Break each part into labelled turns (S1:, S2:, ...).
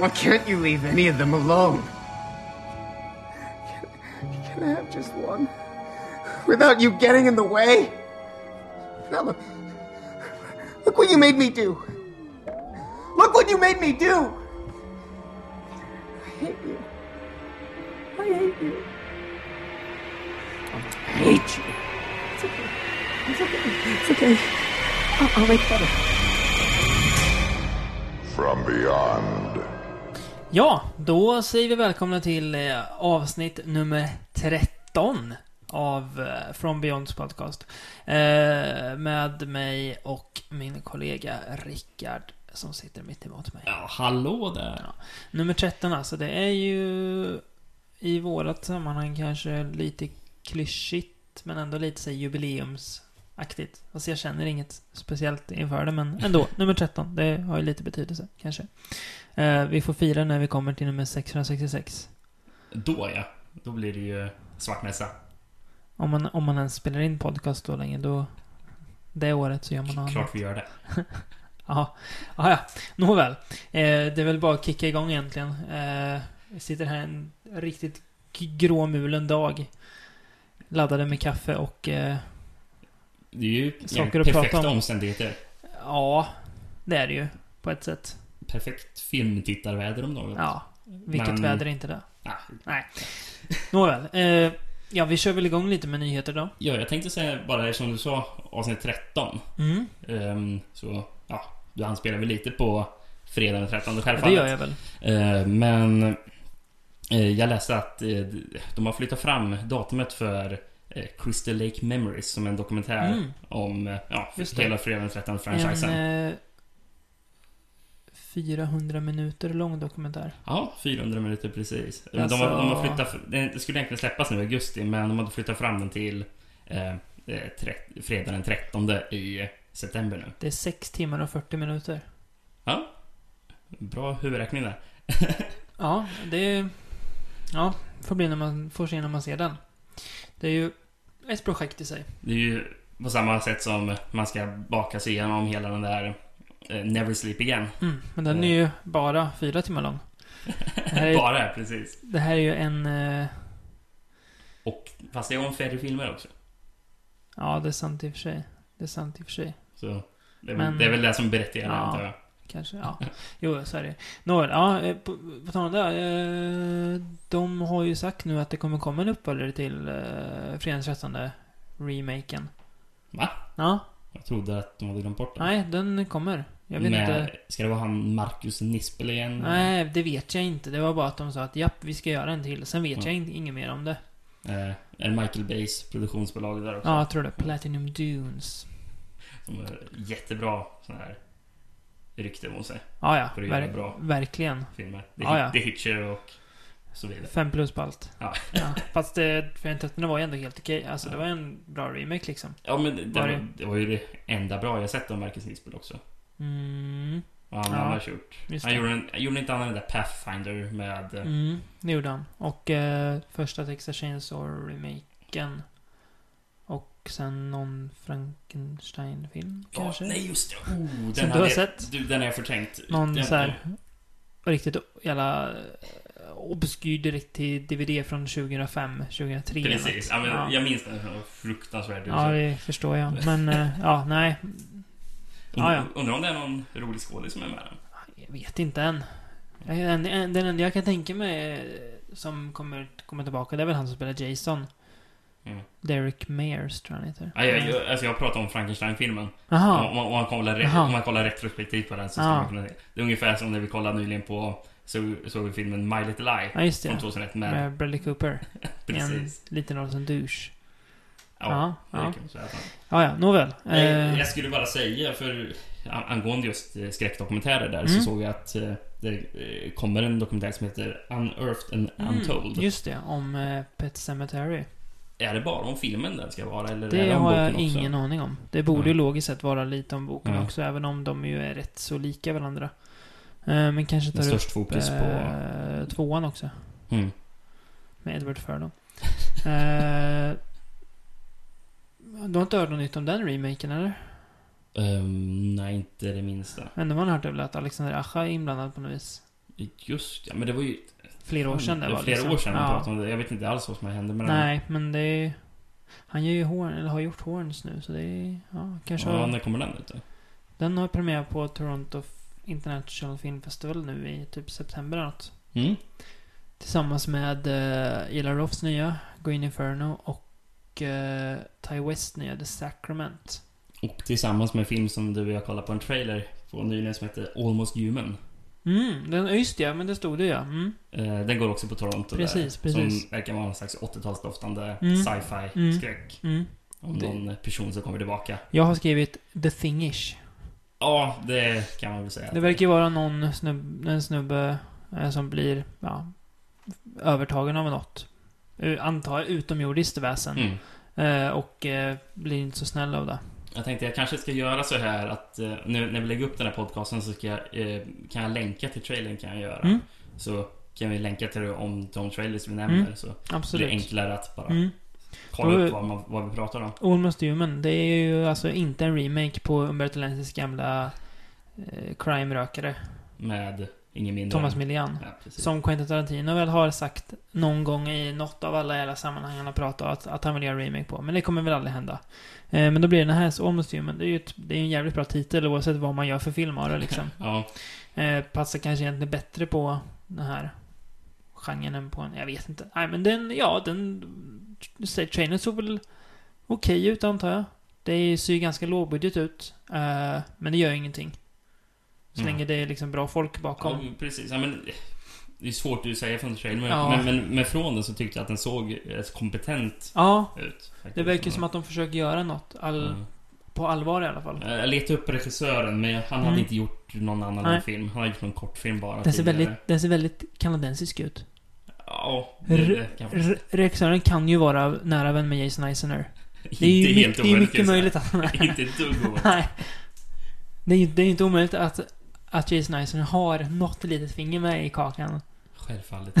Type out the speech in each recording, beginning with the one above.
S1: Why can't you leave any of them alone? Can, can I have just one? Without you getting in the way? Now look. Look what you made me do. Look what you made me do! I hate you. I hate you. I hate you. It's okay. It's okay. It's okay. I'll, I'll make better.
S2: From beyond.
S3: Ja, då säger vi välkomna till eh, avsnitt nummer 13 av eh, From Beyonds podcast. Eh, med mig och min kollega Rickard som sitter mitt emot mig.
S4: Ja, hallå där.
S3: Nummer 13 alltså, det är ju i vårat sammanhang kanske lite klyschigt men ändå lite så här jubileumsaktigt. Alltså jag känner inget speciellt inför det men ändå, nummer 13, det har ju lite betydelse kanske. Eh, vi får fira när vi kommer till nummer 666.
S4: Då ja. Då blir det ju svartmässa.
S3: Om man, om man ens spelar in podcast då länge, då... Det året så gör man något annat.
S4: Klart vi gör det.
S3: Jaha. Jaha, ja. Nåväl. Eh, det är väl bara att kicka igång egentligen. Eh, jag sitter här en riktigt g- gråmulen dag. Laddade med kaffe och... Eh,
S4: Det är ju
S3: Saker
S4: jävligt
S3: att prata
S4: perfekta
S3: om.
S4: omständigheter.
S3: ja, det är det ju. På ett sätt.
S4: Perfekt filmtittarväder om något.
S3: Ja. Vilket
S4: Mm. Men-
S3: väder är inte det?
S4: Ah,
S3: Nåväl. Eh, ja, vi kör väl igång lite med nyheter då.
S4: ja, jag tänkte säga bara som du sa, avsnitt 13.
S3: Mm,
S4: Ehm, så, ja, du anspelar väl lite på fredag den 13
S3: ja,
S4: självfallet.
S3: det gör jag väl.
S4: Eh, Men eh, jag läste att eh, de har flyttat fram datumet för eh, Crystal Lake Memories som en dokumentär
S3: Mm.
S4: om eh, ja,
S3: Just det.
S4: hela Fredag den 13 franchisen.
S3: En... Eh, 400 minuter lång dokumentär.
S4: Ja, 400 minuter precis. Men
S3: Alltså-
S4: De, har, de har flyttat... Den den skulle egentligen släppas nu i augusti men de hade flyttat fram den till eh, eh, tre- fredag den 13 i september nu.
S3: Det är 6 timmar och 40 minuter.
S4: Bra huvudräkning där.
S3: Ja, det... Ja, får bli när man får se när man ser den. Det är ju ett projekt i sig.
S4: Det är ju på samma sätt som man ska baka sig igenom hela den där eh, Never Sleep Again.
S3: Mm, men den
S4: Mm.
S3: är ju bara fyra timmar lång. Det här är,
S4: Bara, precis.
S3: det här är ju en... eh,
S4: Och, fast det är om färre filmer också.
S3: Ja, det är sant i och för sig. Det är sant i och för sig.
S4: Så det, är,
S3: Men-
S4: väl det är väl det som berättigar det,
S3: Ja.
S4: antar jag.
S3: Kanske, ja. Jo, så är det. Nåväl, ja, eh, på, på tal om det. eh, De har ju sagt nu att det kommer komma en uppföljare till eh, Fredagens 13 remaken.
S4: Va?
S3: Ja,
S4: Jag trodde att de hade glömt bort den.
S3: nej, den kommer. Jag vet
S4: Med-
S3: inte.
S4: Ska det vara han Marcus Nispel igen?
S3: Nej, det vet jag inte. Det var bara att de sa att japp, vi ska göra en till. Sen vet
S4: Mm.
S3: jag in, inget mer om det.
S4: Eh, är Michael Bays produktionsbolag där också.
S3: Ja, jag tror det. Platinum Dunes.
S4: Som är jättebra sån här rykte mot sig.
S3: Ja, ja.
S4: För att göra
S3: Ver-
S4: bra.
S3: Verkligen.
S4: Filmer. Det är,
S3: Ja, Ah, ja.
S4: det är Hitcher och så vidare.
S3: Fem plus på allt.
S4: Ja.
S3: Fast det, för en trettonde var ju ändå helt okej. Alltså, det
S4: Ja.
S3: var en bra remake liksom.
S4: Ja men det, det,
S3: Var det-
S4: var, det var ju det enda bra jag sett av Marcus Nispel också.
S3: Mm,
S4: Och han
S3: Ja,
S4: han har gjort.
S3: just
S4: Han
S3: det.
S4: gjorde, en, gjorde inte han den där Pathfinder med... eh,
S3: Mm, det gjorde han. Och eh, första Texas Chainsaw-remaken. Och sen någon Frankenstein-film
S4: ja,
S3: kanske? Mm.
S4: nej just det. Oh,
S3: Som
S4: den
S3: du
S4: hade
S3: har
S4: jag-
S3: sett?
S4: Du, den har jag förträngt.
S3: Någon
S4: den,
S3: så här riktigt jävla eh, obskyr direkt till DVD från 2005, 2003 eller
S4: Precis. Ja,
S3: något.
S4: men,
S3: ja.
S4: Jag minns den. Den var fruktansvärd.
S3: ja, det förstår jag. Men eh, ja, nej. ja, ja.
S4: Undrar om det är någon rolig skådis som är med den.
S3: Jag vet inte än. Jag- en- en- Den enda jag kan tänka mig eh, som kommer komma tillbaka, det är väl han som spelar Jason.
S4: Mm.
S3: Derek Mears tror jag han heter.
S4: Ja, jag, jag, alltså jag pratar om Frankenstein-filmen.
S3: Jaha.
S4: Om, om, man kollar, re-
S3: Jaha.
S4: om man kollar retrospektivt på den så skulle
S3: Ja.
S4: man kunna se. Det är ungefär som när vi kollade nyligen på så, såg vi filmen My Little Lie
S3: Ja, just
S4: från
S3: det.
S4: 2001 med...
S3: Med Bradley Cooper. I en
S4: precis.
S3: liten roll som douche.
S4: Ja,
S3: ja,
S4: det
S3: ja.
S4: kan man säga.
S3: Ja, ja. Nåväl.
S4: Nej,
S3: Eh,
S4: Jag skulle bara säga för an- angående just eh, skräckdokumentärer där så
S3: Mm.
S4: såg jag att eh, det eh, kommer en dokumentär som heter Unearthed and Untold.
S3: Mm, just det, om eh, Pet Sematary.
S4: Är det bara om filmen den ska vara eller är
S3: Det
S4: det om
S3: har jag
S4: boken också?
S3: ingen aning om. Det borde ju
S4: Mm.
S3: logiskt sett vara lite om boken
S4: Mm.
S3: också, även om de ju är rätt så lika varandra. Eh, men kanske
S4: Med
S3: tar upp
S4: störst fokus på...
S3: eh, tvåan också,
S4: Mm.
S3: med Edward Furlong. eh, du har inte hört något nytt om den remaken, eller?
S4: Ehm, nej, inte det minsta.
S3: Det enda man har hört är väl att Alexander Acha är inblandad på något vis.
S4: Just ja, men det var ju...
S3: Flera år sedan det var
S4: Flera
S3: liksom.
S4: år sedan man
S3: Ja.
S4: pratade om det. Jag vet inte alls vad som hände med
S3: Nej, men det är Han gör ju horn, eller har gjort horns nu, så det är... Ja,
S4: den.
S3: kanske...
S4: Ja,
S3: har-
S4: när kommer den ut då?
S3: Den har premiär på Toronto F- International Film Festival nu i typ september eller något.
S4: Mm.
S3: Tillsammans med uh, Ila Roffs nya Green Inferno och uh, Ty West nya The Sacrament.
S4: Och tillsammans med en film som du och jag kollade på en trailer på nyligen som heter Almost Human.
S3: Mm, den, ja, just det, ja, men det stod det ja. Mm.
S4: Eh, Den går också på Toronto
S3: Precis,
S4: där.
S3: precis.
S4: Som verkar vara en slags 80-talsdoftande
S3: Mm. Mm.
S4: sci-fi-skräck.
S3: Mm.
S4: Om
S3: Det-
S4: någon person som kommer tillbaka.
S3: Jag har skrivit The Thingish.
S4: Ja, det kan man väl säga.
S3: Det verkar ju vara någon snubb, en snubbe eh, som blir ja, övertagen av något. U- Antar jag, utomjordiskt väsen.
S4: Mm.
S3: Eh, och eh, blir inte så snäll av det.
S4: Jag tänkte jag kanske ska göra så här att eh, nu när vi lägger upp den här podcasten så ska jag, eh, kan jag länka till trailern kan jag göra.
S3: Mm.
S4: Så kan vi länka till det om de trailers vi nämner
S3: Mm.
S4: så blir det
S3: Absolut.
S4: enklare att bara
S3: Mm.
S4: kolla
S3: Då-
S4: upp vad, man, vad vi pratar om.
S3: Almost Human, det är ju alltså inte en remake på Umberto Lensis gamla eh, crime-rökare,
S4: Med ingen mindre
S3: Thomas
S4: än-
S3: Millian.
S4: Ja, precis.
S3: Som Quentin Tarantino väl har sagt någon gång i något av alla jävla sammanhang han har pratat om att, att han vill göra remake på. Men det kommer väl aldrig hända. Eh, men då blir det den här så Almost Human. Det är ju ett, det är ju en jävligt bra titel oavsett vad man gör för film av det liksom.
S4: Ja,
S3: Eh, passar kanske egentligen bättre på den här genren än på en... Jag vet inte. Nej, men den, ja, den... Trainen såg väl okej ut, antar jag. Det ser ju ganska lågbudget ut. Eh, men det gör ju ingenting. Så
S4: Mm.
S3: länge det är liksom bra folk
S4: ja,
S3: bakom.
S4: precis. Ja, men, det är svårt att säga från trailern, men,
S3: Ja.
S4: men, men, men från den så tyckte jag att den såg eh, kompetent
S3: Ja,
S4: ut. faktiskt.
S3: det verkar som att de försöker göra något. All,
S4: Mm.
S3: På allvar i alla fall.
S4: Jag letade upp regissören, men han hade
S3: Mm.
S4: inte gjort någon annan
S3: Nej.
S4: film. Han hade gjort någon kortfilm bara
S3: Den ser,
S4: tidigare.
S3: väldigt, den ser väldigt kanadensisk ut.
S4: Ja, det, det kan jag
S3: Re- Regissören kan ju vara nära vän med Jason Eisener.
S4: inte
S3: Det är ju
S4: helt
S3: mycket, det är
S4: omöjligt,
S3: mycket
S4: kan jag
S3: möjligt att han
S4: säga.
S3: är.
S4: Inte ett dugg omöjligt.
S3: Nej. Det är, ju- det är inte omöjligt att, att Jason Eisen har något litet finger med i kakan.
S4: Självfallet.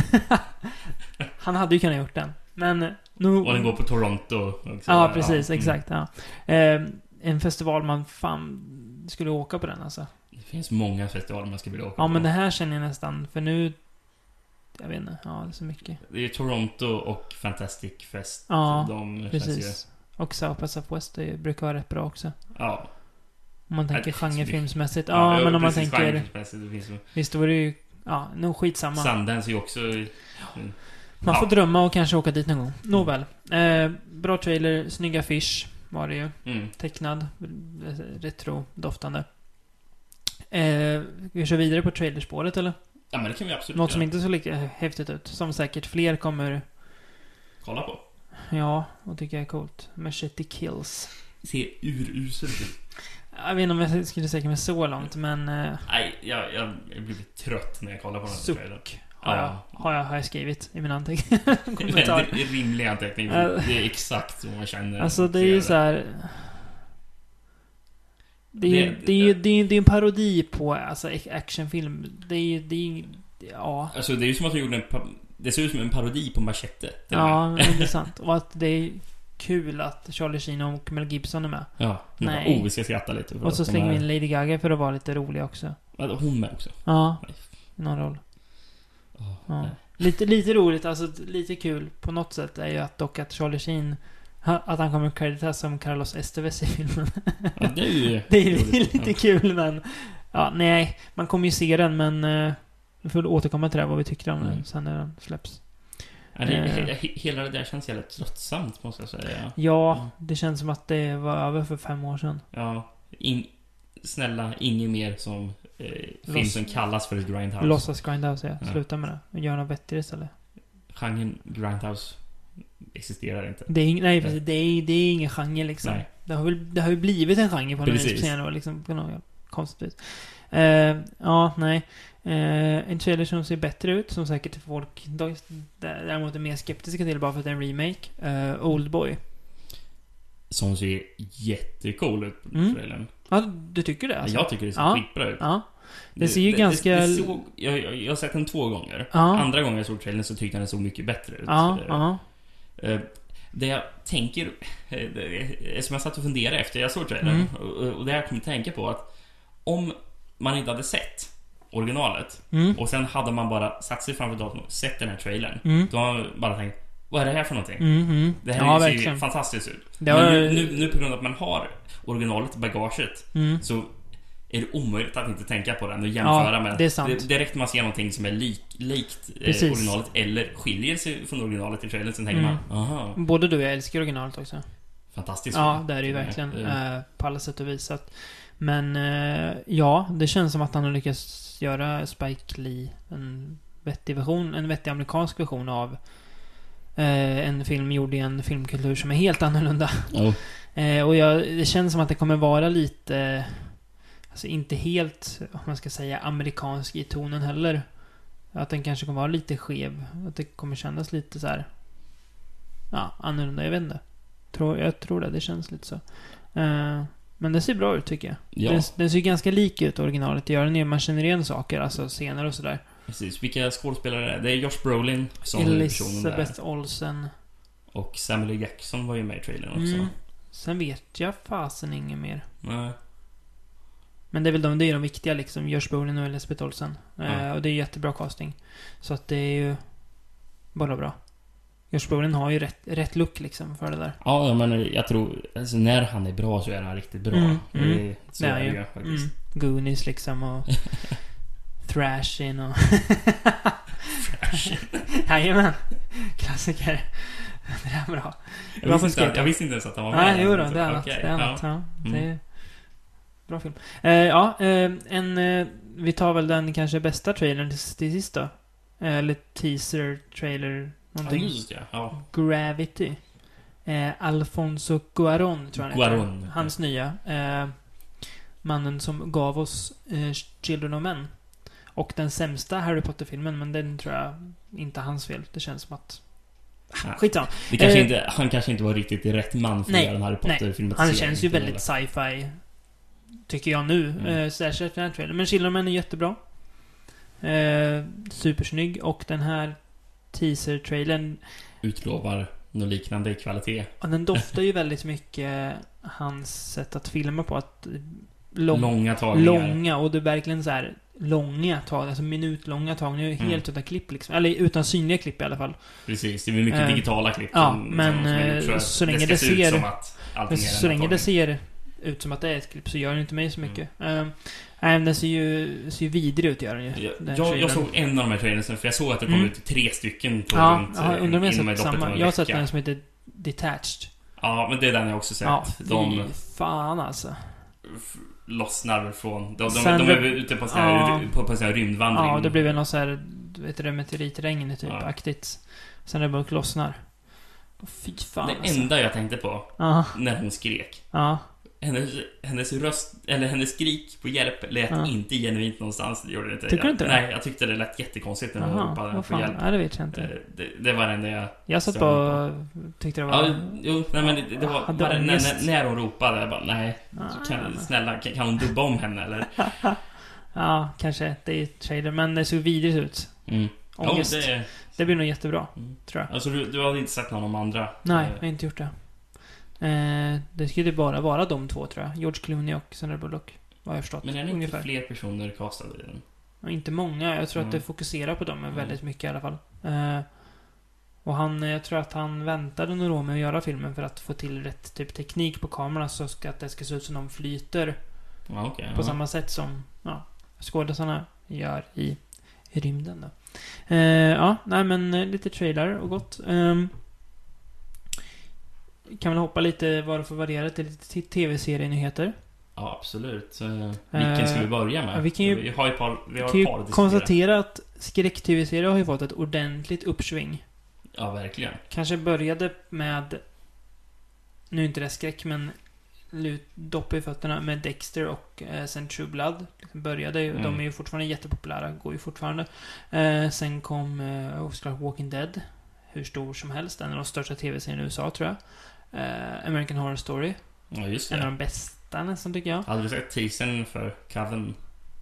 S3: Han hade ju kunnat gjort den. Men nu...
S4: Och den går på Toronto också.
S3: Ja, precis.
S4: mm.
S3: Exakt. Ja. Eh, en festival man fan skulle åka på den alltså.
S4: Det finns många festivaler man skulle vilja åka
S3: Ja,
S4: på.
S3: men det här känner jag nästan, för nu... Jag vet inte. Ja, det är så mycket.
S4: Det är Toronto och Fantastic Fest.
S3: Ja,
S4: de Känns ju,
S3: Precis. Och South by Southwest är ju- brukar vara rätt bra också.
S4: ja.
S3: Om man tänker
S4: det finns
S3: genrefilmsmässigt. Ja, men om man
S4: precis,
S3: tänker...
S4: genremässigt, Det finns ju,
S3: Visst, då är det ju... Ja, nog skitsamma.
S4: Sundance är ju också...
S3: Man får
S4: Ja.
S3: drömma och kanske åka dit någon gång. Nåväl. Eh, bra trailer, snygga fish var det ju.
S4: Mm.
S3: Tecknad, retro-doftande. Eh, vi kör vidare på trailerspåret eller?
S4: Ja, men det kan vi absolut
S3: Något som
S4: göra.
S3: inte såg lika häftigt ut. Som säkert fler kommer,
S4: kolla på.
S3: ja, och tycker är coolt. Machete kills.
S4: Ser uruselt ut.
S3: Jag vet inte om jag skulle säga mig så långt, men... Eh,
S4: Nej, jag, jag, jag blir trött när jag kollar på den här
S3: Suck.
S4: trailern.
S3: har,
S4: Ja.
S3: jag, har, jag, har jag skrivit i mina anteckningar. Kommentarer.
S4: Väldigt rimlig anteckning.
S3: Ja.
S4: Det är exakt så man känner.
S3: Alltså
S4: och
S3: det är ju
S4: ser
S3: så här. Det är, ju-
S4: Det-
S3: det, är ju, det, är, ju- det är en parodi på alltså, ac- actionfilm. Det är ju... Det är, ju- ja.
S4: Alltså det är ju som att de gjorde en... pa- Det ser ut som en parodi på Machete. till och med.
S3: Ja, men det är sant. Och att det är kul att Charlie Sheen och Mel Gibson är med.
S4: ja.
S3: Nej.
S4: Nej. Oh, vi ska skratta lite. för
S3: Och så
S4: att de
S3: slänger vi
S4: är-
S3: in Lady Gaga för att vara lite rolig också.
S4: Ja, Hon med också.
S3: Ja,
S4: Nej.
S3: i någon roll.
S4: Åh,
S3: Ja.
S4: nej.
S3: Eh, Lite, lite roligt, alltså lite kul på något sätt är ju att dock att Charlie Sheen... ha- Att han kommer kreditas som Carlos Estevez i filmen.
S4: Ja, det är ju...
S3: Det är lite
S4: Ja.
S3: kul men... Ja, nej. Man kommer ju se den men... eh, Vi får återkomma till det här, vad vi tyckte om den
S4: Mm.
S3: sen när den släpps.
S4: Ja, det,
S3: Eh.
S4: he, he- hela det där känns jävligt tröttsamt måste jag säga.
S3: Ja,
S4: Mm.
S3: det känns som att det var över för fem år sedan.
S4: Ja. In, snälla, inget mer som eh, film
S3: Loss-
S4: som kallas för Grindhouse.
S3: Låtsas Grindhouse, ja.
S4: Ja.
S3: Sluta med det. Gör något vettigare istället.
S4: Genren Grindhouse existerar inte.
S3: Det är, ing- nej, precis, det är, det är ingen genre liksom.
S4: Nej.
S3: Det har, väl, det har ju blivit en genre på något vis på
S4: Precis.
S3: senare år, liksom, på något konstigt vis. Eh, ja, nej. Eh, en trailer som ser bättre ut, som säkert folk dä- däremot är mer skeptiska till bara för att det är en remake. Eh, Oldboy.
S4: Som ser jättecool ut på
S3: Mm.
S4: trailern.
S3: Ja, du tycker det alltså?
S4: jag tycker det ser
S3: Ja.
S4: skitbra ut.
S3: Ja. Det ser ju ganska-
S4: Det, det såg, jag, jag, jag har sett den två gånger.
S3: Ja.
S4: Andra gången jag såg trailern så tyckte jag den såg mycket bättre ut.
S3: Ja,
S4: Eh,
S3: ja.
S4: Eh, Det jag tänker, eh, det- eh, som jag satt och funderade efter jag såg trailern,
S3: Mm.
S4: och- och och det jag kom att tänka på att om man inte hade sett originalet
S3: Mm.
S4: och sen hade man bara satt sig framför datorn och sett den här trailern.
S3: Mm.
S4: Då har man bara tänkt, vad är det här för någonting?
S3: Mm, mm.
S4: Det här
S3: ja,
S4: ser ju
S3: verkligen.
S4: fantastiskt ut.
S3: Det
S4: Men
S3: var-
S4: nu, nu, nu på grund av att man har originalet, bagaget,
S3: Mm.
S4: så är det omöjligt att inte tänka på den och jämföra
S3: Ja,
S4: med.
S3: det är sant.
S4: Det, direkt man ser någonting som är lik, likt eh,
S3: Precis.
S4: originalet eller skiljer sig från originalet i trailern så tänker
S3: Mm.
S4: man aha,
S3: Både du och jag älskar originalet också.
S4: fantastiskt.
S3: Ja, det är det ju verkligen.
S4: Eh,
S3: eh, På alla sätt och vis. Så Att, men eh, ja, det känns som att han har lyckats göra Spike Lee en vettig version, en vettig amerikansk version av eh, en film gjord i en filmkultur som är helt annorlunda.
S4: jo.
S3: Eh, och jag, det känns som att det kommer vara lite... Alltså inte helt, om man ska säga, amerikansk i tonen heller. Att den kanske kommer vara lite skev. Att det kommer kännas lite så här... Ja, annorlunda. Jag vet inte. Tror, jag tror det. Det känns lite så. Eh, men den ser bra ut tycker jag.
S4: Ja.
S3: Den, den ser ju ganska lik ut originalet. Det gör den ju. Man känner igen saker, alltså scener och sådär.
S4: Precis. Vilka skådespelare är det? Det är Josh Brolin som huvudpersonen där.
S3: Elizabeth Olsen.
S4: Och Samuel L. Jackson var ju med i trailern också.
S3: Mm. Sen vet jag fasen inget mer.
S4: Nej.
S3: Men det är väl de, det är de viktiga liksom. Josh Brolin och Elisabeth Olsen. Eh,
S4: Ja.
S3: och det är jättebra casting. Så att det är ju bara bra. Josh Brolin har ju rätt, rätt look liksom för det där.
S4: Ja, men jag tror... Alltså när han är bra så är han riktigt bra.
S3: Mm,
S4: Det-
S3: mm.
S4: Så är det ju faktiskt.
S3: Mm. Goonies liksom och... Thrashin och... Jajamän. Klassiker. Det där är bra.
S4: Jag,
S3: Varför
S4: visste inte,
S3: ska jag-
S4: jag visste inte ens att han var med.
S3: Nej, jo då, det är annat.
S4: Okej,
S3: det är
S4: ja.
S3: annat. Ja. det
S4: Mm.
S3: är bra film. Eh, ja, eh, en... Eh, vi tar väl den kanske bästa trailern till, till sist då. Eh, eller teaser, trailer,
S4: Ja,
S3: någonting.
S4: just ja. ja.
S3: Gravity. Eh, Alfonso Cuarón tror jag han heter.
S4: Guaron.
S3: Hans nya. Eh, mannen som gav oss eh, Children of Men. Och den sämsta Harry Potter-filmen, men den tror jag inte är hans fel. Det känns som att...
S4: Nej.
S3: Skitsamma.
S4: Det kanske
S3: Ah, Eh,
S4: inte, han kanske inte var riktigt rätt man för att
S3: Nej,
S4: göra en Harry
S3: nej.
S4: Potter-film.
S3: Han känns ju väldigt sci-fi. Tycker jag nu.
S4: Mm.
S3: Eh, särskilt efter den här trailern. Men Children of Men är jättebra. Eh, supersnygg. Och den här teaser-trailern
S4: Utlovar något liknande i kvalitet.
S3: Ja, den doftar ju väldigt mycket hans sätt att filma på. Att lång,
S4: Långa tagningar.
S3: långa, och det är verkligen så här långa tag, alltså minutlånga tagningar.
S4: Mm.
S3: Helt utan klipp liksom. Eller utan synliga klipp i alla fall.
S4: Precis, det blir mycket
S3: Eh,
S4: digitala klipp.
S3: ja,
S4: som-
S3: men,
S4: som- som är gjort
S3: eh,
S4: att
S3: så länge
S4: ska
S3: det
S4: se ut
S3: ser-
S4: som att allting
S3: Men
S4: är en
S3: så länge det
S4: tagning.
S3: ser ut som att det är ett klipp så gör det inte mig så mycket. Mm. nej, men den ser ju, ser ju vidrig ut gör den ju. den
S4: Jag, jag,
S3: trailern.
S4: jag såg en av de här trailersen för jag såg att det kom
S3: Mm.
S4: ut tre stycken på
S3: Ja,
S4: runt,
S3: ja,
S4: eh,
S3: undrar om jag
S4: inom
S3: har sett
S4: loppet av
S3: samma.
S4: en
S3: Jag har sett
S4: vecka.
S3: den som heter Detached.
S4: Ja, men det är den jag också sett.
S3: Ja,
S4: de
S3: fy fan alltså.
S4: f- lossnar väl från... De, de,
S3: Sen-
S4: de är väl ute på en sån här,
S3: Ja.
S4: på, på en sån här rymdvandring.
S3: Ja, det blir väl någon så här, vet du det, meteoritregn typ,
S4: Ja.
S3: aktigt. Sen när det bara lossnar. Åh, Fy fan
S4: Det
S3: alltså.
S4: enda jag tänkte på
S3: Ja,
S4: när hon skrek.
S3: ja.
S4: Hennes, hennes röst, eller hennes skrik på hjälp lät
S3: Ja.
S4: inte genuint någonstans. Det gjorde det inte.
S3: Tycker du inte
S4: jag,
S3: det?
S4: Nej, jag tyckte det lät jättekonstigt när hon
S3: Jaha,
S4: ropade
S3: vad
S4: på
S3: fan.
S4: hjälp.
S3: Ja, det vet jag inte.
S4: Eh, Det, det var det enda jag...
S3: Jag satt
S4: så-
S3: bara och tyckte det var...
S4: Ja, jo, nej men det, det var...
S3: Hade
S4: Bara, när,
S3: ångest.
S4: när, när hon ropade, jag bara nej.
S3: Ah.
S4: Kan, snälla, kan, kan hon dubba om henne eller?
S3: Ja, kanske. Det är trader, men det såg vidrigt ut.
S4: Mm. Jo,
S3: Ångest. det...
S4: det,
S3: blir nog jättebra,
S4: Mm.
S3: tror jag.
S4: alltså, du, du hade inte sett någon av de andra?
S3: Nej,
S4: Eh,
S3: jag har inte gjort det. Eh, det skulle bara vara de två, tror jag. George Clooney och Sandra Bullock. Vad jag har förstått.
S4: Men är det inte
S3: ungefär.
S4: fler personer castade i den?
S3: Och inte många. Jag tror att det
S4: Mm.
S3: fokuserar på dem
S4: Mm.
S3: väldigt mycket i alla fall. Eh, och han, jag tror att han väntade några år med att göra filmen för att få till rätt typ teknik på kamerorna så ska, att det ska se ut som de flyter
S4: Ja, okej.
S3: på
S4: ja.
S3: samma sätt som ja, skådisarna gör i rymden då. Eh, ja, nej men eh, lite trailer och gott. Ehm, kan väl hoppa lite vad det får variera till lite t- tv-serienyheter.
S4: Ja, absolut. Eh, Vilken ska vi börja med?
S3: ja, vi kan ju-
S4: vi har ju ett par, vi har
S3: kan ju
S4: ett par att diskutera.
S3: konstatera att skräck-tv-serier har ju fått ett ordentligt uppsving.
S4: Ja, verkligen.
S3: Kanske började med... Nu är inte det skräck, men lut- dopp i fötterna med Dexter och eh, sen True Blood. Liksom började ju,
S4: Mm.
S3: De är ju fortfarande jättepopulära, går ju fortfarande. Eh, sen kom eh, och såklart Walking Dead. Hur stor som helst, en av de största tv-serierna i USA tror jag. Eh, American Horror Story,
S4: Ja, just
S3: en av
S4: det.
S3: de bästa nästan tycker jag.
S4: Hade du sett teasern för Coven?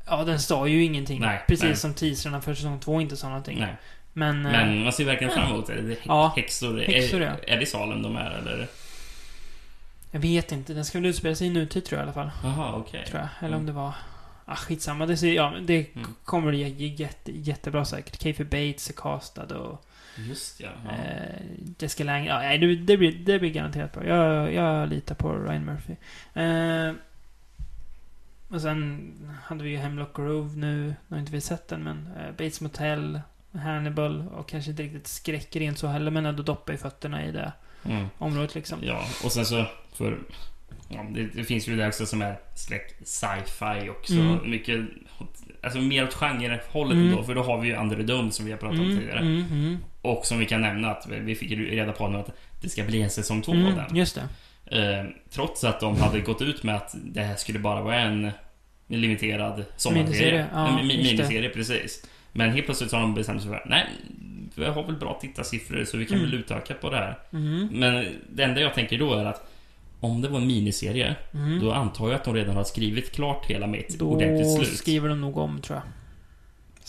S3: Ja, den sa ju ingenting.
S4: Nej,
S3: precis
S4: nej.
S3: som teaserna för säsong två inte sa någonting.
S4: Nej.
S3: Men, eh,
S4: Men man ser verkligen fram emot det. det är
S3: Ja,
S4: häxor.
S3: häxor,
S4: är,
S3: ja.
S4: är det i Salem de är eller?
S3: jag vet inte. Den ska väl utspela sig i nutid tror jag i alla fall.
S4: Jaha, okej.
S3: Tror jag. Eller om
S4: Mm.
S3: det var... Ah, skitsamma, det, ser, ja, men det
S4: Mm.
S3: kommer bli j- jätte, jättebra säkert. Kiefer Bates är castad och...
S4: Just ja. ja.
S3: Eh, Jessica Lange. Ja, nej, det, det, blir, det blir garanterat bra. Jag, jag litar på Ryan Murphy. Eh, och sen hade vi ju Hemlock Grove nu. Nu har inte vi sett den, men eh, Bates Motel, Hannibal och kanske inte riktigt skräck rent så heller, men ändå doppa i fötterna i det
S4: Mm.
S3: området liksom.
S4: Ja, och sen så... För, ja, det, det finns ju det också som är skräck sci-fi också.
S3: Mm.
S4: Mycket... Alltså mer åt genrehållet
S3: Mm.
S4: då, för då har vi ju Underdome som vi har pratat om
S3: Mm,
S4: tidigare.
S3: mm, mm,
S4: Och som vi kan nämna att vi, vi fick ju reda på nu att det ska bli en säsong två av den.
S3: mm, just det.
S4: Eh, trots att de hade gått ut med att det här skulle bara vara en limiterad sommarserie.
S3: Miniserie, ja,
S4: en mi-
S3: just det.
S4: miniserie, precis. Men helt plötsligt så har de bestämt sig för att nej, vi har väl bra tittarsiffror så vi kan
S3: Mm.
S4: väl utöka på det här.
S3: Mm,
S4: Men det enda jag tänker då är att om det var en miniserie,
S3: mm.
S4: då antar jag att de redan har skrivit klart hela mitt ordentligt
S3: Då
S4: slut.
S3: skriver de nog om, tror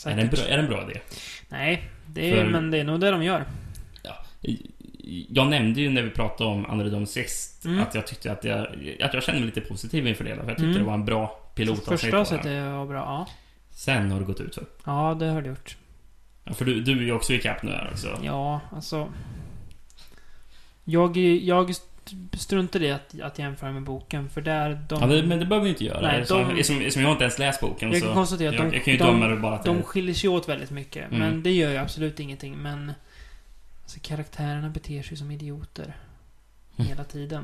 S3: jag.
S4: är, det en bra, är det en bra idé?
S3: Nej, det är,
S4: För-
S3: men det är nog det de gör.
S4: Jag nämnde ju när vi pratade om Andredom sist
S3: Mm.
S4: att jag tyckte att jag, att jag kände mig lite positiv inför det. För jag tyckte
S3: Mm.
S4: det var en bra pilotavsnitt.
S3: Första
S4: bara.
S3: sättet är bra, ja.
S4: Sen har det gått ut för.
S3: Ja, det har det gjort.
S4: Ja, för du, du är ju också ikapp nu här också.
S3: Ja, alltså... Jag, jag st- struntar i att, att jämföra med boken, för där... De,
S4: Ja, det, men det behöver vi inte göra.
S3: Nej,
S4: Eftersom-
S3: de-
S4: eftersom, eftersom jag inte ens läst boken
S3: jag
S4: så...
S3: kan konstatera att
S4: jag,
S3: de,
S4: jag kan ju döma
S3: de,
S4: det bara till...
S3: de skiljer sig åt väldigt mycket.
S4: Mm.
S3: Men det gör ju absolut ingenting. Men... Alltså, karaktärerna beter sig som idioter.
S4: Mm.
S3: Hela tiden.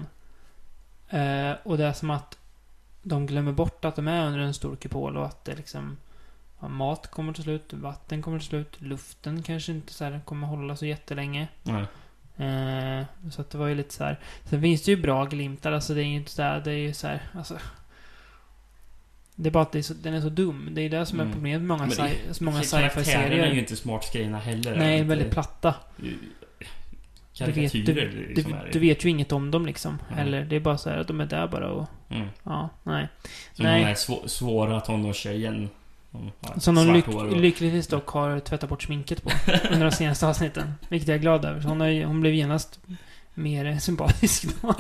S3: Eh, och det är som att de glömmer bort att de är under en stor kupol och att det liksom... ja, Mat kommer till slut, vatten kommer till slut, luften kanske inte så här kommer hålla så jättelänge.
S4: Nej.
S3: Eh, så att det var ju lite så här. Sen finns det ju bra glimtar, alltså det är ju inte så här, det är ju så här, alltså. Det är bara att det är så, den är så dum. Det är ju det som är
S4: Mm.
S3: problemet med många,
S4: Men det- alltså,
S3: sci, så många
S4: Karaktärerna är ju
S3: sci-fi-serier.
S4: inte smart skrivna heller.
S3: Nej,
S4: Inte-
S3: väldigt platta. Du vet, du,
S4: Karikatyrer
S3: du,
S4: liksom är det.
S3: du vet ju inget om dem liksom.
S4: Nej.
S3: Eller det är bara så här att de är där bara och...
S4: Mm.
S3: Ja, nej.
S4: Som
S3: Nej.
S4: den här svå, svåra tonårstjejen. Som har
S3: Som de
S4: svart
S3: lyck,
S4: hår och-
S3: lyckligtvis dock har tvättat bort sminket på under de senaste avsnitten. Vilket jag är glad över. Så hon, har, ju- hon blev genast mer sympatisk då.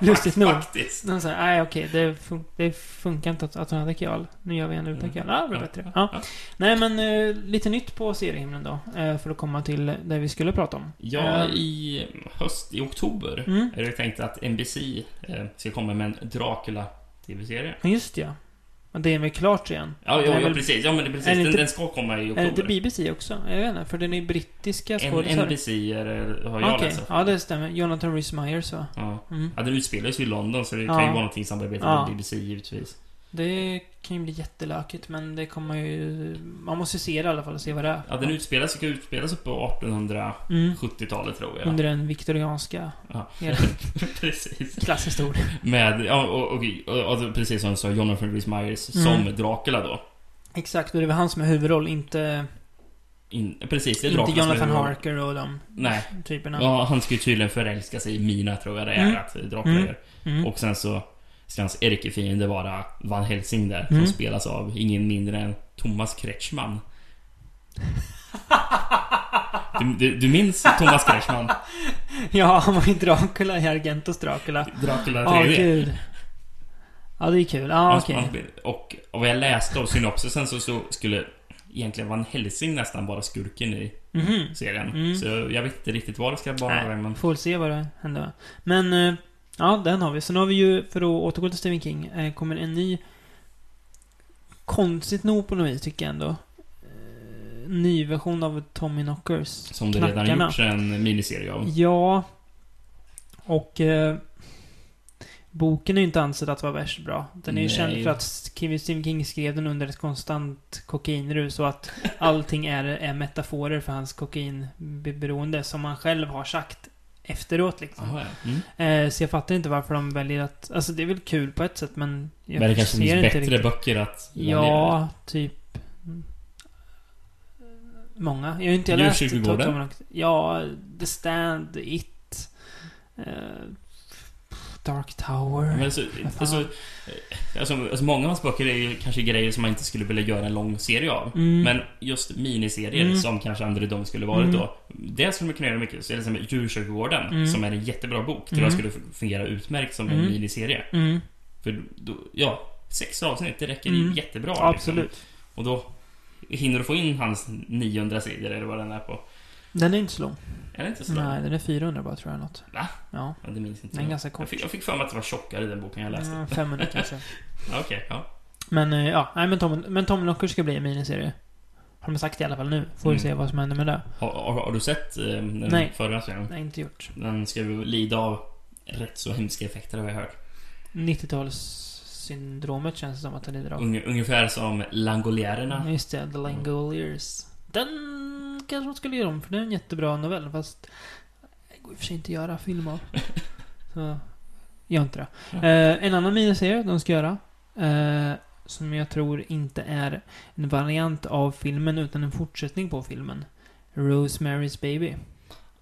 S3: lustigt nog.
S4: Faktiskt.
S3: De säger, nej okej, det, fun- det funkar inte att, att hon hade kral. Nu gör vi en utan
S4: Mm.
S3: kral. Ja, det blir bättre. Ja.
S4: Ja.
S3: Nej men, eh, lite nytt på seriehimlen då. eh, för att komma till det vi skulle prata om.
S4: Ja,
S3: Eh,
S4: i höst, i oktober,
S3: Mm.
S4: är det tänkt att NBC eh, ska komma med en Dracula-tv-serie.
S3: Just ja. Men det är väl klart igen?
S4: Ja,
S3: Det
S4: ja,
S3: är
S4: ja
S3: väl-
S4: precis. Ja, men det, precis.
S3: är det
S4: den,
S3: inte-
S4: den ska komma i
S3: Är det inte
S4: oktober.
S3: BBC också? Jag vet inte, för den är ju brittiska
S4: En
S3: skådisar.
S4: NBC är, alltså. det- har jag
S3: Okej,
S4: läst.
S3: ja det stämmer. Jonathan Rhys Meyers va?
S4: Ja.
S3: Mm.
S4: ja, den utspelas ju i London så det
S3: Ja.
S4: kan ju vara någonting samarbetat
S3: Ja.
S4: med BBC givetvis.
S3: Det kan ju bli jättelökigt men det kommer ju... Man måste ju se det i alla fall och se vad det är.
S4: Ja, den utspelas, ska utspelas upp på 1870-talet
S3: mm.
S4: tror jag.
S3: Under den viktorianska
S4: Ja.
S3: hela
S4: precis.
S3: klasshistorien.
S4: Med, ja, och, och, och, och precis som du sa, Jonathan Rhys Meyers
S3: Mm.
S4: som Dracula då.
S3: Exakt, och det var han som är huvudroll, inte...
S4: In, precis, det är
S3: Inte
S4: Dracula som är
S3: Jonathan
S4: huvudroll.
S3: Harker och de
S4: Nej.
S3: typerna.
S4: Ja, han ska ju tydligen förälska sig i Mina, tror jag det är
S3: Mm.
S4: att Dracula
S3: Mm.
S4: gör.
S3: Mm.
S4: Och sen så ska hans ärkefiende vara Van Helsing där,
S3: Mm.
S4: som spelas av ingen mindre än Thomas Kretschmann. Du, du, du minns Thomas Kretschmann?
S3: ja, han var ju Dracula i Argentos Dracula.
S4: Dracula 3D?
S3: Ja, gud. Ja, det är kul. Ja,
S4: Han-
S3: okej.
S4: han spel- och, och vad jag läste av synopsisen så, så skulle egentligen Van Helsing nästan vara skurken i
S3: Mhm.
S4: serien.
S3: Mm.
S4: Så jag vet inte riktigt vad det ska vara.
S3: Nej,
S4: men...
S3: Får väl se vad det händer. Men, eh, ja, den har vi. Sen har vi ju, för att återgå till Stephen King, eh, kommer en ny... Konstigt nog på något vis, tycker jag ändå. eh, Ny version av Tommy Knockers.
S4: Som det redan
S3: Knackarna.
S4: gjorts en miniserie av.
S3: Ja. Och... Eh, boken är ju inte ansedd att vara värst bra. Den är ju
S4: Nej.
S3: känd för att Stephen Stephen King skrev den under ett konstant kokainrus och att allting är, är metaforer för hans kokainberoende som han själv har sagt efteråt liksom.
S4: Jaha, ja. mm.
S3: Eh, så jag fattar inte varför de väljer att... Alltså det är väl kul på ett sätt men... Jag
S4: Men det kanske finns bättre
S3: riktigt.
S4: böcker att
S3: Ja, typ... mm, Många. Jag har ju inte jag
S4: Djur
S3: läst...
S4: kyrkogården?
S3: Tom- Tom- Ja, The Stand, It... eh, Dark Tower.
S4: Men alltså, alltså, alltså, alltså, många av hans böcker är ju kanske grejer som man inte skulle vilja göra en lång serie av.
S3: Mm.
S4: Men just miniserier
S3: Mm.
S4: som kanske André Dom skulle varit
S3: Mm.
S4: då. Det skulle man kunna göra mycket. Så är det som Djurkyrkogården,
S3: Mm.
S4: som är en jättebra bok. Tror
S3: Mm.
S4: jag skulle fungera utmärkt som en
S3: Mm.
S4: miniserie.
S3: Mm.
S4: För då, ja, sex avsnitt, det räcker
S3: Mm.
S4: jättebra. Liksom.
S3: Absolut.
S4: Och då hinner du få in hans 900 sidor eller vad den är på.
S3: Den är inte så lång.
S4: Är det inte så långt?
S3: Nej, den är 400 bara tror jag något.
S4: Va?
S3: Ja.
S4: Ja, det minns inte
S3: Den är
S4: jag.
S3: ganska kort.
S4: Jag fick, jag fick för mig att det var tjockare i den boken jag läste.
S3: Mm, 500 kanske.
S4: Ja, Okej, ja.
S3: Men eh, ja, nej men Tom, men Tom Locker ska bli en miniserie. Har de sagt i alla fall nu. Får vi
S4: Mm.
S3: se vad som händer med det.
S4: Har, har, har du sett eh, den
S3: Nej.
S4: förra serien?
S3: Nej, inte gjort.
S4: Den ska ju lida av rätt så hemska effekter har jag hört.
S3: 90-talssyndromet känns det som att den lider av.
S4: Unge- ungefär som Langoliärerna.
S3: Mm, Just det, The Langoliers. Den kanske man skulle göra om, för det är en jättebra novell. Fast det går i och för sig inte att göra film av. Så, gör inte det. Eh, en annan miniserie de ska göra. Eh, som jag tror inte är en variant av filmen, utan en fortsättning på filmen. Rosemary's Baby.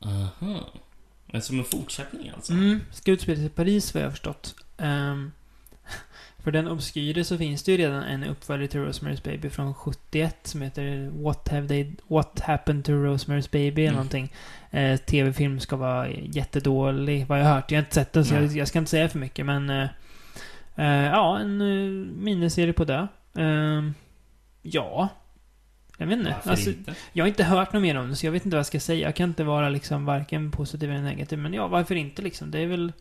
S4: Aha. Men som en fortsättning alltså?
S3: Mm, ska utspelas i Paris vad jag har förstått. Ehm, för den obskyre så finns det ju redan en uppföljare till Rosemary's Baby från 71 som heter What, have they, What happened to Rosemary's Baby eller
S4: Mm.
S3: någonting. Eh, TV-film ska vara jättedålig vad jag har hört. Jag har inte sett den så jag,
S4: Nej.
S3: jag ska inte säga för mycket men... Eh, eh, ja, en eh, miniserie på det. Ehm, ja. Jag vet inte.
S4: Varför
S3: Alltså,
S4: inte?
S3: jag har inte hört något mer om det, så jag vet inte vad jag ska säga. Jag kan inte vara liksom varken positiv eller negativ, men ja, varför inte liksom? Det är väl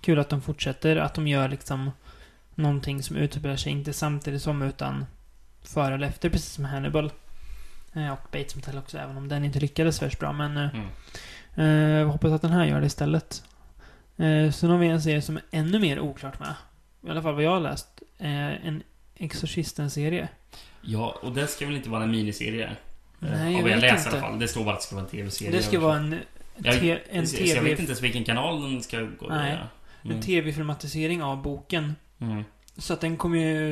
S3: kul att de fortsätter, att de gör liksom någonting som utspelar sig, inte samtidigt som, utan före eller efter, precis som Hannibal. Eh, Och Bates Motel också, även om den inte lyckades värst bra, men... eh,
S4: Mm.
S3: Eh, jag hoppas att den här gör det istället. Eh, sen har vi en serie som är ännu mer oklart med. I alla fall vad jag har läst. Eh, en Exorcisten-serie.
S4: Ja, och det ska väl inte vara en miniserie? Eh,
S3: Nej, jag
S4: av vad jag
S3: vet
S4: läser
S3: inte.
S4: i alla fall. Det står bara att det ska vara en TV-serie.
S3: Det ska vara en,
S4: Jag-
S3: te, en
S4: Så- så Jag vet
S3: tv
S4: inte ens vilken kanal den ska gå
S3: Nej.
S4: via.
S3: En tv-filmatisering av boken.
S4: Mm.
S3: Så att den kommer ju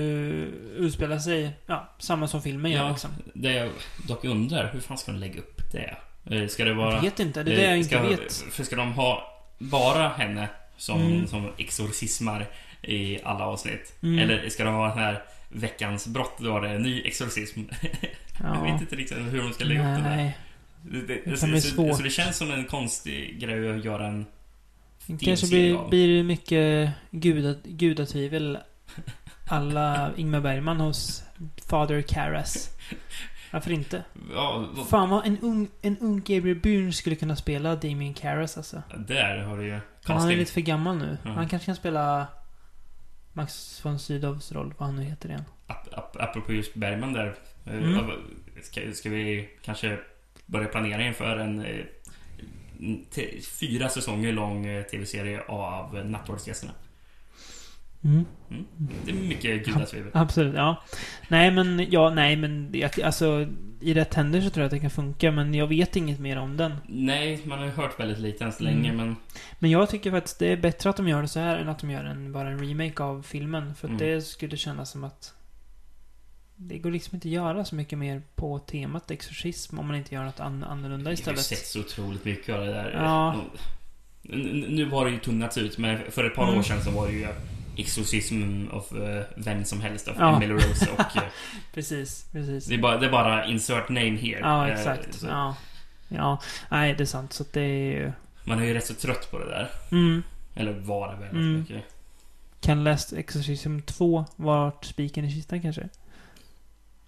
S3: utspela sig, ja, samma som filmen gör
S4: Ja,
S3: liksom.
S4: Det jag dock undrar, hur fan ska de lägga upp det? Eh, Ska det vara... Eh,
S3: Jag vet inte, det är det jag inte
S4: ska,
S3: vet.
S4: För ska de ha bara henne som,
S3: Mm.
S4: som exorcismar i alla avsnitt?
S3: Mm.
S4: Eller ska de ha den här veckans brott, då är det en ny exorcism? Jag
S3: Ja.
S4: vet inte riktigt hur de ska lägga upp det där.
S3: Nej,
S4: Det, det,
S3: kan
S4: det, så,
S3: bli
S4: så,
S3: svårt.
S4: så det känns som en konstig grej att göra en...
S3: det
S4: Det
S3: kanske
S4: är en serie
S3: blir,
S4: av.
S3: blir mycket gudat, gudatvivel alla Ingmar Bergman hos Father Karras. Varför inte?
S4: Ja, vad-
S3: Fan vad en ung, en ung Gabriel Byrne skulle kunna spela Damien Karras alltså.
S4: där har du ju
S3: Men han är
S4: casting.
S3: lite för gammal nu.
S4: Ja.
S3: Han kanske kan spela Max von Sydows roll, vad han nu heter igen.
S4: Ap- ap- Apropå just Bergman där. eh,
S3: Mm.
S4: av- Ska, ska vi kanske börja planera inför en eh, te- fyra säsonger lång eh, tv-serie av eh, Nattvardsgästerna?
S3: Mm.
S4: Det är mycket gudasvivel.
S3: Absolut, ja. Nej men, ja, nej men, jag, alltså i rätt händer så tror jag att det kan funka, men jag vet inget mer om den.
S4: Nej, man har ju hört väldigt lite än så länge
S3: Mm.
S4: men...
S3: Men jag tycker faktiskt det är bättre att de gör det så här än att de gör en, bara en remake av filmen, för att
S4: Mm.
S3: det skulle kännas som att det går liksom inte att göra så mycket mer på temat exorcism om man inte gör något an- annorlunda
S4: Jag har ju
S3: istället.
S4: sett så otroligt mycket av det där.
S3: Ja.
S4: N- n- Nu har det ju tunnats ut men för ett par
S3: Mm.
S4: år sedan så var det ju Exorcism av eh, vem som helst av
S3: Ja.
S4: Emily Rose och... eh,
S3: Precis, precis.
S4: det, är bara, det är bara insert name here.
S3: Ja,
S4: Eh,
S3: exakt.
S4: så
S3: Ja. ja. Nej, det är sant. Så att det är ju...
S4: Man är ju rätt så trött på det där.
S3: Mm.
S4: Eller var det väldigt
S3: Mm.
S4: mycket.
S3: Kan Last Exorcism 2 vart spiken i kistan kanske?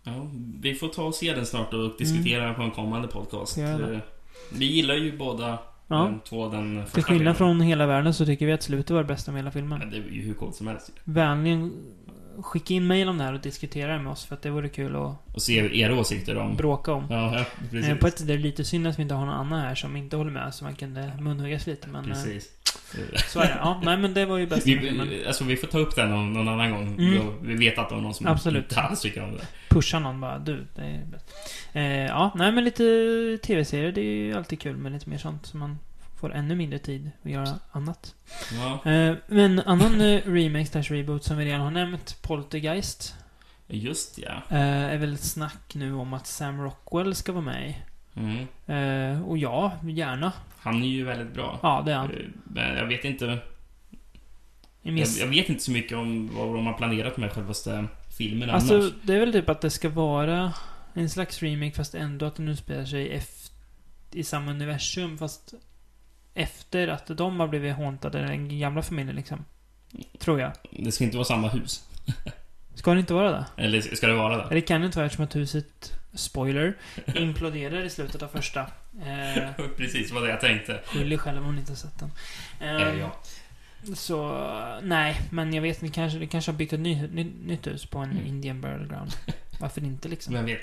S4: Ja, vi får ta och se den snart och diskutera på en kommande podcast.
S3: Ska jag göra Mm. det?
S4: Eh, Vi gillar ju båda
S3: Ja.
S4: de två den första Mm.
S3: Till skillnad
S4: filmen.
S3: från hela världen så tycker vi att slutet var det bästa med hela
S4: Ja,
S3: filmen.
S4: Det är ju hur coolt som helst.
S3: Vänligen skicka in mejl om det här och diskutera det med oss för att det vore kul att
S4: Och se era åsikter om...
S3: bråka om.
S4: Ja, ja, Mm. precis.
S3: Eh, På ett sätt är det lite synd att vi inte har någon annan här som inte håller med så man kunde munhuggas lite men... eh,
S4: precis.
S3: Så är det. Ja, nej men det var ju bästa med filmen.
S4: Vi, alltså, vi får ta upp den någon, någon annan gång.
S3: Mm.
S4: Då Vi vet att det är någon som
S3: Absolut.
S4: inte alls tycker om det.
S3: Pusha någon bara, du, det är bäst. Eh, ja, nej men lite tv-serier, det är ju alltid kul med lite mer sånt så man får ännu mindre tid att göra annat.
S4: Ja.
S3: Eh, Men annan eh, remake slash reboot som vi redan har nämnt, Poltergeist,
S4: Just ja.
S3: eh, är väl ett snack nu om att Sam Rockwell ska vara med i.
S4: Mm.
S3: Eh, Och ja, gärna.
S4: Han är ju väldigt bra.
S3: Ja, det är han.
S4: Eh, Men jag vet inte...
S3: Jag
S4: Jag,
S3: miss-
S4: jag vet inte så mycket om vad de har planerat med självaste filmen
S3: Alltså,
S4: annars.
S3: det är väl typ att det ska vara en slags remake fast ändå att den utspelar sig eft- i samma universum fast efter att de har blivit håntade, den gamla familjen liksom. Tror jag.
S4: Det ska inte vara samma hus.
S3: Ska det inte vara det?
S4: Eller ska det vara det?
S3: Det kan ju inte vara eftersom att huset, spoiler, imploderar i slutet av första. Eh,
S4: Precis vad det jag tänkte.
S3: Skyll dig själv om ni inte har sett den. Eh,
S4: Eh, ja.
S3: Så, nej, men jag vet inte. Kanske, det kanske har byggt ett ny, ny, nytt hus på en
S4: Mm.
S3: Indian burial ground. Varför inte liksom?
S4: Vem vet?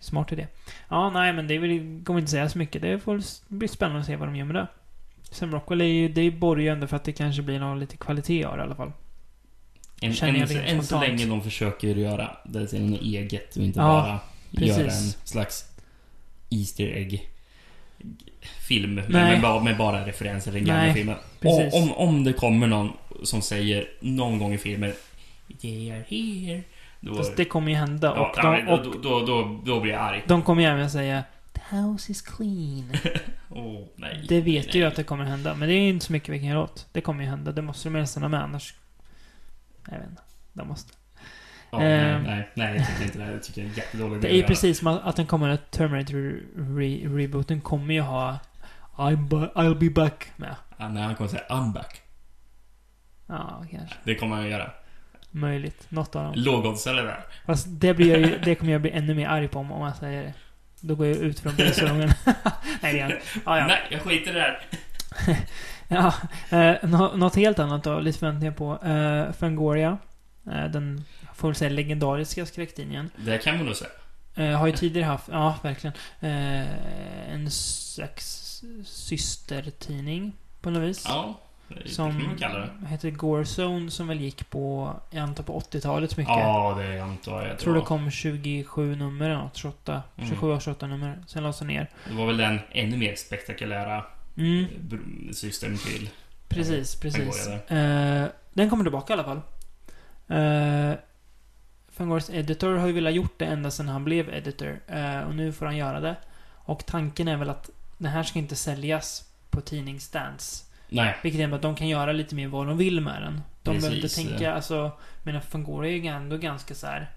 S3: Smart idé. Ja, nej, men det är väl- kommer inte säga så mycket. Det får s- bli spännande att se vad de gör med det. Sam Rockwell är ju, det borgar ju ändå för att det kanske blir någon lite kvalitet av det i alla fall.
S4: Än,
S3: Känner jag
S4: än,
S3: rent
S4: än så
S3: spontant.
S4: länge de försöker göra det till något eget och inte
S3: Ja,
S4: bara göra en
S3: precis.
S4: slags Easter egg film med,
S3: Nej.
S4: med, bara, med bara referenser till den gamla
S3: Nej,
S4: filmen.
S3: precis.
S4: Och om, om det kommer någon som säger någon gång i filmen They are here. Då,
S3: Fast det kommer ju hända.
S4: ja,
S3: Och,
S4: nej,
S3: de, och
S4: då, då, då, då blir jag arg.
S3: de kommer ju även säga The house is clean.
S4: Åh, nej,
S3: Det vet
S4: nej,
S3: du ju
S4: nej.
S3: att det kommer hända, men det är ju inte så mycket vi kan göra åt. Det kommer ju hända, det måste de ju nästan ha med annars... Jag vet inte. De måste.
S4: Ja, nej,
S3: Ehm.
S4: nej, nej, jag tycker inte det. Jag tycker det är en jättedålig
S3: Det
S4: idé
S3: är
S4: att
S3: ju
S4: göra.
S3: precis som att den kommande Terminator-rebooten kommer ju ha I'm ba- I'll be back med.
S4: Ja, nej, han kommer säga I'm back.
S3: Ja, kanske.
S4: Det kommer han att göra.
S3: Möjligt. Något av dem.
S4: Lågoddsare där.
S3: Fast det, blir jag ju, det kommer jag bli ännu mer arg på om, om jag säger det. Då går jag ut från bilsalongen. Nej, det är jag inte. Ja, ja.
S4: Nej, jag skiter i det här.
S3: ja eh, nå- något helt annat då, lite förväntningar på. Eh, Fangoria. Eh, den, jag får väl säga, legendariska skräcktidningen.
S4: Det kan man nog säga.
S3: Eh, har ju tidigare haft, ja verkligen, eh, en slags systertidning på något vis.
S4: Ja, det kan
S3: som
S4: man kalla det.
S3: heter Gorezone som väl gick på, jag antar på 80-talet så mycket.
S4: Ja, det antar jag.
S3: jag
S4: Det
S3: tror
S4: var.
S3: det kom 27 nummer eller något, 28,
S4: Mm.
S3: 27 och 28 nummer. Sen lades det ner.
S4: det var väl den ännu mer spektakulära
S3: Mm,
S4: eh, br- systern till.
S3: precis, precis.
S4: går
S3: Eh, den kommer tillbaka i alla fall. Eh, Fangors editor har ju velat gjort det ända sedan han blev editor. Eh, och nu får han göra det. Och tanken är väl att den här ska inte säljas på tidningsstands.
S4: Nej,
S3: Vilket innebär att de kan göra lite mer vad de vill med den. De behöver inte
S4: Precis.
S3: tänka, alltså... Men Fangoria är ju ändå ganska så här.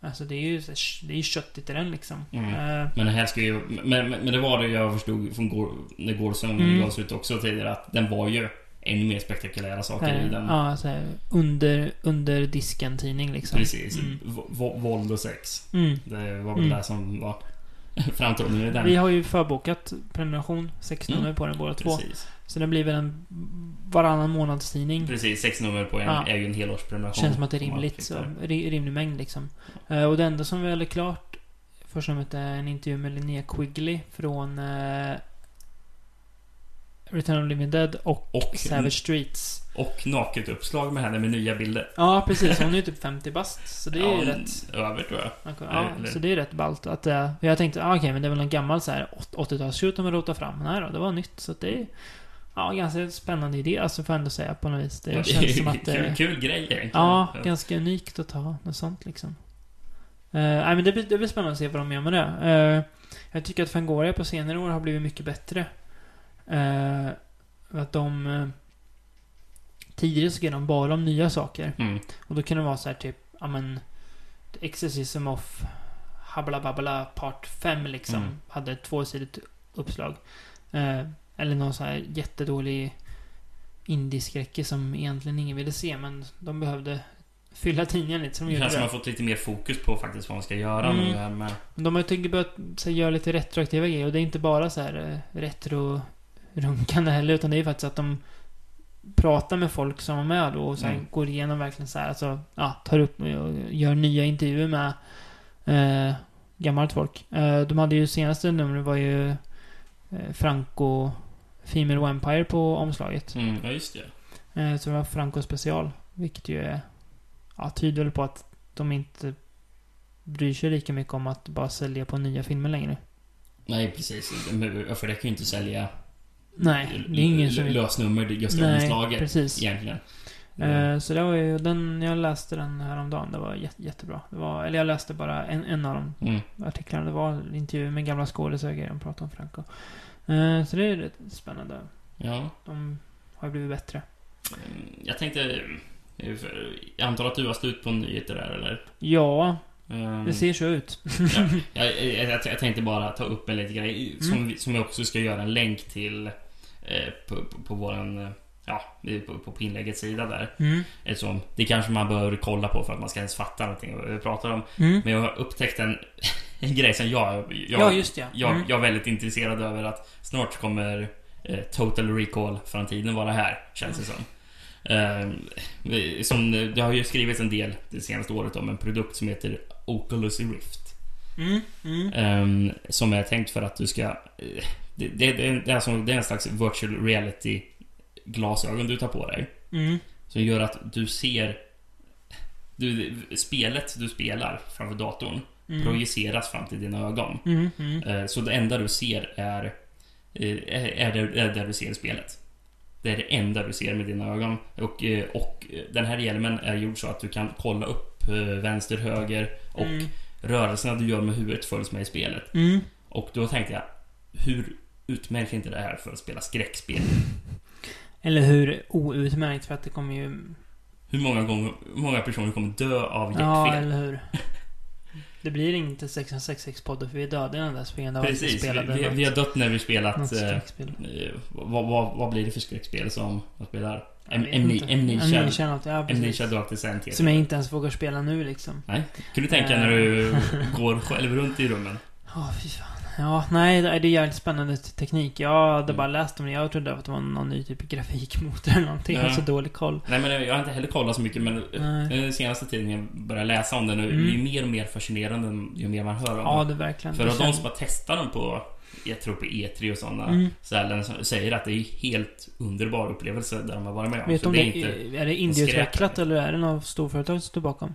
S3: Alltså det är ju, så här- det är ju köttigt i den liksom.
S4: Mm.
S3: Eh,
S4: men det här ska ju... Men, men men det var det jag förstod från går, när Gårdsson
S3: Mm.
S4: gavs ut också tidigare att den var ju ännu mer spektakulära saker i
S3: eh,
S4: den.
S3: ja, så här, under, under disken-tidning liksom.
S4: Precis.
S3: Mm.
S4: V- v- våld och sex.
S3: Mm.
S4: Det var väl
S3: Mm.
S4: det som var framtoningen i den.
S3: Vi har ju förbokat prenumeration, sex
S4: Mm.
S3: nummer på den båda två.
S4: Precis.
S3: Så det blir väl en varannan månadstidning.
S4: Precis, sex nummer på en
S3: Ja.
S4: är ju en helårsprenumeration.
S3: Känns som att det är
S4: Om man
S3: rimligt. Så,
S4: tittar.
S3: ri- rimlig mängd liksom. Eh, och det enda som väl är klart först numret är en intervju med Linnea Quigley från eh, Return of the Living Dead och
S4: Och,
S3: Savage Streets.
S4: och naket uppslag med henne med nya bilder.
S3: Ja, precis. Hon är ju typ 50 bast. Så det är ju
S4: Ja,
S3: rätt...
S4: Över tror jag.
S3: Ja,
S4: eller-
S3: så det är rätt ballt att eh, för Jag tänkte, ah, okej, men det är väl en gammal så här 80-talsshoot de har rotat fram. Men Nej då, det var nytt. Så att det är... Ja, ganska spännande idé, alltså får jag ändå säga på något vis. Det känns som att...
S4: kul,
S3: eh,
S4: kul grej egentligen.
S3: Ja, ganska unikt att ha något sånt liksom. Eh, nej, men det, blir, det blir spännande att se vad de gör med det. Eh, jag tycker att Fangoria på senare år har blivit mycket bättre. Eh, att de... eh, tidigare skrev de bara om nya saker.
S4: Mm.
S3: Och då kan det vara så här typ, ja men... The Exorcism of Habla Babbla Part 5 liksom.
S4: Mm.
S3: Hade ett tvåsidigt uppslag. Eh, eller någon så här jättedålig indieskräcke som egentligen ingen ville se men de behövde fylla tidningen lite så de
S4: Det
S3: gjorde
S4: känns som
S3: det.
S4: att man fått lite mer fokus på faktiskt vad man ska göra
S3: Mm.
S4: nu här med.
S3: Men De har ju tänkt börja så här, göra lite retroaktiva grejer och det är inte bara så här eh, retro-runkande heller utan det är ju faktiskt att de pratar med folk som var med då och sen
S4: Mm.
S3: går igenom verkligen så här, alltså, ja, tar upp och gör nya intervjuer med eh, gammalt folk. Eh, de hade ju senaste numret var ju eh, Franco Female Vampire på omslaget.
S4: Mm. Ja, just det.
S3: Eh, Så det var Franco special. Vilket ju är... Ja, tyder väl på att de inte bryr sig lika mycket om att bara sälja på nya filmer längre.
S4: Nej, precis. Men- För det kan ju inte sälja
S3: Nej, det är ingen som vill...
S4: lösnummer just det
S3: Nej,
S4: omslaget
S3: precis.
S4: egentligen.
S3: Eh, Så det var ju den... Jag läste den häromdagen. Det var jä- jättebra. Det var, eller jag läste bara en, en av de
S4: Mm.
S3: artiklarna. Det var intervjuer med gamla skådisar och grejer. De pratade om Franco. Eh, Så det är rätt spännande.
S4: Ja.
S3: De har ju blivit bättre.
S4: Mm, Jag tänkte... eh, för- Jag antar att du har slut på nyheter där, eller?
S3: Ja,
S4: Mm.
S3: det ser så ut.
S4: Ja, jag, jag, jag, jag tänkte bara ta upp en liten grej som,
S3: Mm.
S4: vi, som jag också ska göra en länk till eh, på, på, på våran eh, ja, det är på, på inläggets sida där.
S3: Mm.
S4: Eftersom det kanske man bör kolla på för att man ska ens fatta någonting och jag pratar om.
S3: Mm.
S4: Men jag har upptäckt en, en grej som jag, jag,
S3: Ja, just det.
S4: jag,
S3: Mm.
S4: jag är väldigt intresserad över att snart kommer eh, Total Recall-framtiden vara här, känns det som. Eh, som. Det har ju skrivits en del det senaste året om en produkt som heter Oculus Rift.
S3: Mm. Mm.
S4: Ehm, som är tänkt för att du ska... eh, Det, det, det, är en- det, är alltså, det är en slags virtual reality glasögon du tar på dig.
S3: Mm.
S4: Som gör att du ser... Du, spelet du spelar framför datorn
S3: Mm.
S4: projiceras fram till dina ögon.
S3: Mm. Mm.
S4: Eh, Så det enda du ser är, eh, är, är, det, är där du ser i spelet. Det är det enda du ser med dina ögon. Och, eh, och eh, den här hjälmen är gjord så att du kan kolla upp eh, vänster, höger och
S3: Mm.
S4: rörelserna du gör med huvudet följs med i spelet.
S3: Mm.
S4: Och då tänkte jag, hur utmärkt inte det här för att spela skräckspel?
S3: Eller hur outmärkt för att det kommer ju...
S4: Hur många, gånger, hur många personer kommer dö av
S3: Ja,
S4: hjärtfel?
S3: eller hur. Det blir inte 666-podden för vi är döda innan dess på grund av att vi
S4: Precis, vi,
S3: spelade
S4: vi,
S3: något,
S4: vi har dött när vi spelat...
S3: något
S4: eh,
S3: skräckspel.
S4: eh, vad, vad, vad blir det för skräckspel som man spelar?
S3: Jag
S4: Am-
S3: vet
S4: Amni-
S3: inte.
S4: Amnesia.
S3: Amnesia något, ja, precis.
S4: Amnesia Dark Descent
S3: Som jag inte ens vågar spela nu liksom.
S4: Nej, kan du tänka när du
S3: Eh.
S4: går själv runt i rummen?
S3: Ja, fy fan. Ja, nej, det är ju jävligt spännande t- teknik. Jag
S4: Mm.
S3: hade bara läst om det. Jag trodde att det var någon ny typ av grafikmotor eller någonting. Jag har så
S4: Ja.
S3: dålig koll.
S4: Nej men jag har inte heller kollat så mycket men eh,
S3: Nej.
S4: den senaste tiden jag börjar läsa om den och det
S3: Mm.
S4: blir mer och mer fascinerande ju mer man hör om
S3: Ja,
S4: den.
S3: det är verkligen.
S4: För
S3: det
S4: att de
S3: känns-
S4: som har testat den på, jag tror på E3 och sådana
S3: Mm.
S4: ställen, som säger att det är helt underbar upplevelse där de har varit med om.
S3: Vet du
S4: Så
S3: om
S4: det
S3: det
S4: är inte,
S3: är, är det indieutvecklat eller är det något storföretag som står bakom?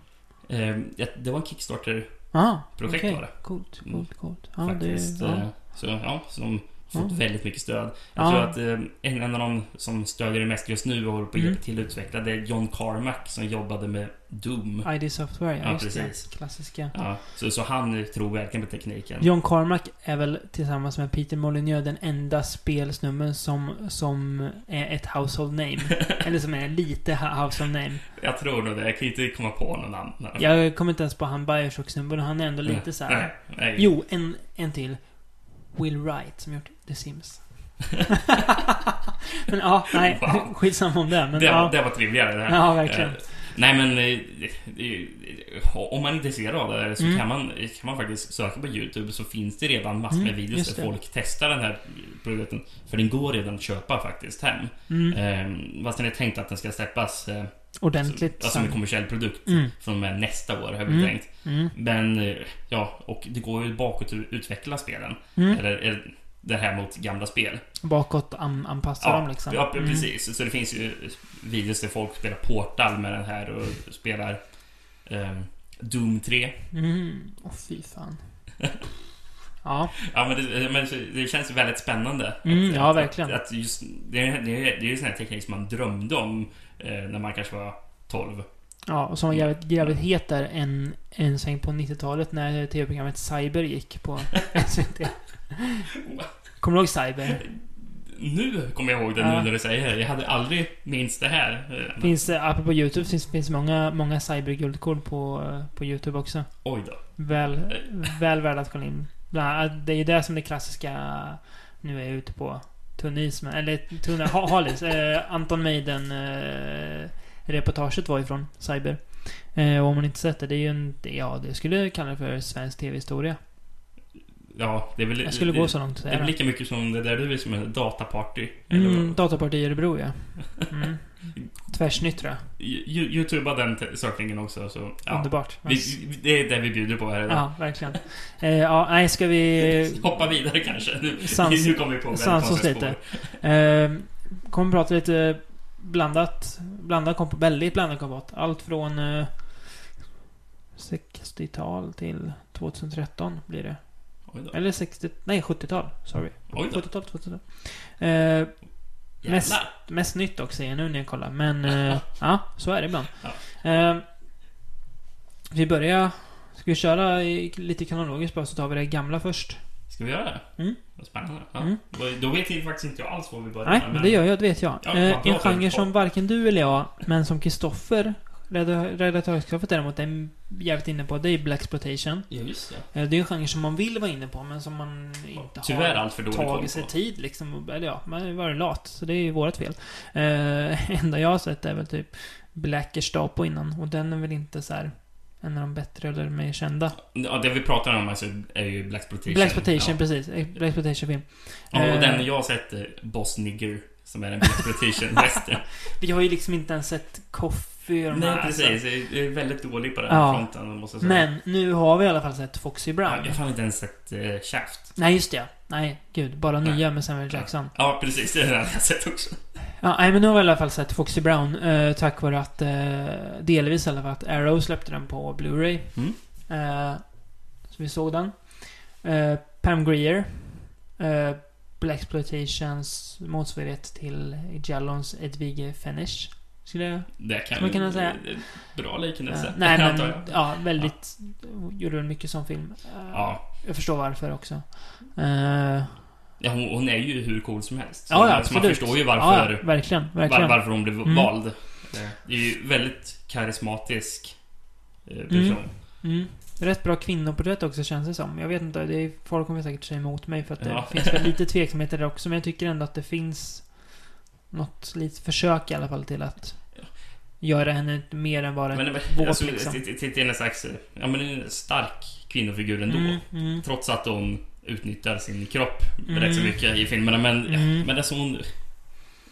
S4: eh, ja, det var en Kickstarter-projekt
S3: Ah, okej.
S4: var det.
S3: Coolt,
S4: Mm.
S3: coolt, coolt. Ja,
S4: faktiskt.
S3: det... Ja.
S4: Eh, Så ja, så de har fått
S3: Ja.
S4: väldigt mycket stöd. Jag
S3: Ja.
S4: tror att eh, en en av de som stödjer det mest just nu och håller på att
S3: Mm.
S4: hjälpa till att utveckla det är John Carmack som jobbade med Doom.
S3: ID Software, ja,
S4: eh, Ja,
S3: just
S4: precis.
S3: det. Klassiska.
S4: Ja, så, så han tror verkligen på tekniken.
S3: John Carmack är väl tillsammans med Peter Molyneux den enda spelsnubben som, som är ett household name. eller som är lite ha- household name.
S4: Jag tror nog det. Jag kan inte komma på någon annan.
S3: Jag kommer inte ens på han Bioshock-snubben, han är ändå lite så här.
S4: Nej, nej.
S3: Jo, en, en till. Will Wright som gjort The Sims. men ja, nej.
S4: Wow.
S3: Skitsamma om det. Men
S4: det,
S3: ja.
S4: det var trevligare det här.
S3: ja, verkligen.
S4: Eh, nej men, eh, det är ju- om man är intresserad av det här så
S3: Mm.
S4: kan, man, eh, kan man faktiskt söka på YouTube så finns det redan massor
S3: Mm,
S4: med videos
S3: just
S4: där
S3: det.
S4: folk testar den här produkten. För den går redan att köpa faktiskt hem.
S3: Mm.
S4: Mm. Fast den är tänkt att den ska släppas eh,
S3: Ordentligt.
S4: som, som en kommersiell produkt
S3: Mm.
S4: från och med nästa år, har vi
S3: Mm.
S4: tänkt.
S3: Mm.
S4: Men eh, ja, och det går ju bakåt att utveckla spelen.
S3: Mm.
S4: Eller, eller det här mot gamla spel.
S3: Bakåt an, anpassa dem liksom.
S4: ja
S3: Mm.
S4: precis. Så det finns ju videos där folk spelar Portal med den här och spelar eh, Doom 3.
S3: Mm. Åh, fy fan. Ja.
S4: Ja, men det, men det känns väldigt spännande.
S3: Mm,
S4: att,
S3: ja,
S4: att,
S3: verkligen.
S4: Att, att just, det, är- det, är- det är ju sån här teknik som man drömde om eh, när man kanske var 12.
S3: Ja, och som var jävligt, jävligt het där en, en sväng på 90-talet när tv-programmet Cyber gick på SVT. Kommer du ihåg Cyber?
S4: Nu kommer jag ihåg det
S3: Ja.
S4: nu när du säger det. Jag hade aldrig minst det här. Eh,
S3: Finns, eh, apropå YouTube, finns, finns många, många Cyber-guldkorn på, eh, på YouTube också.
S4: Oj då.
S3: Väl, väl värda att kolla in. Bland annat, det är ju det som det klassiska... Nu är jag ute på tunn is, men... Eller tunn... ha- Hal is. Eh, Anton Meiden eh, reportaget var ifrån Cyber. Eh, och om man inte sett det, det är ju en... det- Ja, det skulle jag kalla för svensk tv-historia.
S4: Ja, det är väl...
S3: Jag skulle
S4: det,
S3: gå så långt att
S4: Det är
S3: säga
S4: väl
S3: det.
S4: lika mycket som det där du är som en dataparty. Eller
S3: Mm,
S4: vad?
S3: Dataparti i Örebro, ja. Mm. Tvärsnytt, tror jag.
S4: Ju- Youtubea den te- sökningen också. Så, ja.
S3: Underbart.
S4: vi, vi- det är det vi bjuder på här idag.
S3: Ja, verkligen. Eh, ja, nej, ska vi...
S4: Hoppa vidare kanske. Nu,
S3: Sans-
S4: nu kommer vi på väldigt
S3: sans oss
S4: konstiga
S3: lite.
S4: spår.
S3: Eh, kommer prata lite blandat. Blandat komp väldigt blandat kompat. Allt från eh, 60-tal till 2013 blir det.
S4: Oj då.
S3: Eller 60... Nej, 70-tal. Sorry.
S4: Oj då.
S3: 70-tal, 2000 eh, mest,
S4: Jävlar.
S3: mest nytt också är nu när jag kollar. Men eh, ja, så är det ibland. Eh, vi börjar... Ska vi köra i, lite kronologiskt bara så tar vi det gamla först?
S4: Ska vi göra det?
S3: Mm.
S4: Vad spännande. Ja.
S3: Mm.
S4: Då- Då vet jag faktiskt inte jag alls var vi börjar.
S3: Nej, men det gör jag, det vet jag.
S4: Ja,
S3: Eh,
S4: vad bra
S3: en genre
S4: förutspå.
S3: som varken du eller jag, men som Kristoffer Redakt- Redaktörskravet däremot är jävligt inne på, det är Black Exploitation. Eh,
S4: Ja, just det.
S3: Det är ju en genre som man vill vara inne på, men som man inte har
S4: Tyvärr allt för dålig koll
S3: tagit sig
S4: på.
S3: tid liksom. Eller ja, man har ju varit lat. Så det är ju vårt fel. Eh, enda jag har sett är väl typ Black Gestapo innan. Och den är väl inte så här en av de bättre eller mer kända.
S4: Ja, det vi pratar om alltså är ju Black Exploitation.
S3: Black Exploitation,
S4: Ja.
S3: precis. Eh, Black Exploitation film.
S4: Ja, och den
S3: Eh,
S4: jag har sett är Boss Nigger. Som är en Black Exploitation western.
S3: Vi har ju liksom inte ens sett Coffee och de
S4: Nej,
S3: här,
S4: precis.
S3: alltså.
S4: Jag är väldigt dålig på den
S3: Ja.
S4: fronten, måste jag säga.
S3: Men nu har vi i alla fall sett Foxy
S4: Ja,
S3: Brown.
S4: jag har fan inte ens sett eh, Shaft.
S3: Nej, just det. ja. Nej, gud. Bara
S4: Nej.
S3: nya med Samuel Jackson.
S4: Ja, precis. Det är den jag har sett också.
S3: Ja, nej, men nu har vi i alla fall sett Foxy Brown. Eh, tack vare att, eh, delvis i alla fall, att Arrow släppte den på Blu-ray.
S4: Mm.
S3: Eh, så vi såg den. Eh, Pam Greer. Eh, Black Exploitations motsvarighet till Jallons Edvige Finish. Skulle jag...
S4: Det kan
S3: Skulle man kunna säga.
S4: Bra
S3: Eh,
S4: liknelse.
S3: nej men,
S4: antar jag.
S3: ja, väldigt... Gjorde väl mycket som film. Eh,
S4: Ja.
S3: Jag förstår varför också. Eh,
S4: Ja, hon, hon är ju hur cool som helst. Så
S3: ja, ja,
S4: alltså, man
S3: absolut.
S4: förstår ju varför,
S3: Ja, ja, verkligen, verkligen.
S4: var, varför hon blev
S3: Mm.
S4: vald. Det är ju väldigt karismatisk eh, person.
S3: Mm. Rätt bra kvinnoporträtt också känns det som. Jag vet inte, det är, folk kommer säkert säga emot mig för att det
S4: Ja.
S3: finns väl lite tveksamheter där också. Men jag tycker ändå att det finns något litet försök i alla fall till att göra henne mer än bara
S4: Men
S3: en
S4: men,
S3: våt
S4: alltså,
S3: liksom.
S4: till- till- till en slags, eh, ja men en stark kvinnofigur ändå.
S3: Mm, mm.
S4: Trots att hon utnyttjar sin kropp
S3: Mm.
S4: rätt så mycket i filmerna. Men,
S3: Mm.
S4: men alltså hon...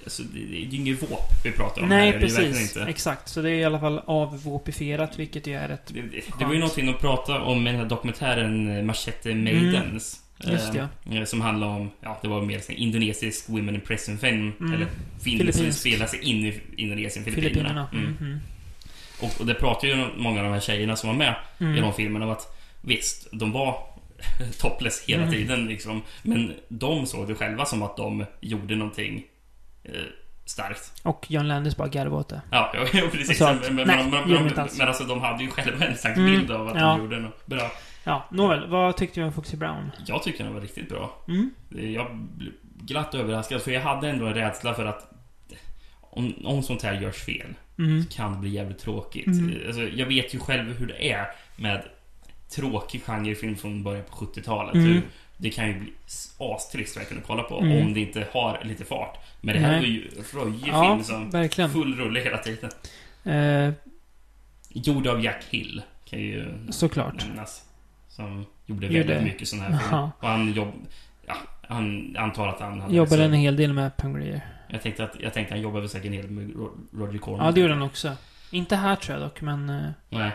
S4: Alltså, det, det är ju ingen våp vi pratar om
S3: Nej,
S4: här. Det är ju verkligen
S3: precis.
S4: inte.
S3: Exakt. Så det är i alla fall avvåpifierat, vilket ju är ett...
S4: Det, det, det var ju någonting att prata om i den här dokumentären eh, Machete Maidens.
S3: Mm. Just det,
S4: Eh, som handlar om, ja det var mer en indonesisk Women in Prison film.
S3: Mm.
S4: Eller film som
S3: Filippinsk.
S4: spelar sig in i Indonesien, Filippinerna.
S3: Filippinerna.
S4: Mm.
S3: Mm. Mm.
S4: Och, och det pratar ju många av de här tjejerna som var med i
S3: Mm.
S4: de filmerna om att visst, de var topless hela
S3: Mm.
S4: tiden liksom. Men de såg det själva som att de gjorde någonting eh, starkt.
S3: Och John Landis bara garvade åt det.
S4: Ja, ja, ja precis.
S3: Så att,
S4: men, men,
S3: nej,
S4: men,
S3: gör
S4: men,
S3: de inte
S4: men,
S3: alls.
S4: men alltså de hade ju själva en slags
S3: Mm,
S4: bild av att
S3: ja.
S4: de gjorde något bra.
S3: Ja, nåväl. Vad tyckte du om Foxy Brown?
S4: Jag tycker den var riktigt bra.
S3: Mm.
S4: Jag blev glatt överraskad för jag hade ändå en rädsla för att om, om sånt här görs fel
S3: Mm.
S4: kan det bli jävligt tråkigt.
S3: Mm.
S4: Alltså, jag vet ju själv hur det är med tråkig genrefilm från början på 70-talet.
S3: Mm.
S4: Hur Det kan ju bli astrist verkligen att kolla på
S3: Mm.
S4: om det inte har lite fart. Men det här
S3: Nej.
S4: var ju en röjig
S3: Ja,
S4: film som
S3: verkligen.
S4: full rulle hela tiden.
S3: Eh,
S4: Gjord av Jack Hill kan ju
S3: såklart.
S4: nämnas. Som gjorde
S3: Gjorde-
S4: väldigt mycket sådana här filmer.
S3: Jaha.
S4: Och han jobb... Ja, han antar att han hade...
S3: Jobbade
S4: så-
S3: en hel del med Pam Grier.
S4: Jag tänkte att jag tänkte att han jobbade säkert en hel del med Ro- Roger Corman.
S3: Ja, det gjorde han också. Inte här tror jag dock, men... eh,
S4: Nej.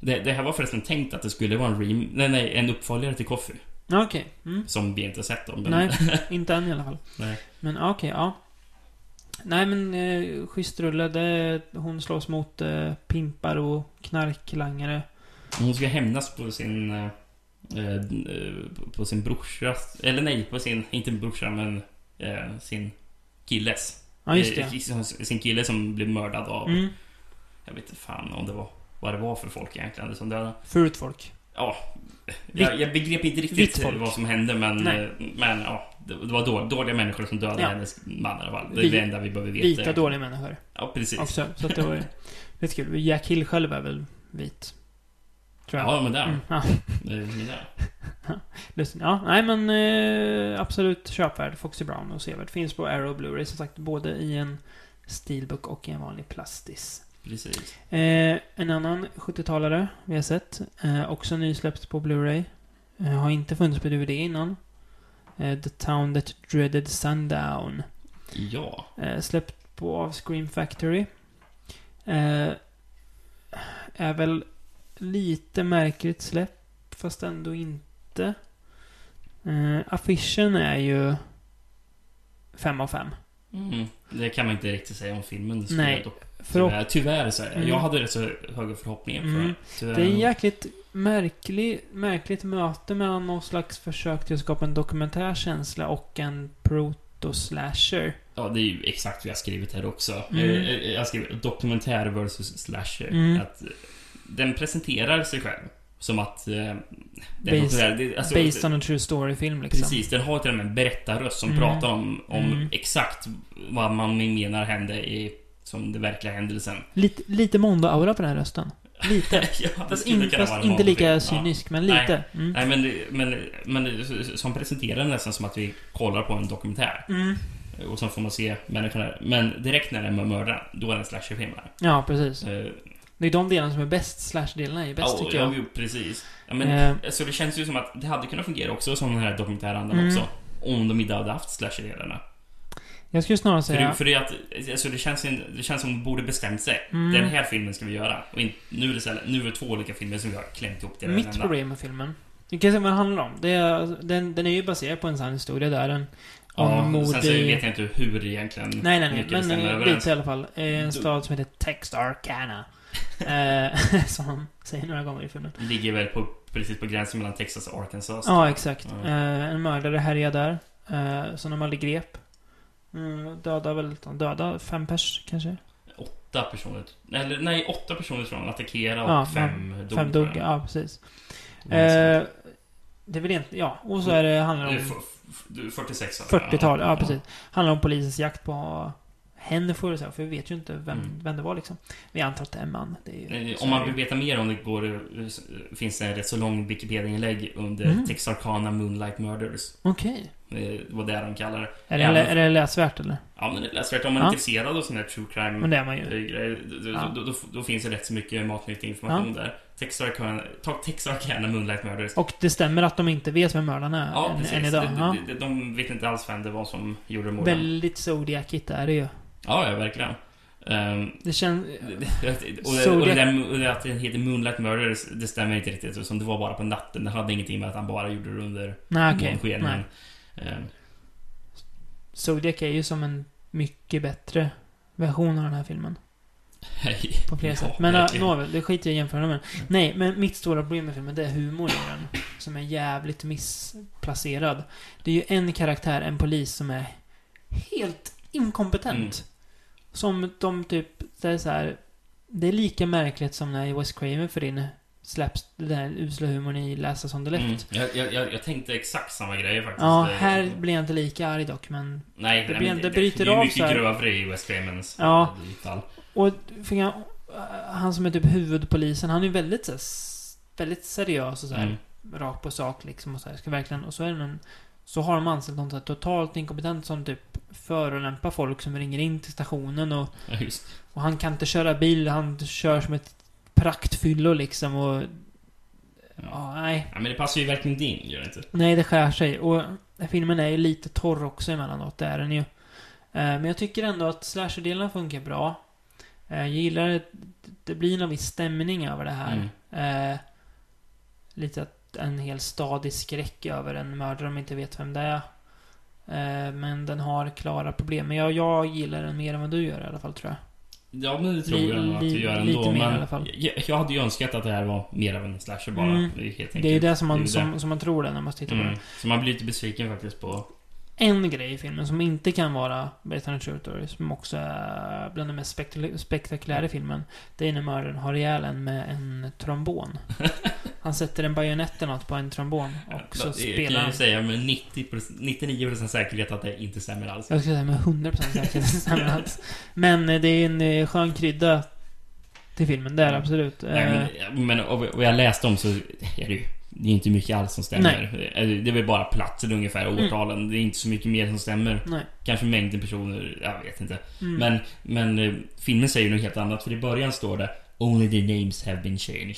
S4: Det, det här var förresten tänkt att det skulle vara en rem... Nej, nej, en uppföljare till Coffee.
S3: Ja, okej. Mm.
S4: Som vi inte har sett om. men-
S3: Nej, inte än i alla fall.
S4: nej.
S3: Men ja, okej, ja. Nej, men eh, schysst rulle. Det, hon slåss mot eh, pimpar och knarklangare.
S4: Hon ska hämnas på sin... eh, eh, På sin brorsa... Eller nej, på sin... Inte brorsa, men... eh, Sin killes.
S3: Ja, just
S4: Eh,
S3: det.
S4: Sin kille som blev mördad av...
S3: Mm.
S4: Jag vet inte fan om det var... Vad det var för folk egentligen som dödade.
S3: Förut folk.
S4: Ja. Jag, jag begrep inte
S3: vitt
S4: riktigt
S3: folk.
S4: vad som hände men...
S3: Nej.
S4: eh, Men ja. Det det var då- dåliga människor som dödade
S3: Ja.
S4: hennes man i alla fall. Det är
S3: Vi-
S4: det enda vi behöver veta.
S3: Vita dåliga människor.
S4: Ja, precis.
S3: Också. Så att det var lite kul. Jack Hill själv är väl vit? Tror jag.
S4: Ja, men där.
S3: Mm, ja.
S4: Eh, men där.
S3: Lustigt. Ja, nej men eh, absolut köpvärd. Foxy Brown och sevärd. Finns på Arrow Blu-ray som sagt. Både i en steelbook och i en vanlig plastis.
S4: Precis.
S3: Eh, en annan 70-talare vi har sett. Eh, också nysläppt på Blu-ray. Eh, har inte funnits på DVD innan. Eh, The Town That Dreaded Sundown.
S4: Ja.
S3: Eh, släppt på av Scream Factory. Eh, är väl lite märkligt släpp, fast ändå inte. Eh, affischen är ju 5 av 5.
S4: Mm. Det kan man inte riktigt säga om filmen. skulle
S3: Nej,
S4: jag dock-
S3: Förhopp-
S4: Tyvärr, tyvärr så är det.
S3: Mm.
S4: Jag hade rätt så höga förhoppningar på
S3: Mm.
S4: det. Tyvärr.
S3: Det är en jäkligt märklig, märkligt möte mellan någon slags försök till att skapa en dokumentär känsla och en proto-slasher.
S4: Ja, det är ju exakt vad jag har skrivit här också.
S3: Mm.
S4: Eh, eh, Jag skrev dokumentär versus slasher.
S3: Mm.
S4: Att eh, den presenterar sig själv som att... eh, Den
S3: Based-
S4: dokumentär- det- alltså,
S3: Based on a true story-film liksom.
S4: Precis, den har till och med en berättarröst som
S3: Mm.
S4: pratar om, om
S3: Mm.
S4: exakt vad man menar hände i som den verkliga händelsen.
S3: Lite, lite Mondo-aura på den här rösten. Lite.
S4: ja, det
S3: Fast,
S4: skulle
S3: in,
S4: kunna vara
S3: fast
S4: en
S3: inte lika
S4: Mondo-film. Ja.
S3: cynisk, men
S4: Nej.
S3: lite. Mm.
S4: Nej, men, men, men som presenterar nästan som att vi kollar på en dokumentär.
S3: Mm.
S4: Och sen får man se människorna. Men direkt när den är mördaren, då är det en slasherfilm. här.
S3: Ja, precis.
S4: Eh,
S3: Det är de delarna som är bäst. Slash-delarna är ju bäst,
S4: ja,
S3: tycker
S4: ja,
S3: jag.
S4: jo, precis. Ja, men,
S3: Eh.
S4: Så det känns ju som att det hade kunnat fungera också som den här dokumentärandan
S3: Mm.
S4: också. Om de inte hade haft slasherdelarna.
S3: Jag skulle snarare
S4: För, det-
S3: säga...
S4: för det, är att, alltså det, känns, in- det känns som de borde bestämt sig.
S3: Mm.
S4: Den här filmen ska vi göra. Och in, nu, är det så här, nu är det två olika filmer som vi har klämt ihop till
S3: Mitt
S4: varandra.
S3: problem med filmen. Du kan se vad den handlar om. Det är, den, den är ju baserad på en sann historia där den...
S4: Ja,
S3: om mord
S4: sen så
S3: i-
S4: vet jag inte hur egentligen
S3: Nej, nej, nej.
S4: mycket det
S3: Men
S4: stämmer
S3: eh,
S4: överens. Mm.
S3: lite i alla fall. Eh, En
S4: Du-
S3: stad som heter Texarkana. eh, som de säger några gånger i filmen.
S4: Ligger väl på, precis på gränsen mellan Texas och Arkansas.
S3: Ja, exakt.
S4: Ja.
S3: Eh, en mördare härjar där. Eh, som de aldrig grep. Mm, döda väl... de Döda fem pers, kanske?
S4: Åtta personer. Eller nej, åtta personer tror jag attackerade och
S3: Ja,
S4: fem dog.
S3: fem dog. Ja, precis. Eh, det är väl egentligen... Ja, och så är det, handlar
S4: Det är
S3: det om...
S4: f- f- du är 46 alltså.
S3: 40-tal, ja precis. Handlar om polisens jakt på Hennefor och så, för vi vet ju inte vem,
S4: Mm.
S3: vem det var liksom. Vi antar att det är en man. Det är ju,
S4: Eh,
S3: så
S4: Om
S3: är
S4: man
S3: det
S4: vill
S3: ju.
S4: veta mer om det går eh, s- finns det en rätt så lång Wikipedia-inlägg under
S3: Mm.
S4: Texarkana Moonlight Murders.
S3: Okej.
S4: Eh, Vad det är de kallar det.
S3: Är, det,
S4: Ja, men-
S3: är det läsvärt eller?
S4: Ja, men det är läsvärt. Om man är
S3: Ja.
S4: intresserad av sån här true crime
S3: Men det är man ju.
S4: grejer, då, då-
S3: Ja.
S4: då, då, då finns det rätt så mycket matnyttig information där. Texarkana, ta Texarkana Moonlight Murders.
S3: Och det stämmer att de inte vet vem mördaren är
S4: Ja,
S3: än,
S4: precis.
S3: än idag. Ja.
S4: De, de, de vet inte alls vem det var som gjorde morden.
S3: Väldigt zodiacigt är det ju.
S4: Ja, ja, verkligen. Ehm,
S3: Det känns...
S4: och, det,
S3: Så
S4: och, det
S3: det-
S4: där, och det att den heter Moonlight Murders, det stämmer inte riktigt. Som det var bara på natten. Det hade ingenting med att han bara gjorde det under
S3: Nej, okej. Nej.
S4: månskeningen. Ehm,
S3: Zodiac är ju som en mycket bättre version av den här filmen.
S4: hej.
S3: På flera
S4: Ja,
S3: sätt. Men äh,
S4: verkligen. Mm.
S3: nåväl, det skiter jag i att jämföra med. Nej, men mitt stora problem med filmen, det är humorn i den. Som är jävligt missplacerad. Det är ju en karaktär, en polis, som är helt inkompetent.
S4: Mm.
S3: Som de typ, det är så här. Det är lika märkligt som när Wes Craven för in släpps den där usla humorn i Läsa som det lätt.
S4: Mm. Jag, jag- jag, jag tänkte exakt samma grej faktiskt.
S3: Ja,
S4: Det-
S3: här blir jag inte lika arg dock, men...
S4: Nej, nej,
S3: blir
S4: men
S3: en- det bryter
S4: det, det är
S3: av
S4: ju mycket
S3: så här.
S4: grövre i West Cramens
S3: Ja.
S4: fall.
S3: Och för jag, han som är typ huvudpolisen, han är ju väldigt så här, s- väldigt seriös och så här.
S4: Mm.
S3: rakt på sak liksom och så här, ska verkligen, och så är det någon, så har de anställt någon så här totalt inkompetent som typ förolämpar folk som ringer in till stationen och,
S4: Ja, just.
S3: och han kan inte köra bil, han kör som ett praktfyllo liksom och,
S4: Ja.
S3: ja, nej.
S4: ja, men det passar ju verkligen din, gör det inte?
S3: Nej, det skär sig. Och filmen är ju lite torr också emellanåt, det är den ju. Eh, Men jag tycker ändå att slasher-delarna funkar bra. Eh, Jag gillar att det blir någon viss stämning över det
S4: Mm.
S3: här. Eh, Lite att en hel stad i skräck över en mördare de inte vet vem det är. Eh, Men den har klara problem. Men jag, jag gillar den mer än vad du gör i alla fall, tror jag.
S4: Ja, men det tror
S3: Li-
S4: jag nog att du
S3: li-
S4: gör ändå.
S3: lite mer i
S4: men
S3: alla fall.
S4: Jag, jag hade ju önskat att det här var mer av en slasher bara.
S3: Mm.
S4: Det är ju helt
S3: Det är ju
S4: enkelt.
S3: det som man,
S4: det är ju
S3: som, som man tror det när man tittar på
S4: Mm.
S3: den.
S4: Så man blir lite besviken faktiskt på...
S3: En grej i filmen som inte kan vara Based on a True Story, som också är bland de mest spektul- spektakulära i filmen, det är när mördaren har ihjäl en med en trombon. Han sätter en bajonett eller något på en trombon och så
S4: det
S3: spelar
S4: kan jag
S3: han.
S4: ju säga med 90%, 99% säkerhet att det inte stämmer alls.
S3: Jag skulle säga med 100% säkerhet stämmer allt. Men eh, det är en eh, skön krydda till filmen, där absolut. Eh,
S4: Mm. Nej, men, men av vad jag läste om så är det ju det är inte mycket alls som stämmer. Eh, Det är väl bara platsen ungefär, årtalen. Det är inte så mycket mer som stämmer.
S3: Mm. Nej.
S4: Kanske mängden personer, jag vet inte.
S3: Mm.
S4: Men, men eh, filmen säger något helt annat. För i början står det Only the names have been changed.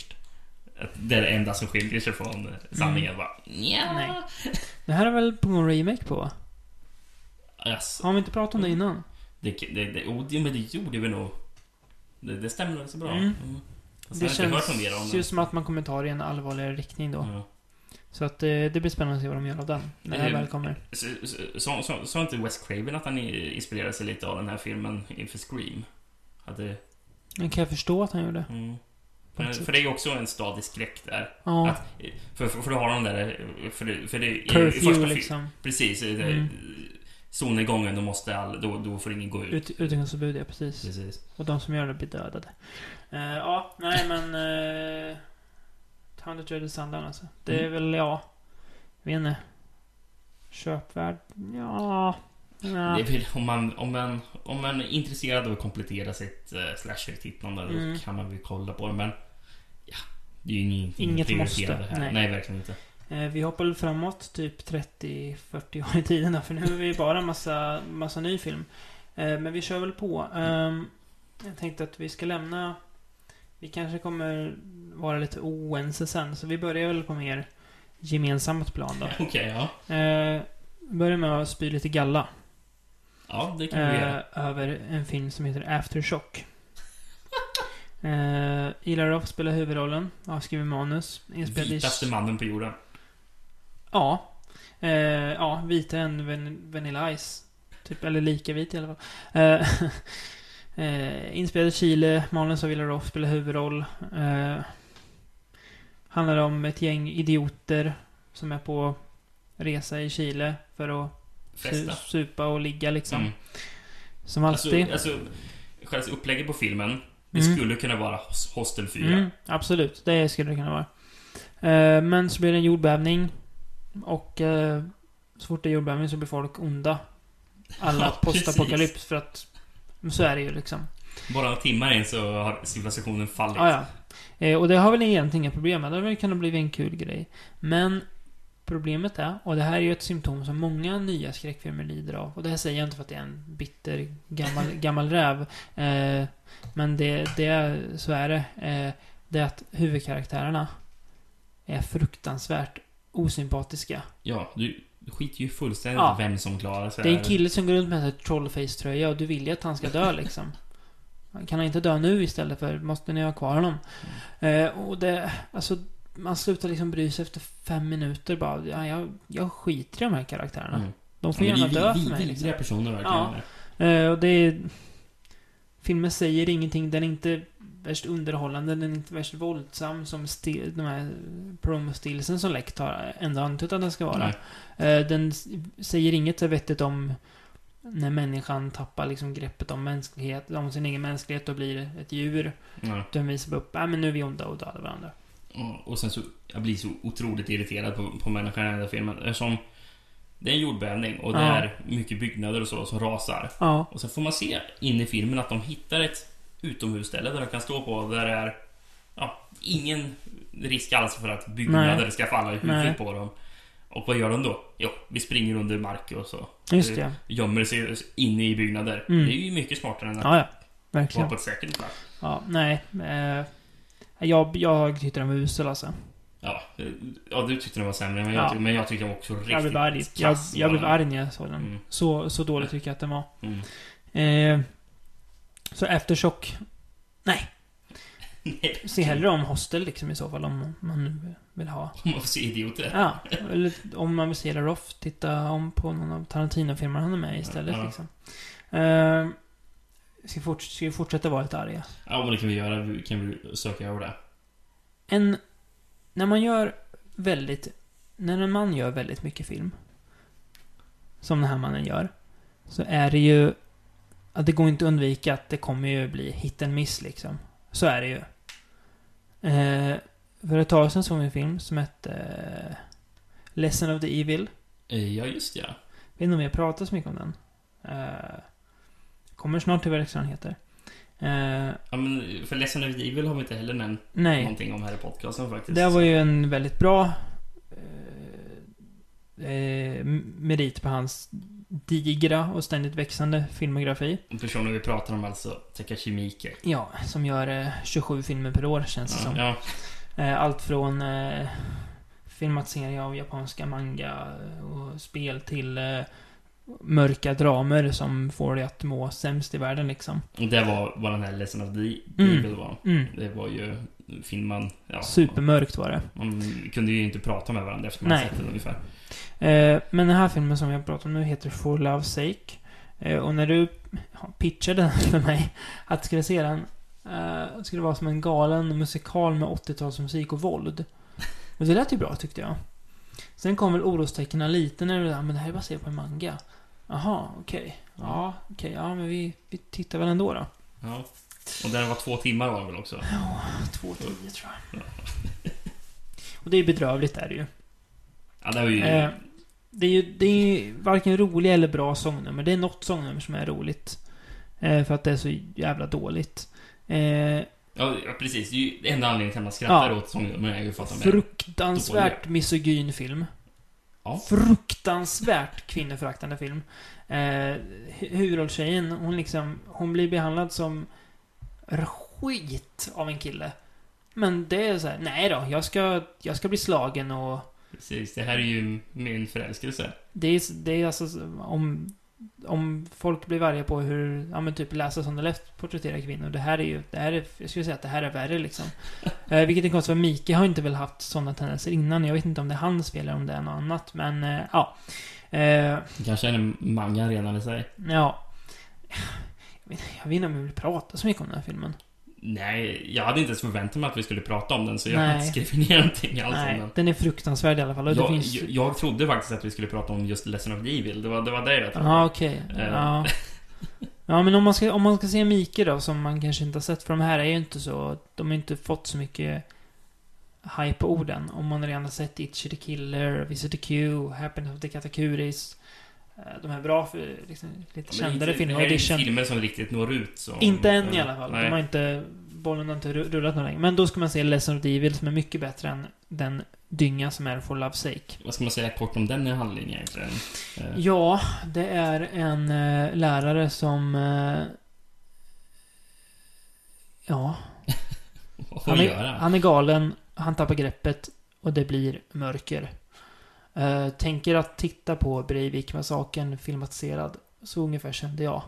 S4: Att Det är det enda som skiljer sig från eh, sanningen. Bara, nja.
S3: Mm. Nej. Det här är väl på gång remake på? va?
S4: Alltså,
S3: Har vi inte pratat om det
S4: Mm.
S3: innan?
S4: det, det, det, oh, det, men det gjorde vi nog. Det, det stämmer väl så bra.
S3: Mm.
S4: Mm. Fast
S3: Det
S4: jag har inte hört något mer om Mm.
S3: känns
S4: den.
S3: ju som att man kommer ta det i en allvarligare riktning då.
S4: Ja.
S3: Så att eh, det blir spännande att se vad de gör av den. När det
S4: Eh,
S3: väl kommer.
S4: Så- så- Sa sa- sa inte Wes Craven att han i- inspirerade sig lite av den här filmen inför Scream? Hade,
S3: Men kan jag förstå att han gjorde.
S4: mm. för,
S3: Faktiskt.
S4: för det är ju också en stadig skräck där.
S3: Ja.
S4: Att, för, för, för då har de där... För, det- för det, i- i första
S3: Curfew
S4: fil-
S3: liksom.
S4: Precis. i-
S3: Mm.
S4: Solnedgången, då, måste all, då, då får ingen gå ut.
S3: Ut, Utegångsförbud, ja precis.
S4: Precis.
S3: Och de som gör det blir dödade. Eh, ja, nej men... Uh, Town of Dreaded Sundown alltså. Det är
S4: Mm.
S3: väl, ja... Vet inte. Köpvärd? Ja... Ja.
S4: Det är väl, om, man, om, man, om man är intresserad av att komplettera sitt eh, slasher-tittande
S3: Mm.
S4: då kan man väl kolla på det. Men ja, det är ju ingenting
S3: Inget
S4: att prioritera
S3: måste,
S4: Här.
S3: nej.
S4: Nej. verkligen inte.
S3: Eh, Vi hoppar väl framåt typ 30-40 år i tiden här, för nu är vi bara massa, massa ny film. Eh, Men vi kör väl på. Ehm, Jag tänkte att vi ska lämna... Vi kanske kommer vara lite oense sen, så vi börjar väl på mer gemensamt plan då.
S4: Okej, ja.
S3: Eh, Börjar med att spy lite galla.
S4: Ja, det kan
S3: eh,
S4: vi göra.
S3: över en film som heter Aftershock. eh, Ila Roth spelar huvudrollen, har skrivit manus. Inspelad i...
S4: Vitaste mannen på jorden.
S3: Ja. Eh, ja, vita än van Vanilla Ice. Typ, eller lika vit i alla fall. Eh, eh, inspelad i Chile, manus av Ila Roth spelar huvudroll. Eh, handlar om ett gäng idioter som är på resa i Chile för att su-
S4: Festa.
S3: Typ supa och ligga liksom.
S4: Mm.
S3: Som
S4: Alltså,
S3: alltid.
S4: alltså, själva upplägget på filmen. Det
S3: Mm.
S4: skulle kunna vara Hos- Hostel 4.
S3: Mm, absolut, det skulle det kunna vara. Eh, men så blir det en jordbävning. Och eh, så fort det är jordbävning så blir folk onda. Alla
S4: Ja, precis.
S3: postapokalyps för att... men Så är det ju liksom.
S4: Bara några timmar in så har civilisationen fallit.
S3: Ah, ja. eh, och det har väl egentligen inga problem med. Det hade väl kunnat bli en kul grej. Men problemet är, och det här är ju ett symptom som många nya skräckfilmer lider av. Och det här säger jag inte för att det är en bitter gammal, gammal räv. Eh, men det, det, så är det. Eh, det är att huvudkaraktärerna är fruktansvärt osympatiska.
S4: Ja, du skiter ju fullständigt
S3: Ja.
S4: vem som klarar sig.
S3: Det är en kille som går runt med en sån här trollface-tröja och du vill ju att han ska dö liksom. Kan han inte dö nu istället för måste ni ha kvar honom?
S4: Mm.
S3: Eh, och det, alltså, man slutar liksom bry sig efter fem minuter bara. Ja, jag, jag skiter i de här karaktärerna.
S4: Mm.
S3: De får
S4: Ja, men
S3: gärna
S4: det är
S3: dö
S4: vid-
S3: för mig.
S4: vidriga
S3: Liksom.
S4: personer verkligen. Mm.
S3: Ja. Eh, och det är... Filmen säger ingenting. Den är inte värst underhållande. Den är inte värst våldsam som stil, de här promostilsen som läckt har ändå antytt att den ska vara.
S4: Nej.
S3: Eh, Den s- säger inget så vettigt om när människan tappar liksom greppet om mänsklighet, om sin egen mänsklighet och blir ett djur.
S4: Ja.
S3: Den visar bara upp, nej men nu är vi onda och dödar varandra.
S4: Ja, Och sen så, jag blir så otroligt irriterad på, på människan i den här filmen. Eftersom det är en jordbävning och det
S3: Ja.
S4: är mycket byggnader och så som rasar.
S3: Ja.
S4: Och sen får man se in i filmen att de hittar ett utomhusställe där de kan stå på. Där det är ja, ingen risk alls för att byggnader
S3: Nej.
S4: ska falla i
S3: Nej.
S4: huvudet på dem. Och vad gör de då? Jo, vi springer under mark och så eh,
S3: Just det.
S4: gömmer sig inne i byggnader.
S3: Mm.
S4: Det är ju mycket smartare än att
S3: Ja, ja.
S4: vara
S3: Verkligen.
S4: på ett säkert plats.
S3: Ja, nej. Eh, jag, jag tyckte den var usel alltså.
S4: Ja, eh, ja, du tyckte den var sämre, men,
S3: Ja.
S4: jag, tyckte, men jag tyckte den var också riktigt
S3: Jag blev arg. Jag,
S4: kass
S3: jag
S4: var
S3: blev
S4: den.
S3: arg när jag såg den.
S4: Mm.
S3: Så, så dålig tycker jag att den var.
S4: Mm.
S3: Eh, så efterschock.
S4: Nej,
S3: Se hellre om Hostel liksom i så fall om man nu vill ha.
S4: man får se idioter.
S3: Ja, eller om man vill se Lara Roth, titta om på någon av Tarantino-filmerna han är med i istället
S4: Ja.
S3: liksom. Eh, ska, fort, ska vi fortsätta vara lite arga?
S4: Ja, men det kan vi göra. Vi kan vi söka över det.
S3: En... När man gör väldigt... När en man gör väldigt mycket film. Som den här mannen gör. Så är det ju... Att det går inte att undvika att det kommer ju bli hit and miss liksom. Så är det ju. Eh, för ett tag sedan såg vi en film som hette... Eh, Lesson of the Evil.
S4: Eh, Ja, just det, ja.
S3: Jag vet inte om jag pratar så mycket om den. Eh, kommer snart till vad läxan heter. Eh,
S4: ja men, för Lesson of Evil har vi inte heller nämnt
S3: nej.
S4: någonting om här i podcasten faktiskt.
S3: Det var ju en väldigt bra eh, eh, merit på hans digra och ständigt växande filmografi.
S4: Personen vi pratar om alltså, Takashi Miike.
S3: Ja, som gör eh, 27 filmer per år känns det
S4: Mm, Ja,
S3: som.
S4: ja,
S3: Eh, allt från eh, filmatiseringar av japanska manga och spel till eh, mörka dramer som får dig att må sämst i världen liksom.
S4: och det var vad den här Lesson of the
S3: Mm.
S4: Evil var.
S3: Mm.
S4: Det var ju film man... Ja,
S3: Supermörkt var det.
S4: Man kunde ju inte prata med varandra efter man
S3: Nej.
S4: sett den ungefär.
S3: Eh, Men den här filmen som jag pratar om nu heter For Love's Sake. Eh, Och när du ja, pitchade den för mig att skulle se den eh, skulle vara som en galen musikal med 80-talsmusik och våld. Och det lät ju bra tyckte jag. Sen kom väl orostecknen lite när du sa "Ah, men det här är baserat på en manga. Jaha, okej. Ja, okej. Ja, men vi, vi tittar väl ändå då.
S4: Ja. Och den var två timmar var den väl också?
S3: Två tio tror jag. Och det är bedrövligt är det ju.
S4: Ja, det var ju...
S3: Eh, Det är ju det är ju varken roliga eller bra sångnummer. Det är något sångnummer som är roligt. Eh, för att det är så jävla dåligt. Eh,
S4: Ja, ja, precis. Det är ju enda anledningen till att man skrattar
S3: Ja.
S4: åt sångnumren är ju för att de är...
S3: fruktansvärt misogyn film.
S4: Ja.
S3: Fruktansvärt kvinnoföraktande film. Eh, Huvudrollstjejen, hon liksom, hon blir behandlad som skit av en kille. Men det är så här, nej då, jag ska, jag ska bli slagen och
S4: Precis. Det här är ju min förälskelse.
S3: Det är, det är alltså om, om folk blir arga på hur, ja men typ läsa som det lätt porträtterar kvinnor. Det här är ju, det här är, jag skulle säga att det här är värre liksom. eh, vilket är konstigt för Mike har inte väl haft sådana tendenser innan. Jag vet inte om det är hans fel eller om det är något annat. Men eh, ja. Eh,
S4: Det Kanske är en manga redan i sig.
S3: ja. Jag vet, jag vet inte om vi vill prata så mycket om den här filmen.
S4: Nej, jag hade inte ens förväntat mig att vi skulle prata om den så jag
S3: Nej.
S4: har inte skrivit ner någonting alls om
S3: Nej,
S4: den.
S3: den är fruktansvärd i alla fall. Och det
S4: Jag,
S3: finns...
S4: jag, jag trodde faktiskt att vi skulle prata om just Lesson of Evil. Det var det, var det jag trodde.
S3: Ja, okej.
S4: Eh.
S3: Ja. ja, men om man, ska, om man ska se Mike då, som man kanske inte har sett, för de här är ju inte så... De har ju inte fått så mycket hype på orden. Om man redan har sett Itchy the Killer, Visit the Q, Happiness of the Katakuris. eh, De här bra, för- liksom, lite
S4: Men
S3: kändare
S4: inte-
S3: filmerna.
S4: Det här är inte
S3: Audition.
S4: filmer som riktigt når ut. Så,
S3: Inte än i alla fall. De har
S4: Nej.
S3: inte... Bollen har inte ru- rullat någon längre. Men då ska man se Lesson of the Evil som är mycket bättre än den dynga som är For Love's Sake.
S4: Vad ska man säga kort om den i handling egentligen? Eh,
S3: Ja, det är en eh, lärare som... Eh, ja,
S4: Vad får
S3: han
S4: vi
S3: är,
S4: göra?
S3: han är galen, han tappar greppet och det blir mörker. Eh, tänker att titta på Breivik-massakern filmatiserad. Så ungefär kände jag.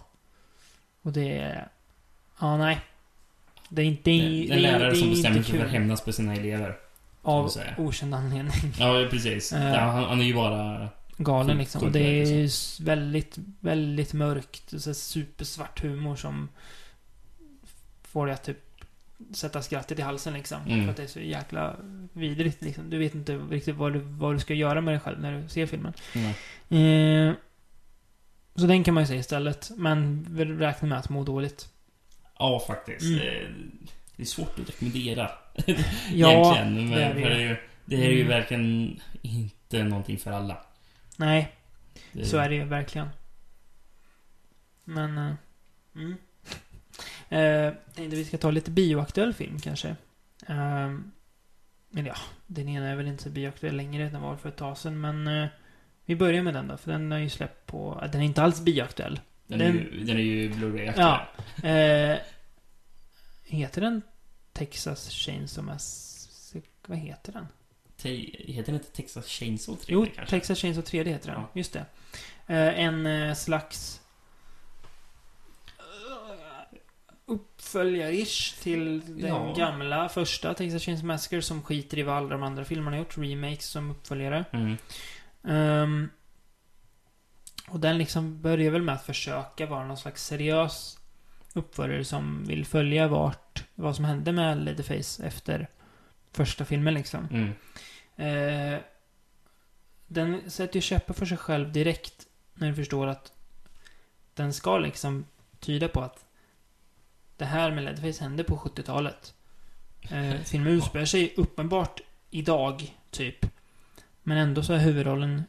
S3: Och det är... Ja, nej. Det är inte...
S4: Det är en lärare som bestämmer sig för att
S3: kul
S4: hämnas på sina elever.
S3: Av
S4: man säga.
S3: okänd anledning.
S4: Ja, precis.
S3: Eh.
S4: Ja, han, han är ju bara...
S3: galen
S4: Sjukt
S3: liksom. Och
S4: sjukt
S3: det
S4: märkligt,
S3: är s- väldigt, väldigt mörkt. och Så här supersvart humor som får dig att typ sätta skrattet i halsen liksom.
S4: Mm.
S3: För att det är så jäkla vidrigt liksom. Du vet inte riktigt vad du, vad du ska göra med dig själv när du ser filmen.
S4: Nej.
S3: Eh, så den kan man ju se istället. Men väl räkna med att må dåligt.
S4: Ja, faktiskt.
S3: Mm.
S4: Eh, Det är svårt att rekommendera
S3: Ja,
S4: egentligen.
S3: det
S4: Men det
S3: är
S4: är,
S3: det
S4: för det är ju, det är ju
S3: Mm.
S4: verkligen inte någonting för alla.
S3: nej.
S4: Det,
S3: Så är det ju verkligen. Men... Eh, mm. eh, tänkte vi ska ta lite bioaktuell film kanske. Eh, men ja, den ena är väl inte så bioaktuell längre. Den var för ett tag sedan. Men eh, vi börjar med den då. För den har ju släppt på... eh, Den är inte alls bioaktuell.
S4: Den, är ju, den är ju Blu-ray
S3: Ja.
S4: ja.
S3: Eh, heter den Texas Chainsaw Massacre? Vad heter den?
S4: Heter den inte Texas Chainsaw 3
S3: Jo,
S4: kanske?
S3: Texas Chainsaw 3 heter den.
S4: Ja.
S3: Just det. Eh, en eh, slags... Uppföljare-ish till den
S4: Ja.
S3: gamla första Texas Chainsaw Massacre som skiter i vad alla de andra filmerna har gjort. Remakes som uppföljare.
S4: Mm.
S3: Ehm, och den liksom börjar väl med att försöka vara någon slags seriös uppföljare som vill följa vart, vad som hände med Leatherface efter första filmen liksom.
S4: Mm.
S3: Eh, den sätter ju käppar för sig själv direkt när den förstår att den ska liksom tyda på att det här med Leatherface hände på 70-talet. Eh, filmen utspelar sig uppenbart idag, typ. Men ändå så är huvudrollen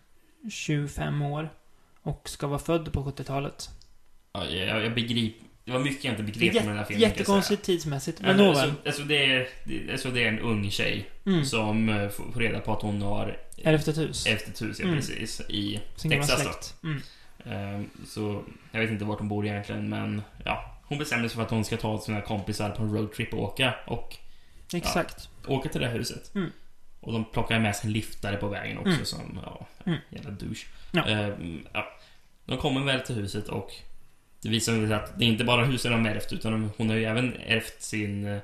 S3: 25 år och ska vara född på 70-talet.
S4: Ja, jag, jag begriper. Det var mycket jag inte
S3: Det är
S4: begrep med den här
S3: jät-
S4: filmen. kan jag
S3: jättekonstigt tidsmässigt,
S4: säga.
S3: men
S4: Alltså,
S3: nåväl.
S4: alltså, det är, det, alltså det är en ung tjej
S3: Mm.
S4: som eh, får får reda på att hon har
S3: Ärvt ett hus.
S4: efter hus, ja,
S3: Mm.
S4: precis. I,
S3: Sin gamla
S4: Eh, Texas
S3: släkt. Mm.
S4: ehm, så jag vet inte vart hon bor egentligen men ja. Hon bestämmer sig för att hon ska ta sina kompisar på en roadtrip och åka. Och
S3: Exakt.
S4: åka till det här huset.
S3: Mm.
S4: Och de plockar med sig en liftare på vägen också
S3: Mm.
S4: som, ja,
S3: Mm.
S4: jävla douche.
S3: Ja.
S4: Ehm, ja. De kommer väl till huset och det visar sig att det är inte bara husen de har ärvt utan de- hon har ju även ärvt sin, eh,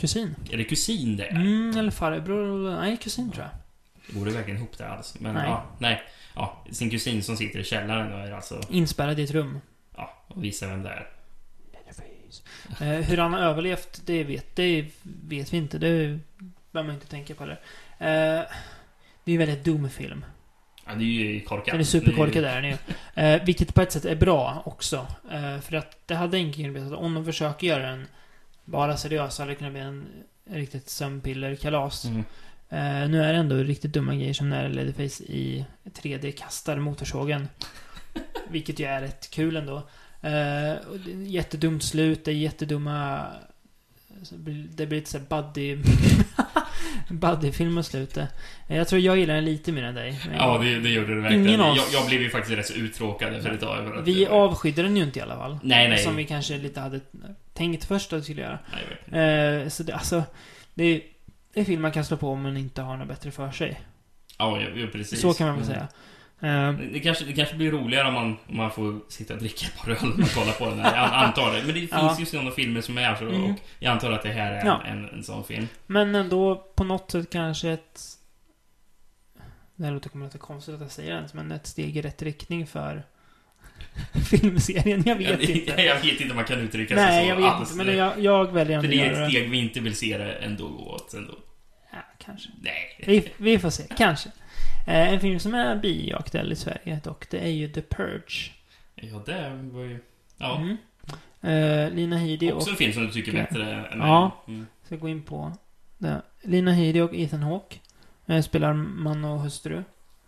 S3: Kusin.
S4: är det kusin det är?
S3: Mm, eller farbror. Nej, kusin tror jag.
S4: Det går det verkligen ihop det alls? Men
S3: Nej.
S4: nej. ja, nej. Ja, sin kusin som sitter i källaren och är alltså,
S3: Inspärrad i ett rum.
S4: ja, och visar vem det är.
S3: Eh, hur han har överlevt, det vet, det vet vi inte. Det behöver man inte tänka på det. Eh, det är ju en väldigt dum film.
S4: Ja, det är ju korkat.
S3: Den är superkorkad där nu. Eh, vilket på ett sätt är bra också. Eh, för att det hade enkelt kunnat bli så att om de försöker göra en bara seriös så hade det kunnat bli en riktigt sömnpiller-kalas.
S4: Mm.
S3: Eh, nu är det ändå riktigt dumma grejer som när Leatherface i 3D kastar motorsågen. Vilket ju är rätt kul ändå. Eh, och det är ett jättedumt slut, det är jättedumma... alltså, det blir- Det blir lite såhär buddy... Buddy-film och slutet. Eh, Jag tror jag gillar den lite mer än dig. men-
S4: Ja, det, det gjorde det verkligen.
S3: Ingen av
S4: jag,
S3: oss-
S4: jag blev ju faktiskt rätt så uttråkad efter ett tag. över att-
S3: Vi avskydde den ju inte i alla fall.
S4: Nej, nej.
S3: Som vi kanske lite hade tänkt först att vi skulle göra.
S4: Nej, jag vet inte.
S3: Eh, så det, alltså, det är, det är film man kan slå på om man inte har något bättre för sig.
S4: Ja, ja, ja, precis.
S3: Så kan man väl
S4: Mm.
S3: säga. Eh,
S4: Det kanske, det kanske blir roligare om man, om man får sitta och dricka ett par öl när man kollar på den här. Jag antar det. Men det finns
S3: Ja.
S4: ju sådana filmer som är så
S3: Mm.
S4: och jag antar att det här är
S3: Ja.
S4: en, en sån film.
S3: men ändå på något sätt kanske ett... Det här låter kommer att låta konstigt att jag säger det ens, men ett steg i rätt riktning för filmserien. Jag vet inte.
S4: jag vet inte om man kan uttrycka sig
S3: Nej,
S4: så
S3: jag vet
S4: alls.
S3: inte. Men jag, jag väljer
S4: För
S3: ändå att
S4: det är
S3: göra
S4: ett
S3: det.
S4: steg vi inte vill se det ändå gå åt. Ändå.
S3: Ja, kanske.
S4: Nej.
S3: Vi, vi får se, kanske. Eh, en film som är bioaktuell i Sverige dock, det är ju The Purge.
S4: Ja, det var ju... Ja.
S3: Mm. Eh, Lina Headey och...
S4: Också en film som du tycker är bättre än
S3: Ja.
S4: mig. Mm.
S3: Ska gå in på det. Lina Headey och Ethan Hawke. Eh, spelar man och hustru.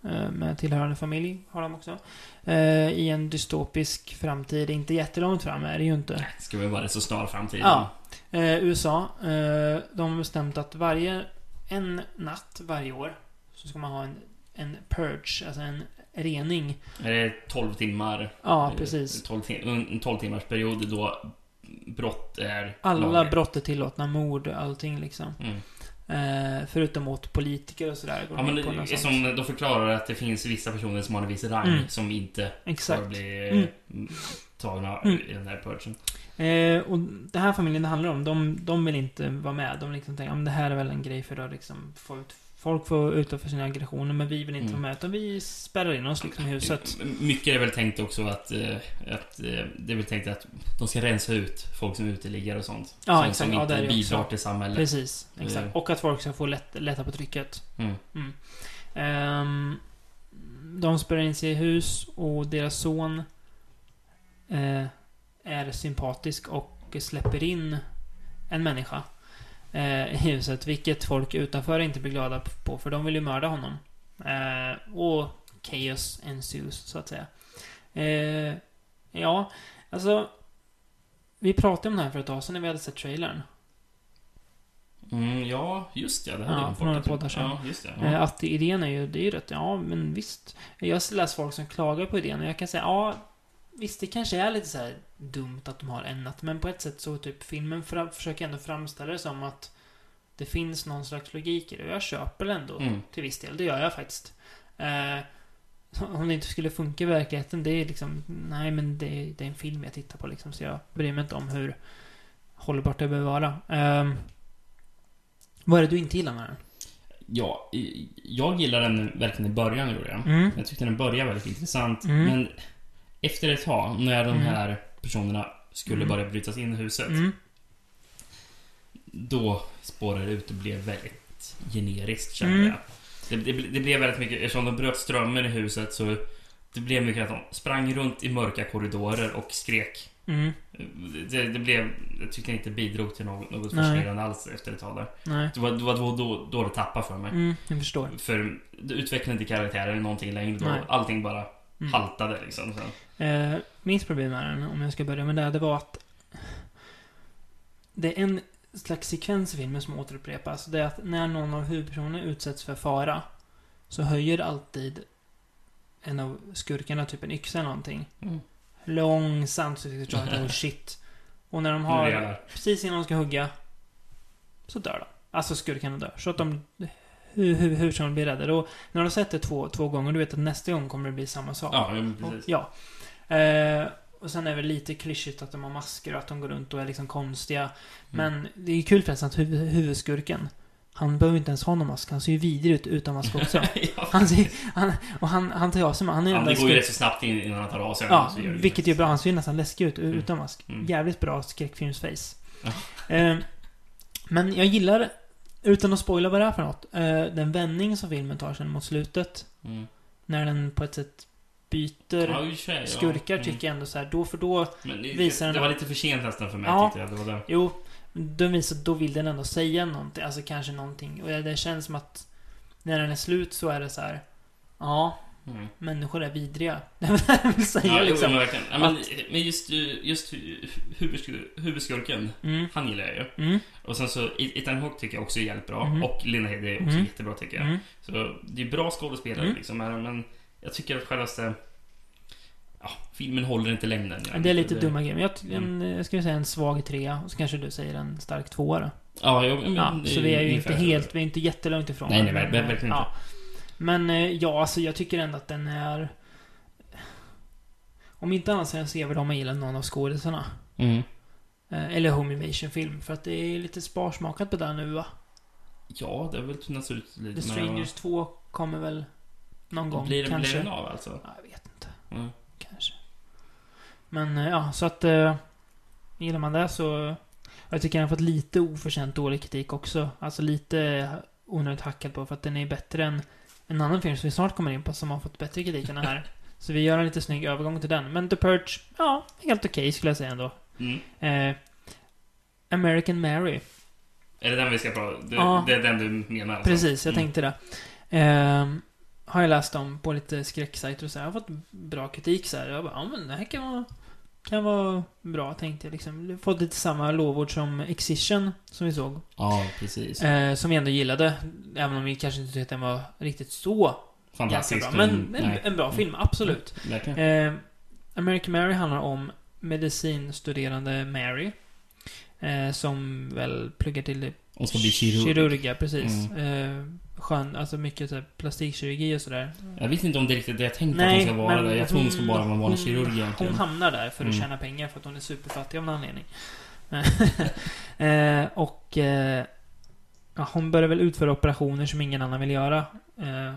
S3: Eh, med tillhörande familj har de också. Eh, I en dystopisk framtid. Inte jättelångt fram är det ju inte.
S4: Nej, det ska väl vara så snar framtid.
S3: Ja. Eh, USA. Eh, de har bestämt att varje... En natt varje år. Så ska man ha en, en purge. Alltså en rening.
S4: Är det 12 timmar?
S3: Ja,
S4: eh,
S3: precis.
S4: 12 tim- en en 12 timmars period då brott är...
S3: Alla
S4: lagliga.
S3: brott är tillåtna. Mord och allting liksom.
S4: Mm.
S3: Eh, förutom åt politiker och sådär. går
S4: Ja,
S3: de
S4: men
S3: in på något
S4: det,
S3: sånt.
S4: som de förklarar att det finns vissa personer som har en viss rang
S3: Mm.
S4: som inte
S3: Exakt.
S4: får bli
S3: Mm.
S4: mm. tagna
S3: Mm.
S4: i den här purgen.
S3: Eh, och den här familjen det handlar om, de, de vill inte vara med. De liksom tänker, om det här är väl en grej för att liksom få ut, folk får utlopp för sina aggressioner, men vi vill inte
S4: Mm.
S3: vara med. Utan vi spärrar in oss liksom i huset.
S4: M- Mycket är väl tänkt också att, eh, att eh, det är väl tänkt att de ska rensa ut folk som är uteliggare och sånt.
S3: Ja,
S4: som,
S3: exakt.
S4: som
S3: Ja,
S4: inte
S3: det är det
S4: bidrar
S3: också.
S4: till samhället.
S3: Precis, exakt.
S4: Mm.
S3: Och att folk ska få lätt, lätta på trycket.
S4: Mm.
S3: Ehm, de spärrar in sig i hus och deras son eh, är sympatisk och släpper in en människa eh, i huset. Vilket folk utanför inte blir glada på för de vill ju mörda honom. Eh, och chaos ensues så att säga. Eh, ja, alltså. Vi pratade om det här för ett tag sedan när vi hade sett trailern.
S4: Mm, ja, just det. Det hade
S3: Ja,
S4: jag
S3: för några
S4: bortglömt.
S3: poddar sedan.
S4: Ja, just det. Ja.
S3: Eh, Att idén är ju, det är ju rätt, ja men visst. Jag har läst folk som klagar på idén och jag kan säga, ja visst det kanske är lite så här dumt att de har en natt. Men på ett sätt så typ filmen fra- försöker ändå framställa det som att det finns någon slags logik i det. Och jag köper det ändå
S4: Mm.
S3: till viss del, det gör jag faktiskt. Eh, om det inte skulle funka i verkligheten, det är liksom, nej men det, det är en film jag tittar på liksom. Så jag bryr mig inte om hur hållbart det behöver vara. Eh, vad är det du inte gillar med den?
S4: ja, i- jag gillar den verkligen i början, gjorde jag.
S3: Mm.
S4: Jag tyckte den började väldigt intressant.
S3: Mm.
S4: Men efter ett tag, när de
S3: Mm.
S4: här personerna skulle
S3: Mm.
S4: börja brytas in i huset.
S3: Mm.
S4: Då spårade det ut och blev väldigt generiskt, kände
S3: Mm.
S4: jag. Det, det, det blev väldigt mycket, eftersom de bröt strömmen i huset så det blev mycket att de sprang runt i mörka korridorer och skrek.
S3: Mm.
S4: Det, det blev, jag tyckte inte bidrog till något, något
S3: Nej.
S4: fascinerande alls efter ett tag där.
S3: Nej.
S4: Det var, det var då, då, då det tappade för mig.
S3: Mm, jag förstår.
S4: För det utvecklade inte karaktären någonting längre då.
S3: Nej.
S4: Allting bara
S3: Mm.
S4: haltade liksom. Så.
S3: Eh, mitt problem med den, om jag ska börja med det, det var att... Det är en slags sekvens i filmen som återupprepas. Det är att när någon av huvudpersonerna utsätts för fara så höjer alltid en av skurkarna typ en yxa eller någonting.
S4: Mm.
S3: Långsamt så tycker jag att oh shit. Och när de
S4: Nu är
S3: har...
S4: jag där.
S3: precis innan de ska hugga så dör de. Alltså skurkarna dör. Så att de... Hur, hur, hur ska de bli räddade? Och när de har sett det två, två gånger, du vet att nästa gång kommer det bli samma sak.
S4: Ja, men
S3: Och-
S4: precis.
S3: ja. Eh, och sen är det väl lite klyschigt att de har masker och att de går runt och är liksom
S4: Mm.
S3: konstiga. Men det är ju kul förresten att huvud, huvudskurken, han behöver inte ens ha någon mask. Han ser ju vidrig ut utan mask också.
S4: ja.
S3: Han ser, han, och han, han tar ju av sig han är ju
S4: Ja,
S3: den
S4: det
S3: där
S4: går ju
S3: skurken-
S4: rätt så snabbt in- innan han tar av sig
S3: Ja,
S4: så gör det ju
S3: vilket
S4: det.
S3: är bra. Han ser ju nästan läskig ut u-
S4: Mm.
S3: utan mask.
S4: Mm.
S3: Jävligt bra skräckfilmsface.
S4: Ja.
S3: Eh, men jag gillar, utan att spoila vad det är för något, eh, den vändning som filmen tar sen mot slutet.
S4: Mm.
S3: När den på ett sätt byter
S4: Ja, i och för sig, ja.
S3: skurkar
S4: Mm.
S3: tycker jag ändå så här, då för då...
S4: Men det,
S3: visar
S4: det
S3: den-
S4: var lite för sent nästan för mig
S3: Ja.
S4: tyckte jag. Det var där.
S3: Jo, Dumvis, då vill den ändå säga någonting. Alltså kanske någonting. Och det känns som att när den är slut så är det så här. Ja,
S4: Mm.
S3: människor är vidriga. Det är vad den vill säga
S4: Ja, liksom.
S3: liksom.
S4: jo, verkligen. Ja, men, men just, just hu- huvudskur- huvudskurken,
S3: Mm,
S4: han gillar jag ju.
S3: mm,
S4: Och sen så Ethan Hawke tycker jag också är jävligt bra.
S3: Mhm.
S4: Och Lena Headey är också
S3: Mm.
S4: jättebra tycker jag.
S3: mm.
S4: Så det är bra skådespelare
S3: Mm.
S4: liksom. men- Men jag tycker att självaste... Ja, filmen håller inte längden.
S3: Ja, Det är lite dumma grejer. Men jag, ty-
S4: Mm.
S3: en, jag skulle säga en svag trea. Och så kanske du säger en stark tvåa då.
S4: Ja, jag, men,
S3: Ja,
S4: det
S3: så vi är ju inte
S4: ungefär så.
S3: helt, vi är inte jättelångt ifrån.
S4: Nej, nej, ver- ver- verkligen
S3: Ja. Men eh, ja, alltså jag tycker ändå att den är... Om inte annat så är den sevärd om man gillar någon av skådisarna.
S4: Mm.
S3: Eh, Eller Home Invasion film. För att det är lite sparsmakat på det nu va?
S4: Ja, det har väl tunnats ut lite.
S3: The Strangers 2 kommer väl någon gång
S4: blir, det-
S3: kanske.
S4: Blir den av alltså?
S3: Ja, jag vet inte.
S4: Mm.
S3: Kanske. Men eh, ja, så att... Eh, gillar man det så... Jag tycker den har fått lite oförtjänt dålig kritik också. Alltså lite onödigt hackad på för att den är bättre än en annan film som vi snart kommer in på som har fått bättre kritik än den här. så vi gör en lite snygg övergång till den. Men The Purge, ja, helt okej skulle jag säga ändå.
S4: Mm.
S3: Eh, American Mary.
S4: Är det den vi ska prata det,
S3: Ja.
S4: det är den du menar? Alltså.
S3: Precis, jag
S4: Mm.
S3: tänkte det. Ehm, har jag läst om på lite skräcksajter och så här. Jag har fått bra kritik så här. Jag bara, ja men det här kan vara, kan vara bra tänkte jag liksom. Fått lite samma lovord som Excision som vi såg.
S4: Ja, precis.
S3: Eh, som vi ändå gillade. Även om vi kanske inte tyckte att den var riktigt så jäkla
S4: Fantastiskt. Mm.
S3: bra. Men en,
S4: nej, Mm.
S3: en bra film, absolut.
S4: verkligen.
S3: Eh, American Mary handlar om medicinstuderande Mary. Eh, som väl pluggar till det
S4: Hon ska bli kirurg. Mm.
S3: ja, precis. Eh, skön, alltså mycket så här, plastikkirurgi och sådär.
S4: Jag vet inte om det är riktigt det jag tänkte
S3: Nej,
S4: att hon ska vara
S3: men
S4: där. Jag tror hon ska bara vara en vanlig
S3: hon-
S4: kirurg
S3: Hon
S4: egentligen.
S3: hamnar där för att
S4: Mm.
S3: tjäna pengar för att hon är superfattig av någon anledning. eh, och eh, ja, hon börjar väl utföra operationer som ingen annan vill göra. Eh,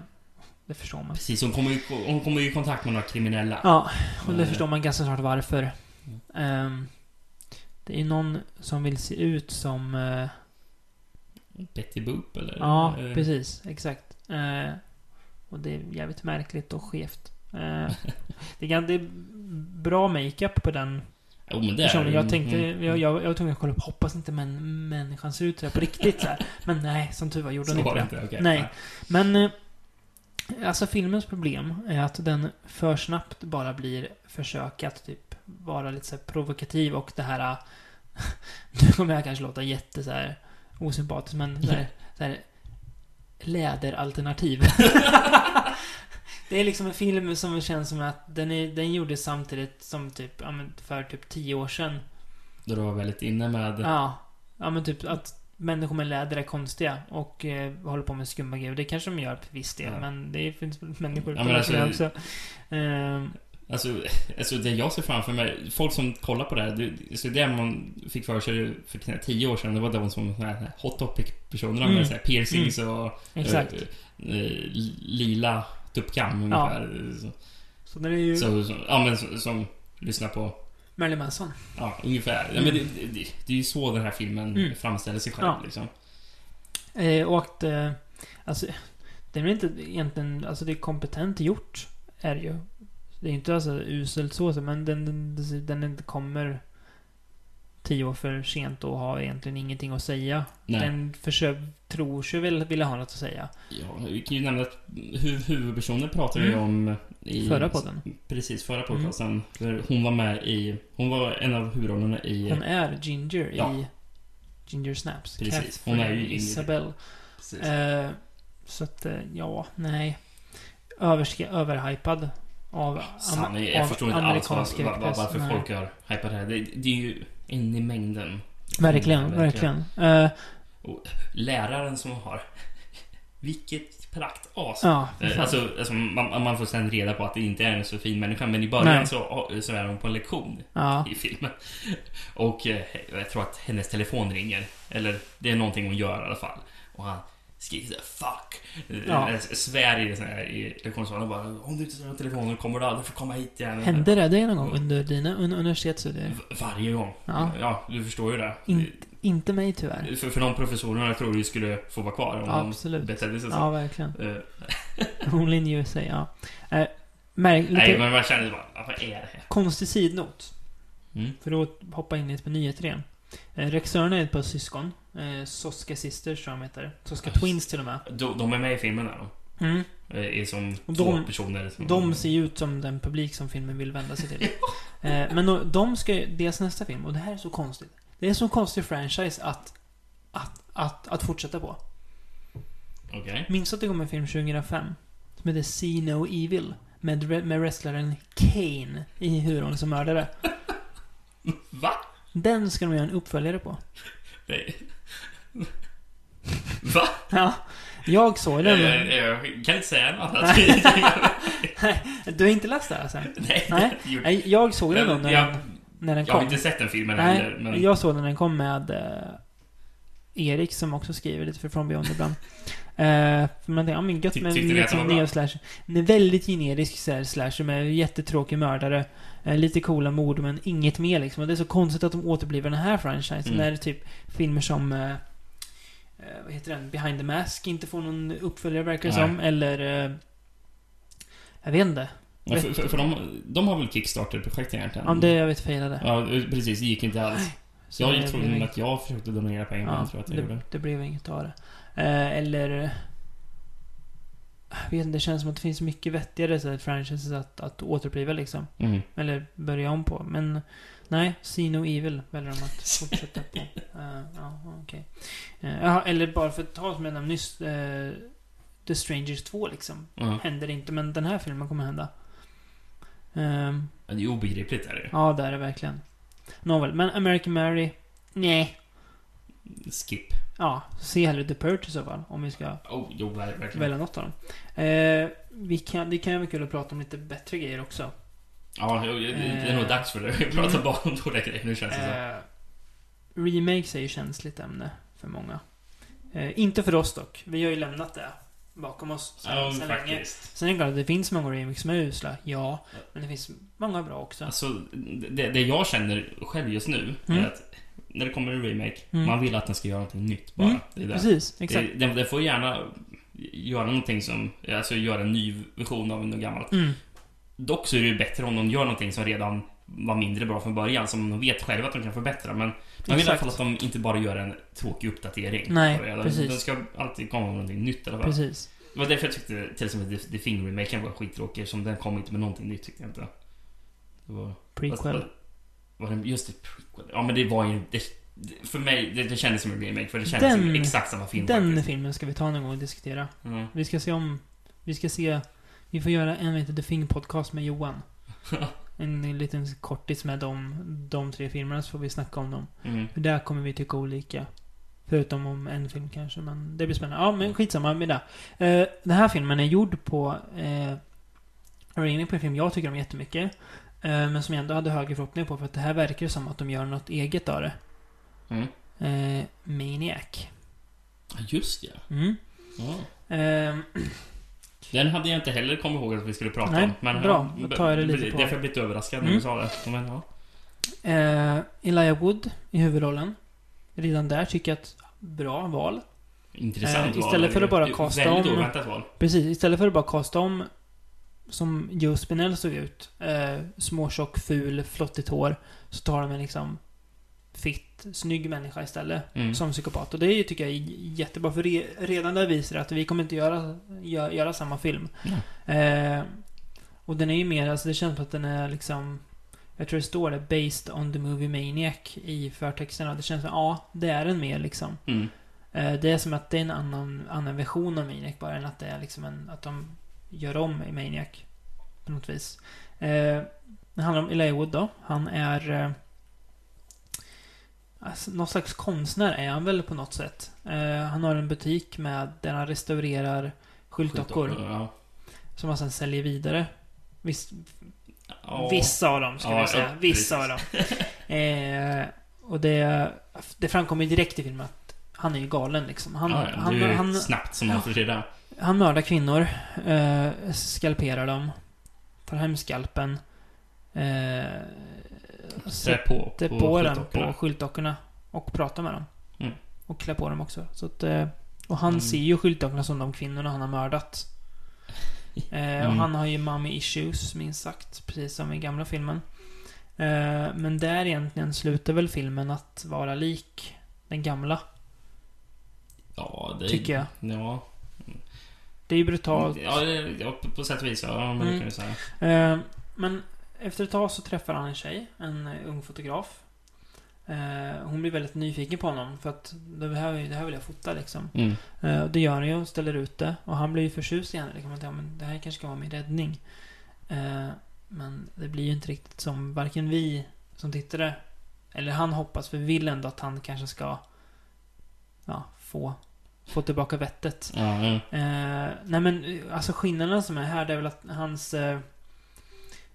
S3: det förstår man.
S4: Precis, hon kommer, ju, hon kommer ju i kontakt med några kriminella.
S3: Ja, och det
S4: Eh.
S3: förstår man ganska snart varför.
S4: Mm.
S3: Ehm, det är någon som vill se ut som... Eh,
S4: Betty Boop eller?
S3: Ja,
S4: Eh,
S3: precis. Exakt. Eh, och det är jävligt märkligt och skevt. Eh, det, är, gan- det är bra makeup på den
S4: Jo, men det är
S3: personen.
S4: det.
S3: Jag tänkte,
S4: Mm.
S3: jag, jag, jag var tvungen att kolla upp, hoppas inte men människan ser ut så här på riktigt så här. Men nej, som tur var gjorde
S4: Så
S3: hon
S4: var
S3: inte
S4: det
S3: det.
S4: inte, okej.
S3: Nej. Men, eh, alltså filmens problem är att den för snabbt bara blir försök att typ vara lite så här provokativ och det här... eh, Nu kommer jag kanske låta jätte så här osympatisk, men så här, så här läderalternativ. Det är liksom en film som känns som att den, är, den gjordes samtidigt som typ, ja, men för typ tio år sedan.
S4: Då du var väldigt inne med...
S3: Ja. Ja men typ att människor med läder är konstiga och eh, håller på med skumma grejer. Det kanske de gör till viss del,
S4: Ja.
S3: men det finns väl människor
S4: Ja,
S3: på
S4: men
S3: alltså,
S4: alltså-
S3: också. Ehm,
S4: Alltså, alltså det jag ser framför mig, folk som kollar på det här, det, så det man fick för sig för knappt tio år sedan, det var de som såna här hot topic-personerna
S3: Mm.
S4: med så här piercings och
S3: exakt.
S4: eh, eh, lila tuppkam
S3: Ja.
S4: ungefär. Så,
S3: Så det är ju
S4: så, så, ja, men, som, som lyssnar på,
S3: Marilyn Manson.
S4: ja ungefär. Ja, men det, det, det, det är ju så den här filmen
S3: Mm.
S4: framställer sig själv
S3: Ja.
S4: liksom.
S3: Eh, och att, eh, alltså, det är väl inte egentligen, alltså det är kompetent gjort, är det ju. Det är inte alltså uselt så, så, men den, den, den inte kommer tio år för sent och har egentligen ingenting att säga.
S4: Nej.
S3: Den försöker, tror sig väl vilja ha något att säga.
S4: Ja, vi kan ju nämna att huv, huvudpersonen pratade vi
S3: Mm.
S4: om i
S3: Förra podden. Mm.
S4: Precis, förra podcasten. För hon var med i... Hon var en av huvudrollerna i...
S3: Hon är Ginger
S4: Ja.
S3: i Ginger Snaps.
S4: Precis,
S3: Catherine
S4: hon är ju Ginger.
S3: Isabel.
S4: Precis.
S3: Eh, så att, eh, ja, nej. Överska, överhypad av,
S4: Sanna,
S3: am-
S4: jag förstår inte alls
S3: amerikansk
S4: var, var, var,
S3: skräckpress.
S4: varför
S3: Nej.
S4: folk har hypat det här. Det, det är ju en i mängden.
S3: Verkligen,
S4: Mm,
S3: verkligen. Eh,
S4: Läraren som har... Vilket praktas!
S3: ja, för
S4: Eh,
S3: fan.
S4: Alltså, alltså man, man får sen reda på att det inte är en så fin människa, men i början
S3: Nej.
S4: så, så är hon på en lektion.
S3: ja.
S4: i filmen. Och eh, jag tror att hennes telefon ringer. Eller det är någonting hon gör i alla fall. Och han skriker såhär 'fuck'
S3: Ja.
S4: ja. Svär i, sån här, i lektionssalen och bara 'Om du inte svarar på telefonen kommer du aldrig få komma hit igen'
S3: Hände det dig någon gång under dina un universitetsstudier?
S4: V- Varje gång.
S3: Ja.
S4: du förstår ju det.
S3: Inte- Inte mig tyvärr.
S4: För, för de professorerna jag tror jag skulle få vara kvar om
S3: Ja,
S4: de
S3: absolut.
S4: betedde sig så.
S3: Ja, verkligen.
S4: Eh,
S3: Only in USA, ja. Eh, märk, lite
S4: Nej, men man känner bara, vad är det här?
S3: konstig sidnot.
S4: Mm.
S3: För att hoppa in lite på nyheter igen. Eh, Regissören är ett par syskon. Eh, Soska Sisters tror jag de heter. Soska Twins till och med.
S4: De, de är med i filmen där. de.
S3: Mm.
S4: Eh, Är som
S3: Och
S4: två
S3: de-
S4: personer. Som,
S3: De ser ju ut som den publik som filmen vill vända sig till. Eh, Men då- de ska ju- deras nästa film, och det här är så konstigt. Det är en så konstig franchise att, att, att, att fortsätta på.
S4: Okej.
S3: Minns du att det kom en film 2005? Som heter See No Evil. Med, re- med wrestlaren Kane i huvudrollen som mördare.
S4: Va?
S3: Den ska de göra en uppföljare på.
S4: Nej. Va?
S3: Ja, jag såg
S4: Jag,
S3: den.
S4: jag,
S3: men-
S4: Eh, jag kan inte säga något annat.
S3: Nej. Du har inte läst det här sen?
S4: Nej.
S3: Nej.
S4: Jo.
S3: Nej, Jag såg den då
S4: jag,
S3: när,
S4: jag,
S3: den- när den
S4: jag har
S3: kom.
S4: inte sett den filmen
S3: Nej,
S4: heller. Men
S3: jag såg den när den kom med eh, Erik som också skriver lite för From Beyond ibland. Eh, för man tänkte, ja men gött
S4: Ty-
S3: med
S4: tyckte ni att den
S3: liksom
S4: var bra?
S3: neo slasher. Den är väldigt generisk så här, slasher med jättetråkig mördare. Eh, lite coola mord men inget mer liksom. Och det är så konstigt att de återbliver den här franchisen
S4: Mm.
S3: när typ filmer som eh, eh, vad heter den? Behind the Mask inte får någon uppföljare verkar det
S4: Nej.
S3: som. Eller... Eh, jag vet inte.
S4: Ja, för, för, för de, de har väl Kickstarter-projekt egentligen?
S3: Om det jag vet fejade. där.
S4: Ja, precis. Det gick inte alls.
S3: Så
S4: Jag
S3: det
S4: tror
S3: blev
S4: nog
S3: inget.
S4: att jag försökte donera pengar, men jag tror att jag
S3: det,
S4: gjorde.
S3: det blev inget av det. Eh, eller... Jag vet inte, det känns som att det finns mycket vettigare så här, franchises att, att återuppliva liksom.
S4: Mm.
S3: Eller börja om på. Men nej, See No Evil väljer de att fortsätta på. Eh, ja, okej. Eh, jaha, eller bara för att ta som jag nämnde nyss. eh, The Strangers 2 liksom.
S4: Ja.
S3: Händer inte, men den här filmen kommer hända. Ehm,
S4: Ja, Det är obegripligt är det ju.
S3: ja, det är det verkligen. Nåväl, men American Mary? Nej.
S4: Skip.
S3: Ja, se hellre The Purge i så fall. Om vi ska
S4: Oh, jo, ver- verkligen.
S3: välja något av dem. Eh, vi kan, det kan ju vara kul att prata om lite bättre grejer också.
S4: Ja, jo, det det är nog
S3: Eh.
S4: dags för det. Vi pratar
S3: Mm.
S4: bara om dåliga grejer nu känns det som.
S3: Eh, remakes är ju känsligt ämne för många. Eh, inte för oss dock. Vi har ju lämnat det bakom oss sen,
S4: Ja,
S3: sen länge.
S4: faktiskt.
S3: Sen är det klart att det finns många remakes som är usla, ja. Men det finns många bra också.
S4: Alltså, det, det jag känner själv just nu
S3: Mm.
S4: är att när det kommer en remake,
S3: Mm.
S4: man vill att den ska göra någonting nytt bara.
S3: Mm,
S4: det är det.
S3: Precis, exakt.
S4: Det, den, den får gärna göra någonting som, alltså göra en ny version av något gammalt.
S3: Mm,
S4: Dock så är det ju bättre om de gör någonting som redan var mindre bra från början, som de vet själva att de kan förbättra. Men man vill i alla
S3: Exakt.
S4: fall att de inte bara gör en tråkig uppdatering.
S3: Nej,
S4: på det. de,
S3: precis.
S4: de ska alltid komma med någonting nytt i alla fall.
S3: precis.
S4: Det var därför jag tyckte till exempel The, The Thing-remaken var skittråkig, som den kom inte med någonting nytt tyckte jag inte. Det var...
S3: Prequel.
S4: Fast- Var det, just det, prequel. Ja men det var ju... Det, det- för mig, det, det kändes som en remake för det kändes
S3: Den-
S4: som exakt samma film
S3: Den
S4: faktiskt.
S3: filmen ska vi ta någon gång och diskutera.
S4: Mm.
S3: Vi ska se om... Vi ska se... Vi får göra en liten The Thing podcast med Johan. En liten kortis med de, de tre filmerna så får vi snacka om dem.
S4: Mm.
S3: För där kommer vi tycka olika. Förutom om en film kanske, men det blir spännande. Ja, men skitsamma med det. Eh, den här filmen är gjord på... Uh, Ringning på en film jag tycker om jättemycket. eh, men som jag ändå hade högre förhoppningar på för att det här verkar som att de gör något eget av det.
S4: Mm.
S3: Uh, Maniac.
S4: Ja, Just ja.
S3: Mm.
S4: ja.
S3: Ehm,
S4: Den hade jag inte heller kommit ihåg att vi skulle prata
S3: Nej,
S4: om. Men,
S3: bra. Då tar jag det lite på.
S4: Därför jag blivit överraskad när
S3: Mm.
S4: du sa det. Men, ja.
S3: Eh, Elijah Wood i huvudrollen. Redan där tycker jag att bra val.
S4: Intressant
S3: Eh, istället för att bara
S4: Ett
S3: kasta
S4: Väldigt
S3: om-
S4: oväntat val.
S3: Precis, istället för att bara kasta om som Joe Spinell såg ut. Eh, småtjock, ful, flottigt hår. Så tar de en liksom fitt, snygg människa istället.
S4: Mm.
S3: Som psykopat. Och det är ju, tycker jag är jättebra. För re, redan där visar det att vi kommer inte göra, gö, göra samma film. Eh, och den är ju mer, alltså det känns som att den är liksom Jag tror det står det, 'Based on the movie Maniac' i förtexterna. Det känns som, ja, det är den mer liksom.
S4: Mm.
S3: Eh, det är som att det är en annan, annan version av Maniac bara än att det är liksom en, att de gör om i Maniac. På något vis. Eh, det handlar om Elijah Wood då. Han är eh, alltså, någon slags konstnär är han väl på något sätt. Eh, han har en butik med, där han restaurerar skyltdockor.
S4: Ja.
S3: Som man sen säljer vidare. Viss,
S4: Ja.
S3: Vissa av dem, ska
S4: Ja,
S3: vi säga.
S4: ja,
S3: Vissa av dem. Eh, och det, det framkommer ju direkt i filmen att han är ju galen liksom. Han,
S4: ja, ja, det är
S3: han,
S4: ju
S3: han,
S4: snabbt som man får se det.
S3: han mördar kvinnor, eh, skalperar dem, tar hem skalpen, eh,
S4: Trä
S3: sätter
S4: på,
S3: på, Typ på den på
S4: skyltdockorna.
S3: skyltdockorna och pratar med dem.
S4: Mm.
S3: Och klär på dem också. Så att, eh, och han
S4: Mm.
S3: ser ju skyltdockorna som de kvinnorna han har mördat. Eh,
S4: Mm.
S3: Och han har ju mommy issues, minst sagt. Precis som i gamla filmen. Eh, Men där egentligen slutar väl filmen att vara lik den gamla,
S4: Ja, det...
S3: tycker jag.
S4: Ja.
S3: Det är ju brutalt.
S4: Ja, det- ja, på- på sätt och vis. Ja, men det
S3: Mm.
S4: kan vi säga.
S3: Eh, Men efter ett tag så träffar han en tjej, en eh, ung fotograf. Eh, Hon blir väldigt nyfiken på honom för att det här, det här vill jag fota liksom.
S4: Mm.
S3: Eh, och Det gör han ju och ställer ut det. Och han blir ju förtjust i henne. Det kan man tänka, men det här kanske kan vara min räddning. Eh, Men det blir ju inte riktigt som varken vi som tittare eller han hoppas. För vi vill ändå att han kanske ska ja, få, få tillbaka vettet.
S4: Ja, ja.
S3: Eh, nej men eh, alltså skillnaden som är här det är väl att hans eh,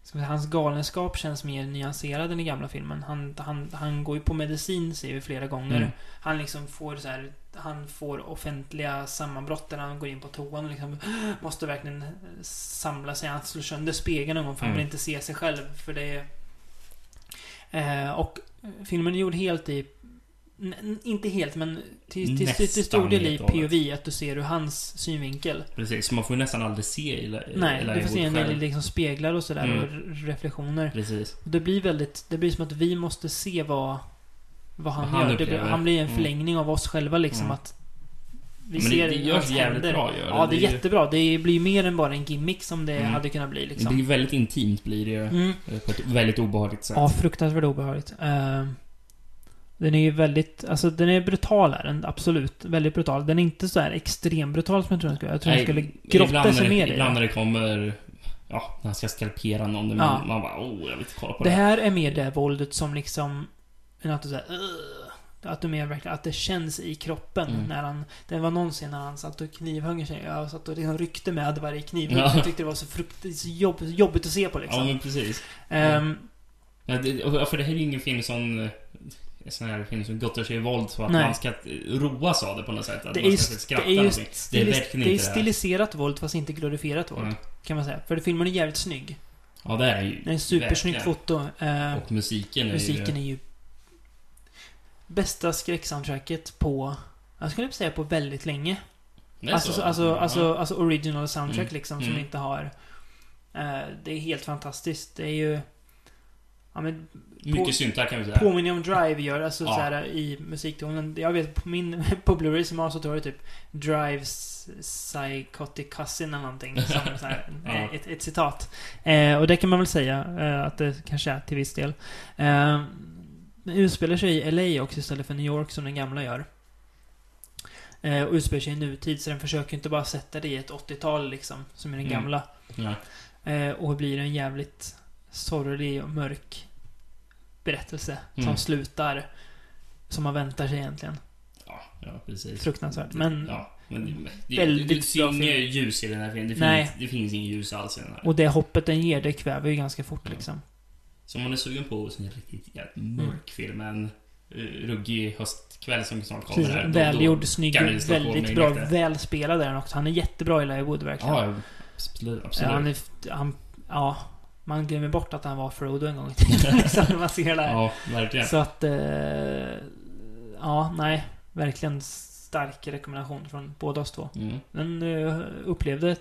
S3: ska man säga, Hans galenskap känns mer nyanserad än i gamla filmen. Han, han, han går ju på medicin ser vi flera gånger.
S4: Mm.
S3: Han liksom får så här, Han får offentliga sammanbrott där han går in på toan och liksom Måste verkligen eh, samla sig. Han slår sönder spegeln någon gång för han
S4: Mm.
S3: vill inte se sig själv. För det är... Eh, och filmen är gjord helt i... n- n- Inte helt men till, till, till, till stor
S4: Nästan
S3: del i
S4: helt och hållet.
S3: POV. Att du ser ur hans synvinkel.
S4: Precis, så man får ju nästan aldrig se Eli
S3: Nej,
S4: Eli
S3: du får se
S4: Wood
S3: en
S4: själv.
S3: del liksom speglar och sådär
S4: Mm.
S3: och re- reflektioner.
S4: Precis.
S3: Och Det blir väldigt... Det blir som att vi måste se vad... Vad han,
S4: Vad han
S3: gör. Det,
S4: upplever.
S3: blir- han blir en
S4: Mm.
S3: förlängning av oss själva liksom
S4: Mm.
S3: att... Vi
S4: Men
S3: ser
S4: det, det görs
S3: hans
S4: jävligt
S3: händer.
S4: bra. Gör
S3: Ja, det är
S4: ju-
S3: jättebra. Det blir ju mer än bara en gimmick som det
S4: Mm.
S3: hade kunnat bli
S4: Det
S3: liksom.
S4: blir väldigt intimt blir det ju.
S3: Mm.
S4: eh, På ett väldigt obehagligt sätt.
S3: Ja, fruktansvärt obehagligt. Eh, den är ju väldigt, alltså den är brutal är den, absolut. Väldigt brutal. Den är inte så här extrem brutal som jag tror den skulle Jag tror den skulle grotta
S4: ibland
S3: sig
S4: när det-
S3: mer i
S4: Ibland
S3: det.
S4: när det kommer... Ja, när han ska skalpera någon. men
S3: Ja.
S4: Man, man bara oh, jag vill inte kolla på
S3: Det
S4: det.
S3: här är mer det våldet som liksom, än att du såhär uh, Att du mer verkligen, att det känns i kroppen
S4: Mm.
S3: när han, det var någon scen när han satt och knivhögg sig. Jag satt och liksom ryckte med varje kniv.
S4: Ja.
S3: Jag tyckte det var så frukt, så jobb, så jobbigt att se på liksom.
S4: Ja, men precis.
S3: Ehm,
S4: Ja, det, och- för det här är ju ingen film som... eh, en Sån här film som gottar sig i våld så att
S3: Nej.
S4: man ska eh, roas av det på något sätt. Att
S3: Det är,
S4: man
S3: ju,
S4: ska skratta
S3: det är ju
S4: någonting. Det är
S3: stilis,
S4: verkligen
S3: det är
S4: inte det här.
S3: stiliserat våld fast inte glorifierat våld.
S4: Mm.
S3: Kan man säga. För filmen är jävligt snygg.
S4: Ja, det är ju...
S3: Det är en supersnyggt
S4: verkligen.
S3: foto. Eh,
S4: Och musiken är
S3: musiken
S4: ju...
S3: är ju... Bästa skräcksoundtracket på... Jag skulle inte säga på väldigt länge.
S4: Det är
S3: Alltså,
S4: så.
S3: alltså,
S4: Ja.
S3: alltså, alltså original soundtrack
S4: Mm.
S3: liksom som
S4: Mm.
S3: inte har... Eh, det är helt fantastiskt. Det är ju... Ja, men på-
S4: Mycket syntar kan vi säga.
S3: Påminner om Drive gör, alltså
S4: Ja.
S3: så här i musiktonen. Jag vet på min, på Blu-ray som jag har så tror jag typ Drives Psychotic Cousin eller någonting. Som så här,
S4: Ja.
S3: ett, ett citat. Eh, och det kan man väl säga eh, att det kanske är till viss del. Eh, den utspelar sig i LA också istället för New York som den gamla gör. Eh, och utspelar sig i nutid så den försöker inte bara sätta det i ett 80-tal liksom, som i den
S4: Mm.
S3: gamla.
S4: Ja.
S3: Eh, och blir en jävligt sorglig och mörk berättelse som
S4: Mm.
S3: slutar som man väntar sig egentligen.
S4: Ja, ja, precis.
S3: Fruktansvärt. Men,
S4: Ja, men det, det,
S3: Väldigt
S4: det, det ser
S3: bra
S4: inget
S3: film.
S4: ljus i den här filmen. Det
S3: Nej.
S4: finns, det finns inget ljus alls i den här.
S3: och det hoppet den ger, det kväver ju ganska fort
S4: Ja.
S3: liksom.
S4: Så om man är sugen på en riktigt jävligt
S3: Mm.
S4: mörk film, en eh, ruggig höstkväll som snart kommer
S3: Precis,
S4: här. då-
S3: välgjord,
S4: då-
S3: snygg,
S4: kan det slå på
S3: väldigt
S4: mig
S3: bra,
S4: lite.
S3: välspelad är den också. Han är jättebra i Larry Wood verkligen.
S4: Ja, absolut.
S3: Eh,
S4: absolut.
S3: han är, f- han, ja, man glömmer bort att han var Frodo en gång i tiden liksom, när man ser det här.
S4: ja, verkligen.
S3: Så att... Eh, ja, nej. Verkligen stark rekommendation från båda oss två.
S4: Mm.
S3: Den eh, upplevde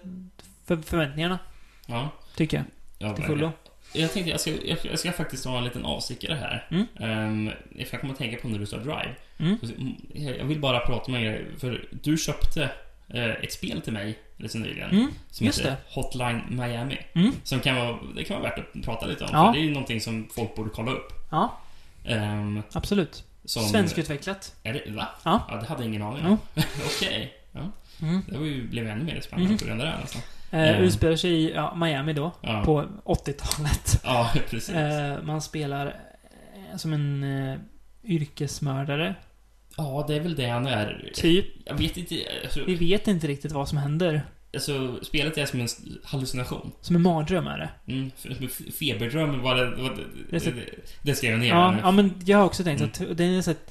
S3: för förväntningarna,
S4: Ja,
S3: tycker jag.
S4: ja
S3: Till
S4: verkligen.
S3: fullo.
S4: Jag tänkte jag ska, jag, jag ska faktiskt ha en liten avstickare här.
S3: Mm.
S4: Ehm, för jag kommer att tänka på när du sa Drive.
S3: Mm.
S4: Så- mm, Jag jag vill bara prata med dig, för du köpte eh, ett spel till mig lite nyligen.
S3: Mm,
S4: som
S3: just
S4: heter
S3: det.
S4: Hotline Miami.
S3: Mm.
S4: Som kan vara, det kan vara värt att prata lite om.
S3: Ja.
S4: För det är ju någonting som folk borde kolla upp.
S3: Ja,
S4: Ehm,
S3: absolut.
S4: som,
S3: Svenskutvecklat.
S4: Är det, va?
S3: Ja.
S4: det hade jag ingen aning om.
S3: Mm.
S4: Okej. Ja.
S3: Mm.
S4: Det var ju, blev ännu mer spännande
S3: Mm.
S4: på grund av det här, nästan.
S3: Eh,
S4: Mm.
S3: Utspelar sig i ja, Miami då,
S4: Ja.
S3: på 80-talet.
S4: ja, precis.
S3: Eh, man spelar eh, som en eh, yrkesmördare,
S4: Ja, det är väl det han är.
S3: typ.
S4: Jag vet inte. Alltså,
S3: Vi vet inte riktigt vad som händer.
S4: alltså, spelet är som en hallucination.
S3: Som en mardröm är det.
S4: Mm. f- f- Feberdröm var det... Var det,
S3: Det är så-
S4: det, det skrev jag ner.
S3: Ja,
S4: här
S3: ja men jag har också tänkt
S4: Mm.
S3: att det är en sån här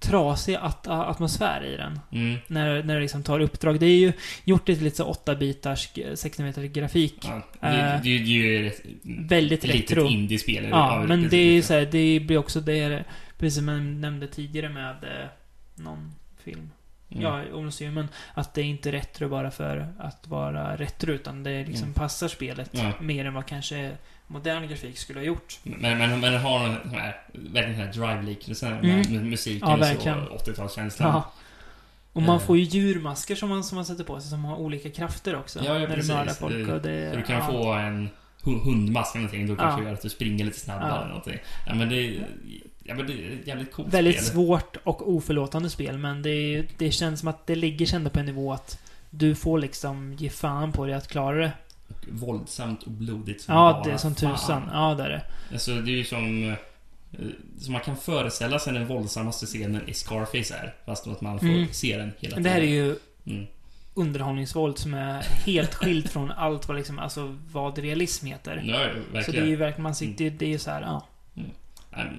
S3: trasig at- atmosfär i den.
S4: nu. Mm.
S3: När, när du liksom tar uppdrag. Det är ju gjort i lite så eh, 8-bitars, 16 meter grafik.
S4: Ja, det, det, det, är ju ett
S3: Eh. Väldigt
S4: litet
S3: retro.
S4: indiespel. eller-
S3: Ja, men
S4: precis,
S3: det är ju
S4: liksom.
S3: såhär, det blir också det, är- precis som jag nämnde tidigare med eh, någon film.
S4: Mm.
S3: ja, Olsson, att det är inte retro bara för att vara retro, utan det liksom
S4: Mm.
S3: passar spelet
S4: Ja.
S3: mer än vad kanske modern grafik skulle ha gjort.
S4: Men, men, men den har någon sån här, verkligen den här drive-liknelsen med,
S3: Mm.
S4: med musiken
S3: Ja,
S4: och
S3: verkligen.
S4: så, och 80-talskänslan.
S3: Ja. Och man
S4: Eh.
S3: får ju djurmasker som man, som man sätter på sig som har olika krafter också.
S4: Ja, ja,
S3: när
S4: precis.
S3: du mördar folk. Och det,
S4: Så du kan
S3: ja.
S4: få en hu- hundmask eller någonting, då kanske
S3: Ja.
S4: gör att du springer lite snabbare
S3: Ja.
S4: eller någonting. Ja men det är, ja, men det är ett jävligt coolt
S3: Väldigt
S4: spel.
S3: svårt och oförlåtande spel, men det, det känns som att det ligger kända på en nivå att du får liksom ge fan på dig att klara det.
S4: Våldsamt och blodigt som
S3: Ja,
S4: bara
S3: det är som
S4: fan.
S3: tusan. Ja, det är det.
S4: Alltså det är ju som... eh, Som man kan föreställa sig den våldsammaste scenen i Scarface är. Fast att man får
S3: Mm.
S4: se den hela tiden.
S3: Men det här är ju
S4: Mm.
S3: underhållningsvåld som är helt skilt från allt vad liksom, alltså vad realism heter.
S4: Ja,
S3: Så det är
S4: verkligen. Mm.
S3: ju verkligen, man sitter ju, det är ju såhär, ja.
S4: Ehm, eh,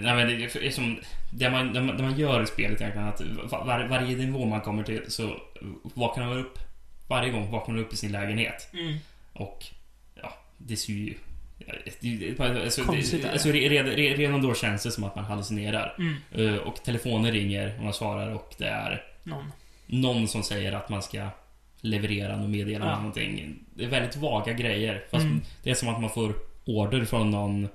S4: Nej, men det är som, det, man, det, man, det man gör i spelet egentligen att var, varje nivå man kommer till så vaknar man upp. Varje gång vaknar man upp i sin lägenhet.
S3: Mm.
S4: Och ja, det ser ju... ja, det- det- Alltså,
S3: Konstigt är
S4: det,
S3: det.
S4: alltså, re- re- re- redan då känns det som att man hallucinerar.
S3: Mm.
S4: Eh, Och telefonen ringer och man svarar och det är
S3: Någon.
S4: någon som säger att man ska leverera något meddelande eller
S3: Ja.
S4: någonting. Det är väldigt vaga grejer. Fast
S3: Mm.
S4: det är som att man får order från någon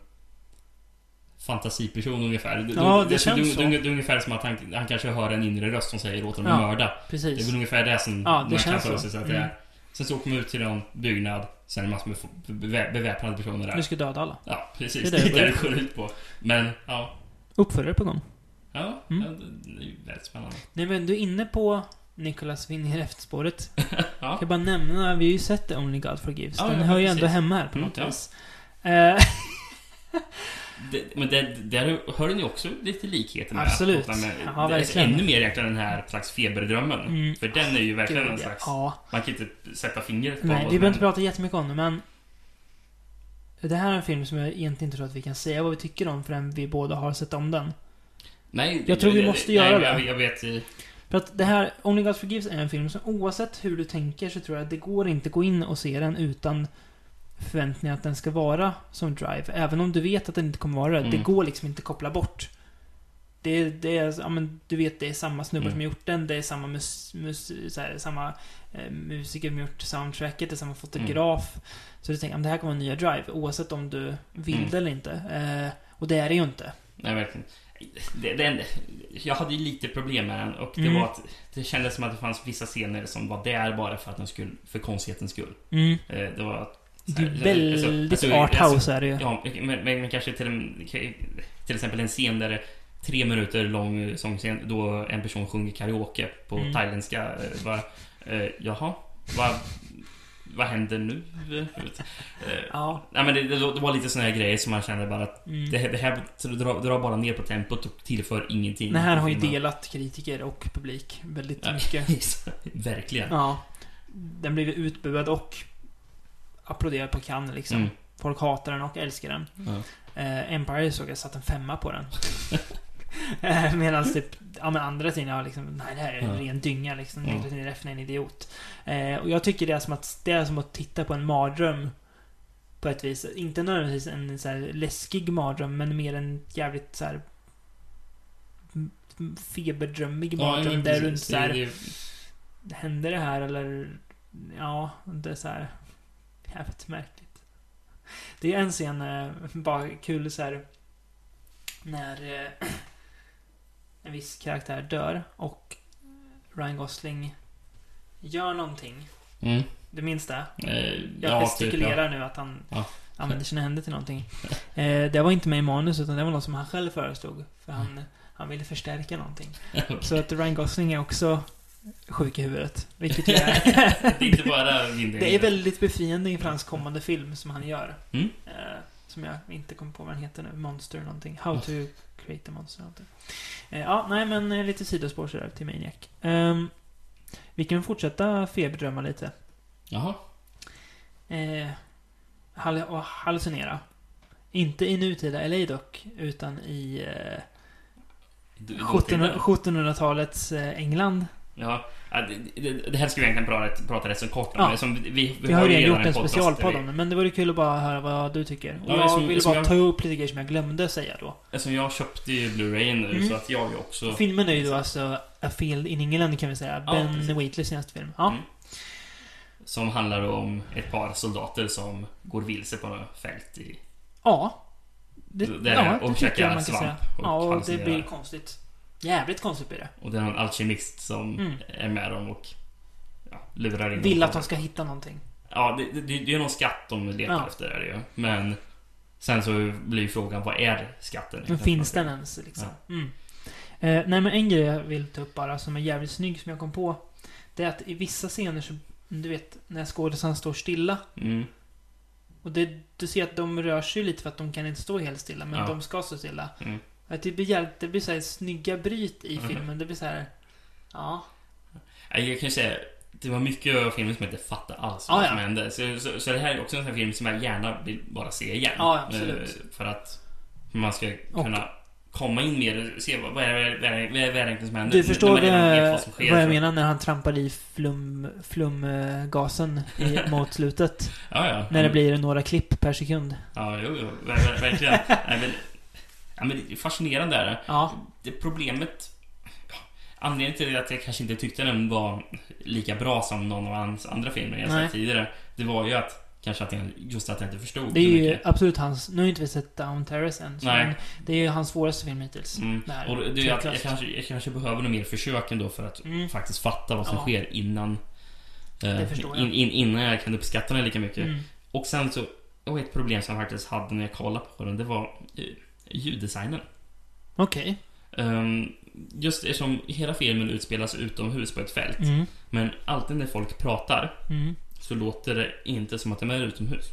S4: fantasiperson ungefär. Det-
S3: Ja, det
S4: är så-
S3: känns
S4: det,
S3: så.
S4: det, det är ungefär som att han, han kanske hör en inre röst som säger åt honom
S3: Ja.
S4: att mörda. Det är
S3: Precis.
S4: väl ungefär det som
S3: Ja, det
S4: man kan
S3: känns
S4: för
S3: så.
S4: sig. Så att det
S3: Mm.
S4: är. Sen så åker man ut till någon byggnad, sen är det massor med fo- bevä- beväpnade personer
S3: Du
S4: där.
S3: ska döda alla.
S4: Ja, precis.
S3: Det
S4: Det
S3: är det
S4: är
S3: det
S4: det det
S3: börjar.
S4: går ut på. Men, ja.
S3: Uppföljare på gång.
S4: Ja,
S3: Mm.
S4: ja, det- det är ju väldigt spännande.
S3: Nej men du är inne på Nicolas vinner efterspåret.
S4: Ja.
S3: Jag kan bara nämna, vi har ju sett The Only God Forgives.
S4: Ja,
S3: Den
S4: ja,
S3: hör ju
S4: precis.
S3: ändå hemma här på
S4: Mm,
S3: något
S4: ja.
S3: vis. Eh,
S4: Det, men det, där hör den ju också lite likheter med.
S3: Absolut.
S4: Med,
S3: Ja,
S4: det är alltså
S3: verkligen.
S4: ännu mer egentligen den här slags feberdrömmen.
S3: Mm.
S4: För den är ju verkligen en
S3: gud,
S4: slags...
S3: ja.
S4: Man kan inte sätta fingret på
S3: Nej, vi
S4: vad som
S3: behöver inte
S4: händer.
S3: prata jättemycket om det, men... Det här är en film som jag egentligen inte tror att vi kan säga vad vi tycker om förrän vi båda har sett om den.
S4: Nej,
S3: Jag tror vi
S4: det-
S3: måste
S4: nej,
S3: göra
S4: men jag,
S3: det.
S4: Jag vet ju...
S3: För att det här, Only God Forgives är en film som oavsett hur du tänker så tror jag att det går inte att gå in och se den utan förväntningar att den ska vara som Drive. Även om du vet att den inte kommer vara det. Det
S4: Mm.
S3: går liksom inte att koppla bort. Det, det är, ja men du vet, det är samma snubbar
S4: Mm.
S3: som har gjort den, det är samma, mus, mus, så här, samma eh, musiker som har gjort soundtracket, det är
S4: Mm.
S3: samma fotograf. Så du tänker, "Ja, men det här kommer vara nya Drive, oavsett om du vill
S4: Mm.
S3: det eller inte. Eh, och det är det ju inte.
S4: Nej, verkligen. Det, det, enda- jag hade ju lite problem med den och det
S3: Mm.
S4: var att det kändes som att det fanns vissa scener som var där bara för att den skulle, för konstighetens skull. Eh, Det var...
S3: Det är ju
S4: så här- alltså-
S3: väldigt
S4: alltså-
S3: arthouse är det ju.
S4: Ja, men, men, men kanske till, en- till exempel en scen där det är tre minuter lång sångscen då en person sjunger karaoke på
S3: Mm.
S4: thailändska. Eh, Bara, eh, jaha, vad, vad händer nu? Eh,
S3: Ja.
S4: Nej, men det, det, det var lite såna här grejer som man kände bara att
S3: Mm.
S4: det, här- det här drar, drar bara ner på tempot och tillför ingenting.
S3: Den här har ju
S4: Filmen.
S3: delat kritiker och publik väldigt
S4: Ja.
S3: mycket.
S4: Verkligen.
S3: Ja. Den blev ju utbuad och applåderad på Cannes liksom.
S4: Mm.
S3: Folk hatar den och älskar den.
S4: Ja.
S3: Eh, Empire såg jag satt en femma på den. eh, Medan typ, ja men andra sidan har liksom, nej det här är en
S4: Ja.
S3: ren dynga liksom.
S4: Ja.
S3: Niklas Refn är en idiot. Eh, och jag tycker det är som att, det är som att titta på en mardröm. På ett vis. Inte nödvändigtvis en så här läskig mardröm, men mer en jävligt så här m- m- feberdrömmig
S4: Ja,
S3: mardröm.
S4: men
S3: där du inte
S4: precis.
S3: så här,
S4: Det- det-
S3: Hände det här eller? Ja, det är så här jävligt märkligt. Det är en scen, eh, bara kul så här när eh, en viss karaktär dör och Ryan Gosling gör någonting.
S4: Mm.
S3: Du minns det?
S4: Eh,
S3: Jag
S4: ja, typ,
S3: gestikulerar nu att han
S4: Ja.
S3: använder sina händer till någonting. Eh, det var inte med i manus utan det var något som han själv föreslog. För
S4: Mm.
S3: han, han ville förstärka någonting.
S4: ja.
S3: Så att Ryan Gosling är också sjuk i huvudet. Vilket ju är...
S4: Det är inte bara min del.
S3: Det är väldigt befriande inför hans kommande film som han gör.
S4: Mm.
S3: Eh, som jag inte kommer på vad den heter nu. Monster någonting. How to create a monster någonting. Eh, ja, nej men eh, lite sidospår sådär till Maniac. Ehm, vi kan fortsätta feberdrömma lite.
S4: Jaha.
S3: Eh, hall- och hallucinera. Inte i nutida LA dock, utan i eh,
S4: Du- du-
S3: 1700- 1700-talets eh, England.
S4: Ja, ja, det, det, det här skulle vi egentligen prata, prata rätt så kort om.
S3: Ja.
S4: men Som vi, vi,
S3: Vi har ju redan gjort en
S4: podcast
S3: specialpodd
S4: där
S3: om det, men det vore kul att bara höra vad du tycker. Och
S4: Ja,
S3: jag
S4: som-
S3: ville
S4: som
S3: bara
S4: jag-
S3: ta upp lite grejer som jag glömde säga då.
S4: vi- Eftersom Alltså, jag köpte ju Blu-rayen nu
S3: Mm.
S4: så att jag ju också...
S3: Filmen är ju då alltså A Field in England kan vi säga.
S4: Ja,
S3: ben
S4: precis.
S3: Wheatleys senaste film. Ja.
S4: Mm. Som handlar om ett par soldater som går vilse på något fält i...
S3: Ja. Det,
S4: Det-
S3: ja,
S4: och
S3: det tycker
S4: käka
S3: jag man kan
S4: svamp
S3: säga.
S4: och
S3: Ja, och det
S4: hallucinera.
S3: blir konstigt. Jävligt konstigt blir det.
S4: Och det är någon alkemist som
S3: Mm.
S4: är med dem och ja, lurar in
S3: Vill
S4: dem.
S3: att de ska hitta någonting.
S4: Ja, det, det, det är någon skatt de letar
S3: Ja.
S4: efter är det ju. Men sen så blir ju frågan, vad är skatten?
S3: Men finns den ens liksom? Mm. Eh, nej men en grej jag vill ta upp bara som är jävligt snygg som jag kom på. Det är att i vissa scener så, du vet, när skådisen står stilla.
S4: Mm.
S3: Och det, du ser att de rör sig lite för att de kan inte stå helt stilla, men
S4: Ja.
S3: de ska stå stilla.
S4: Mm.
S3: Att det blir jävligt, det blir så här snygga bryt i
S4: Mhm.
S3: filmen. Det blir så här. Ja.
S4: Ja, Jag kan ju säga, det var mycket av filmen som jag inte fattade alls
S3: Ah,
S4: vad
S3: ja.
S4: som hände. Så, så, så det här är också en sån här film som jag gärna vill bara se igen.
S3: Ja, absolut.
S4: Eh, För att man ska
S3: Och-
S4: kunna komma in mer och se vad, vad, är, det- vad, är, det- vad är det egentligen som händer.
S3: Du förstår
S4: När man redan vet
S3: det,
S4: vad som sker.
S3: vad jag
S4: Så-
S3: menar när han trampar i flum, flumgasen i, mot slutet.
S4: Ja, ja.
S3: När det blir några klipp per sekund.
S4: Ja, jo, jo. Ver, ver, verkligen. Nej, men, ja, men det är fascinerande är det.
S3: Ja.
S4: det problemet... Anledningen till att jag kanske inte tyckte den var lika bra som någon av hans andra filmer jag
S3: Nej.
S4: sett tidigare. Det var ju att kanske att jag, just att jag inte förstod
S3: Det är
S4: så
S3: ju
S4: mycket.
S3: absolut hans... Nu har inte vi sett Down Terrace än. så-
S4: Nej.
S3: Men det är ju hans svåraste film hittills.
S4: Mm.
S3: det här,
S4: Och det är ju att jag,
S3: tveklöst.
S4: kanske, jag kanske behöver nog mer försök ändå för att
S3: Mm.
S4: faktiskt fatta vad som
S3: Ja.
S4: sker innan. eh,
S3: Det förstår jag.
S4: In, in, innan jag kan uppskatta den lika mycket.
S3: Mm.
S4: Och sen så, och ett problem som jag faktiskt hade när jag kollade på den, det var eh, ljuddesignen.
S3: Okej.
S4: Ehm, just eftersom hela filmen utspelas utomhus på ett fält.
S3: Mm.
S4: Men alltid när folk pratar
S3: Mm.
S4: så låter det inte som att de är utomhus.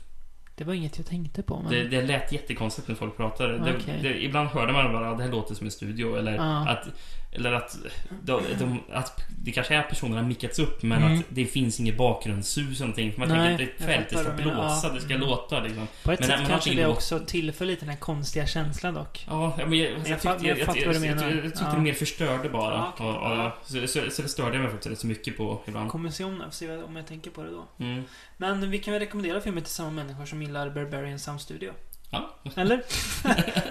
S3: Det var inget jag tänkte på. Men...
S4: Det, det lät jättekonstigt när folk pratade.
S3: Okej.
S4: Det, det, ibland hörde man bara att det här låter som en studio eller,
S3: Ja.
S4: att, eller att, de, de, att det kanske är att personerna har mickats upp men
S3: Mm.
S4: att det finns inget bakgrundssus eller någonting. För man
S3: Nej,
S4: tänker att det
S3: jag
S4: är ett fält, det
S3: fattar
S4: ska
S3: vad du menar.
S4: blåsa,
S3: Ja.
S4: det ska
S3: Mm.
S4: låta liksom.
S3: På ett
S4: Men
S3: sätt
S4: man har
S3: kanske
S4: inte
S3: det
S4: gått-
S3: också tillför lite den här konstiga känslan dock.
S4: Ja, ja, men jag, alltså,
S3: jag
S4: jag,
S3: fatt-
S4: tyckte,
S3: jag
S4: jag, jag,
S3: fattar vad du
S4: jag,
S3: menar.
S4: jag, jag tyckte
S3: Ja.
S4: det mer förstörde bara.
S3: Ja, okej.
S4: Ja, ja. Så, så, så det störde jag mig faktiskt rätt så mycket på ibland.
S3: Kommer se om, se vad- om jag tänker på det då.
S4: Mm.
S3: Men vi kan väl rekommendera filmen till samma människor som gillar Barbarian Soundstudio?
S4: Ja.
S3: Eller?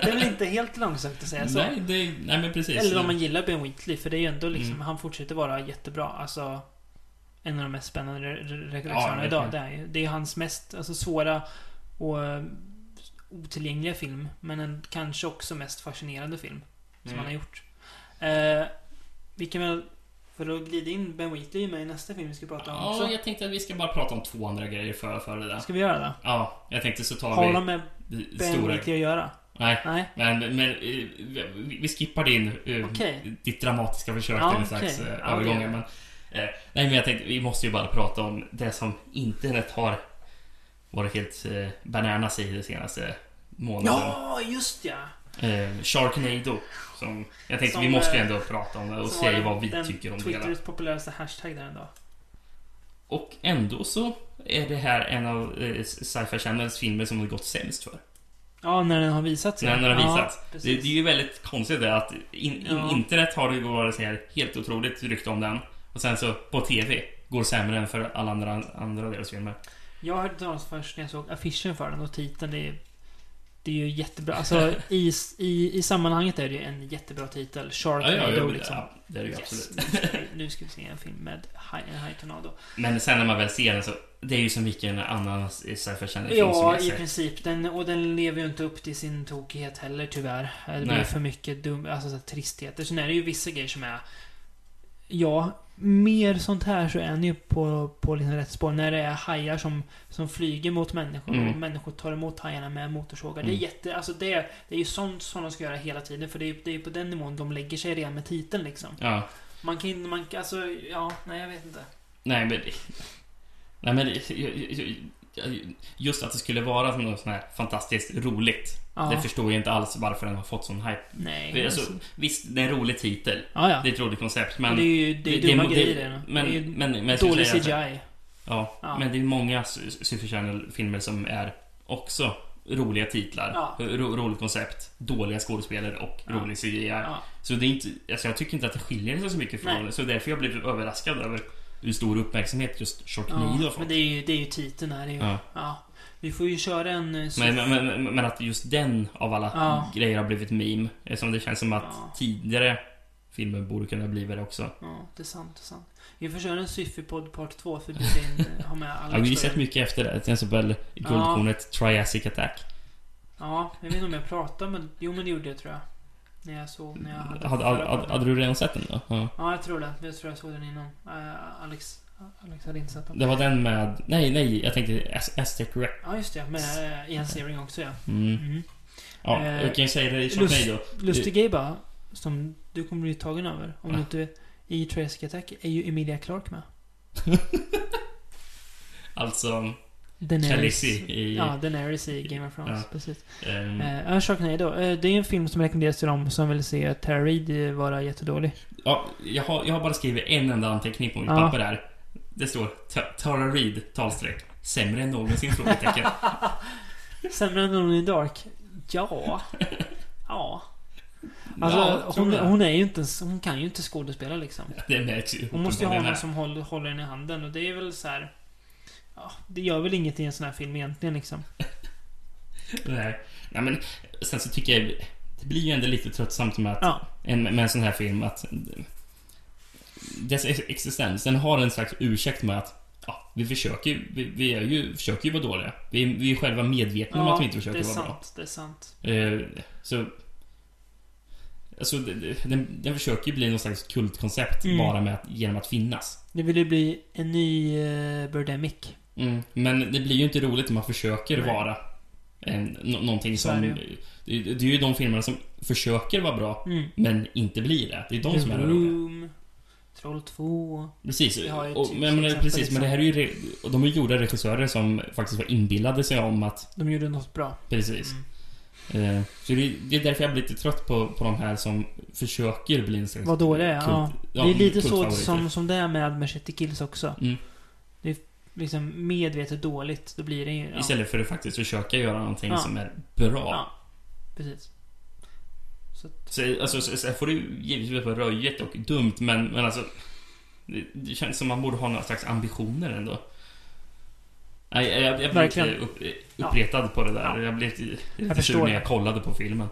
S3: det är väl inte helt långsökt att säga så?
S4: Nej, det, nej, men precis.
S3: Eller om man gillar Ben Wheatley, för det är ju ändå liksom,
S4: Mm.
S3: han fortsätter vara jättebra. Alltså, en av de mest spännande re- re-
S4: Ja,
S3: regissörerna
S4: verkligen.
S3: idag. Det är, ju- det är hans mest alltså, svåra och eh, otillgängliga film, men en kanske också mest fascinerande film som
S4: Mm.
S3: han har gjort. Eh, vi kan väl, för att glida in Ben Wheatley med i nästa film vi ska prata om
S4: Ja,
S3: också.
S4: jag tänkte att vi ska bara prata om två andra grejer för, för det där.
S3: Ska vi göra det?
S4: Ja, jag tänkte så tar
S3: Har de
S4: vi
S3: med
S4: det
S3: Ben
S4: stora...
S3: Wheatley att göra?
S4: Nej,
S3: Nej?
S4: men, men eh, vi vi skippar din, eh,
S3: Okej.
S4: ditt dramatiska försök
S3: Ja,
S4: till en slags
S3: okej.
S4: okay.
S3: Ja,
S4: övergång.
S3: det-
S4: Men, eh, nej, men jag tänkte vi måste ju bara prata om det som internet har varit helt eh, bananas i de senaste månaderna.
S3: Ja, just ja!
S4: Eh, Sharknado. Som, jag tänkte
S3: Som,
S4: vi måste ju
S3: eh,
S4: ändå prata om det och
S3: Som var
S4: se
S3: den-
S4: vad vi
S3: den
S4: tycker om det hela.
S3: Twitters populäraste hashtag där en dag.
S4: Och ändå så är det här en av eh, Sci-Fi Channels filmer som det gått sämst för.
S3: Ja, när den har visats. ja.
S4: När den har
S3: Ja,
S4: visats. Det, det
S3: precis.
S4: är ju väldigt konstigt det att in, in,
S3: Ja.
S4: internet har det ju varit så här helt otroligt rykte om den. Och sen så på TV går sämre än för alla andra, andra deras filmer.
S3: Jag hörde talas först när jag såg affischen för den och titeln. Det är, det är ju jättebra. Alltså, i, i, i sammanhanget är det ju en jättebra titel. Sharknado liksom.
S4: ja, det är det ju
S3: yes,
S4: absolut.
S3: nu ska, vi, nu ska vi se en film med haj- en hajtornado.
S4: Men sen när man väl ser den så, det är ju som vilken annan sci-fi channel film som
S3: Ja,
S4: jag
S3: i
S4: sett.
S3: princip. Den, och den lever ju inte upp till sin tokighet heller, tyvärr. Det blir
S4: Nej.
S3: för mycket dum, alltså, så här, tristheter. Sen är det ju vissa grejer som är... Ja, mer sånt här så är ni ju på, på liksom rätt spår. När det är hajar som, som flyger mot människor
S4: Mm.
S3: och människor tar emot hajarna med motorsågar. Det är
S4: Mm.
S3: jätte... Alltså det, är- det är ju sånt som de ska göra hela tiden. För det är ju det är ju på den nivån de lägger sig redan med titeln liksom.
S4: Ja.
S3: Man kan inte... Man, kan- alltså, ja, nej jag vet inte.
S4: Nej men... Nej men... Just att det skulle vara något sånt här fantastiskt roligt.
S3: Ja.
S4: Det förstår jag inte alls varför den har fått sån hype.
S3: Nej.
S4: Det är Alltså, visst, det är en rolig titel.
S3: ja, ja.
S4: Det är ett roligt koncept men...
S3: Men det är ju det är
S4: det-
S3: dumma
S4: det-
S3: grejer det, då.
S4: men-
S3: det är ju
S4: men- men jag skulle
S3: dålig
S4: säga att-
S3: CGI.
S4: Ja,
S3: Ja.
S4: men det är många Super Channel-filmer som är också roliga titlar,
S3: Ja.
S4: ro, roligt koncept, dåliga skådespelare och
S3: Ja.
S4: rolig CGI.
S3: Ja.
S4: Så det är inte, alltså jag tycker inte att det skiljer sig så mycket från
S3: Nej.
S4: det. Så därför jag blev överraskad över hur stor uppmärksamhet just Sharknado
S3: Ja,
S4: har fått.
S3: men det är ju, det är ju titeln här. Det är ju,
S4: Ja.
S3: ja. Vi får ju köra en... eh,
S4: Men, men, men, men att just den av alla
S3: Ja.
S4: grejer har blivit meme. Eftersom det känns som att
S3: Ja.
S4: tidigare filmer borde kunna bli det också.
S3: Ja, det är sant. Det är sant. Vi får köra en Syfy-podd part 2 för att bjuda in, eh, ha med Alex.
S4: Ja, vi
S3: då.
S4: har ju sett mycket efter det. Till exempel Guldkornet Triassic Attack.
S3: Ja, jag vet inte om jag pratade men Jo, men det gjorde jag tror jag. När jag såg, när jag hade...
S4: Hade, hade, hade, hade du redan sett den då? Ja.
S3: Ja, jag tror det. Jag tror jag såg den innan. Eh, Alex, Alex hade inte sett den.
S4: Det var den med... Nej, nej, jag tänkte Az- Aztec Rep.
S3: Ja, just det. Med eh, Ian Searing också ja.
S4: Mm.
S3: Mm.
S4: Ja,
S3: Eh,
S4: jag kan ju säga det i
S3: lust-
S4: Sharknado.
S3: Lustig grej bara, som du kommer bli tagen över. Om
S4: Ja.
S3: du inte vet, I Trask Attack är ju Emilia Clark med.
S4: Alltså...
S3: Daenerys.
S4: Khaleesi i...
S3: Ja, Daenerys i Game of Thrones.
S4: Ja.
S3: Precis.
S4: ehm,
S3: Eh, Ja, Sharknado. Eh, Det är en film som rekommenderas till dem som vill se Tara Reid eh, vara jättedålig.
S4: ja, jag, har, jag har bara skrivit en enda anteckning på mitt
S3: Ja.
S4: papper där. Det står Ta- Tara Reid, talstreck. Sämre än någonsin? Frågetecken.
S3: Sämre än hon i Dark? Ja. Ja. Alltså,
S4: Ja, jag tror
S3: hon,
S4: det.
S3: hon är ju inte ens, Hon kan ju inte skådespela liksom.
S4: Det märks ju.
S3: Hon måste ju ha
S4: uppenbarligen
S3: någon
S4: här.
S3: som håller, håller henne i handen och det är väl så här. Ja, det gör väl inget i en sån här film egentligen liksom.
S4: Nej. Nej, men sen så tycker jag... Det blir ju ändå lite tröttsamt med, att,
S3: Ja.
S4: en, med en sån här film att... eh, Dess ex- existens, den har en slags ursäkt med att ja, vi försöker ju, vi, vi är ju, försöker ju vara dåliga. Vi, är- vi är ju själva medvetna om
S3: Ja,
S4: att vi inte
S3: det
S4: försöker
S3: är
S4: vara bra.
S3: sant. Det är sant.
S4: Eh, så... Alltså, det- det- den, den försöker ju bli någon slags kultkoncept
S3: Mm.
S4: bara med att, genom att finnas.
S3: Det vill ju bli en ny uh, Birdemic.
S4: Mm. Men det blir ju inte roligt om man försöker
S3: Nej.
S4: vara en, nå- någonting
S3: Så är
S4: som...
S3: det
S4: Det, det är ju de filmerna som försöker vara bra,
S3: Mm.
S4: men inte blir det. Det är de
S3: The
S4: som är roliga.
S3: Room. Troll 2.
S4: Precis.
S3: Vi har ju ett
S4: Och, men, men,
S3: exempel,
S4: precis
S3: liksom.
S4: men det här är ju... re- Och de är gjorda av regissörer som faktiskt var inbillade sig om att...
S3: De gjorde något bra.
S4: Precis.
S3: Mm.
S4: Eh, Så det är, det är därför jag blir lite trött på, på de här som försöker bli en slags...
S3: Vad dåliga är, ja. Det är lite så
S4: kultfavoriter.
S3: som, som det är med Machete Kills också.
S4: Mm.
S3: Det är liksom medvetet dåligt. Då blir det ju... Ja,
S4: Istället för att faktiskt försöka göra någonting
S3: Ja.
S4: som är bra.
S3: Ja. precis. Så att,
S4: Så, alltså, så, så får det ju givetvis vara röjet och dumt, men, men alltså... Det, det känns som man borde ha några slags ambitioner ändå. Nej, jag, jag, jag blir lite
S3: Verkligen.
S4: upp, uppretad på det där.
S3: Ja.
S4: Jag blev lite, lite
S3: förstår
S4: sur när
S3: det.
S4: jag kollade på filmen.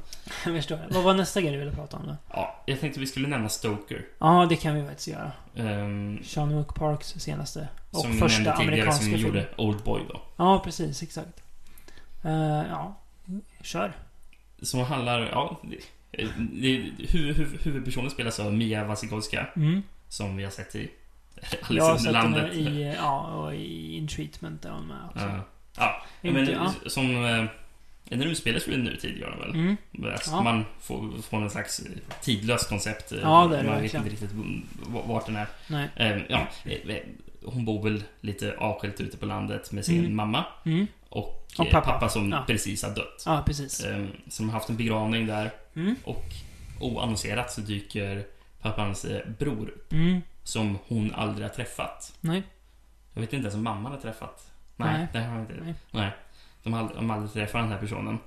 S3: jag förstår. Vad var nästa grej du ville prata om då?
S4: Ja, jag tänkte vi skulle nämna Stoker.
S3: Ja, det kan vi faktiskt göra.
S4: ehm,
S3: Sean Wook Parks senaste. Och
S4: som vi
S3: första
S4: nämnde tidigare som
S3: amerikanska film.
S4: gjorde Oldboy då.
S3: Ja, precis. Exakt. Eh, ja. Kör.
S4: Som handlar, ja... Det, det, huvud, huvud, huvudpersonen spelas av Mia Wasikowska.
S3: Mm.
S4: Som vi har sett i
S3: Jag
S4: Liksom
S3: har sett den
S4: Alexanderlandet.
S3: här i... eh, Ja, och i In Treatment där hon med också.
S4: Ja. Ja, men
S3: Mm. Inte- ja.
S4: som... eh, En rumspelare skulle nutid göra väl?
S3: Mm.
S4: Alltså,
S3: Ja.
S4: Man får, får en slags eh, tidlöst koncept. eh,
S3: Ja, det är det
S4: Man vet
S3: verkligen.
S4: inte riktigt v- vart den är.
S3: Nej.
S4: Eh, Ja, eh, eh, hon bor väl lite avskilt ute på landet med sin
S3: Mm.
S4: mamma
S3: Mm.
S4: och,
S3: Och
S4: eh,
S3: pappa.
S4: som
S3: Ja.
S4: precis har dött.
S3: Ja, precis.
S4: Eh, Som har haft en begravning där
S3: Mm.
S4: och oannonserat så dyker pappans eh, bror
S3: Mm.
S4: som hon aldrig har träffat.
S3: Nej.
S4: Jag vet inte ens om mamman har träffat. Nej,
S3: Nej.
S4: det har jag inte. Nej.
S3: Nej.
S4: De har aldrig, de har aldrig träffat den här personen.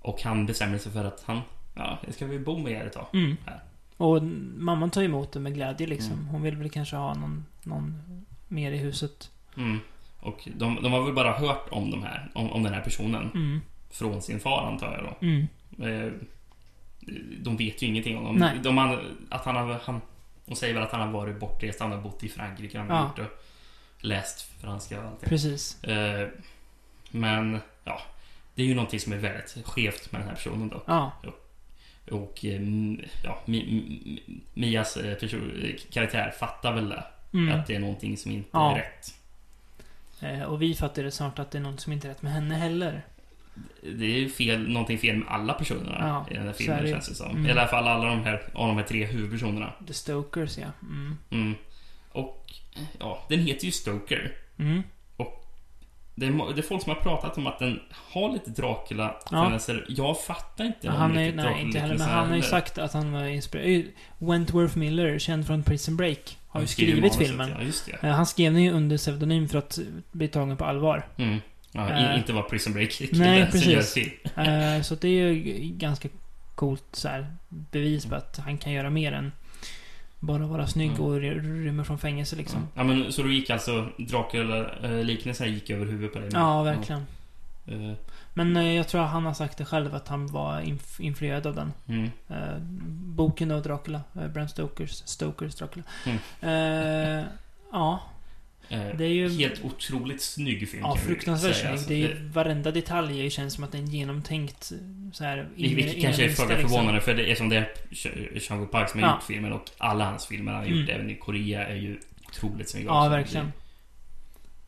S4: Och han bestämmer sig för att han, ja, jag ska väl bo med er ett tag.
S3: Mm.
S4: Här.
S3: Och mamman tar emot det med glädje liksom.
S4: Mm.
S3: Hon vill väl kanske ha någon, någon mer i huset.
S4: Mm. Och de, de har väl bara hört om, de här, om, om den här personen
S3: Mm.
S4: från sin far antar jag då.
S3: Mm.
S4: Eh, De vet ju ingenting om honom.
S3: Nej.
S4: De, har- att han har, han, de säger väl att han har varit bortrest, han har bott i Frankrike, han har
S3: Ja.
S4: gjort och läst franska och allt det.
S3: Precis.
S4: Eh, Men, ja. Det är ju någonting som är väldigt skevt med den här personen då.
S3: Ja.
S4: Och eh, m- ja, Mi- Mi- Mi- Mias eh, perso- eh, karaktär fattar väl det.
S3: Mm.
S4: Att det är någonting som inte
S3: Ja.
S4: är rätt.
S3: Eh, och vi fattar det snart att det är något som inte är rätt med henne heller.
S4: Det är ju fel, någonting fel med alla personerna
S3: Ja,
S4: i den här
S3: så är
S4: filmen
S3: det ju.
S4: känns det som.
S3: Mm.
S4: Eller i alla fall alla de här, av de här tre huvudpersonerna.
S3: The Stokers ja. Mm.
S4: Mm. Och eh, ja, den heter ju Stoker.
S3: Mm.
S4: Det är, må- det är folk som har pratat om att den har lite Dracula-tendenser. Jag fattar inte
S3: Han
S4: de
S3: är,
S4: riktigt
S3: nej, inte heller, men
S4: Dracula-liknelserna
S3: han har ju
S4: heller.
S3: sagt att han var inspirerad. Eh, Wentworth Miller, känd från Prison Break, har ju
S4: Han skriver
S3: skrivit
S4: manuset,
S3: filmen.
S4: Ja, just det.
S3: Eh, Han skrev den ju under pseudonym för att bli tagen på allvar.
S4: Mm. Ja, i-
S3: Eh.
S4: inte vara Prison Break
S3: Nej,
S4: som gör
S3: precis.
S4: film.
S3: Eh, så det är ju g- ganska coolt så här, bevis på att han kan göra mer än bara vara snygg
S4: Mm.
S3: och ry- rymmer från fängelse liksom.
S4: Ja, men så då gick alltså Dracula-liknelsen gick över huvudet på dig?
S3: Ja, verkligen.
S4: Ja. Eh,
S3: Men eh, jag tror han har sagt det själv att han var inf- influerad av den.
S4: Mm.
S3: Eh, boken av Dracula. Eh, Bram Stokers, Stokers Dracula.
S4: Mm.
S3: Eh, ja,
S4: Eh,
S3: det är ju...
S4: Helt otroligt snygg film
S3: Ja,
S4: kan vi
S3: fruktansvärt
S4: säga.
S3: snygg.
S4: Alltså,
S3: Det är ju, varenda detalj är ju- känns som att den är genomtänkt eh, så här,
S4: det- vilket
S3: inre-
S4: kanske är
S3: innersta,
S4: föga
S3: liksom.
S4: förvånande för det är som det är Jean Park som har
S3: Ja.
S4: gjort filmen och alla hans filmer han har gjort,
S3: Mm.
S4: även i Korea, är ju otroligt snygga.
S3: Ja,
S4: också.
S3: verkligen.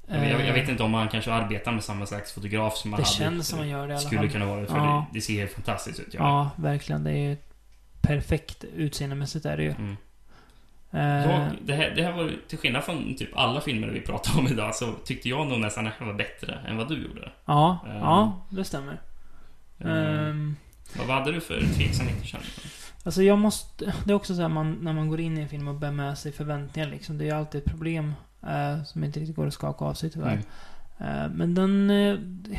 S4: Jag, jag, jag
S3: Eh,
S4: vet inte om han kanske arbetar med samma slags fotograf som han
S3: Det
S4: hade.
S3: känns som man gör det i alla
S4: Skulle
S3: fall.
S4: kunna vara det, för
S3: Ja.
S4: det, det ser helt fantastiskt ut. Ja.
S3: Ja, verkligen. Det är ju perfekt utseendemässigt är det ju.
S4: Mm.
S3: Eh,
S4: Jag, det, här, det här var till skillnad från typ alla filmer vi pratade om idag så tyckte jag nog nästan att det här var bättre än vad du gjorde.
S3: ja,
S4: Ehm.
S3: ja, det stämmer.
S4: Ehm,
S3: Ehm,
S4: vad, vad hade du för tveksamheter kände du?
S3: Alltså jag måste... Det är också så här man, när man går in i en film och bär med sig förväntningar liksom. Det är ju alltid ett problem eh, som inte riktigt går att skaka av sig tyvärr.
S4: Mm.
S3: Eh, men den... eh,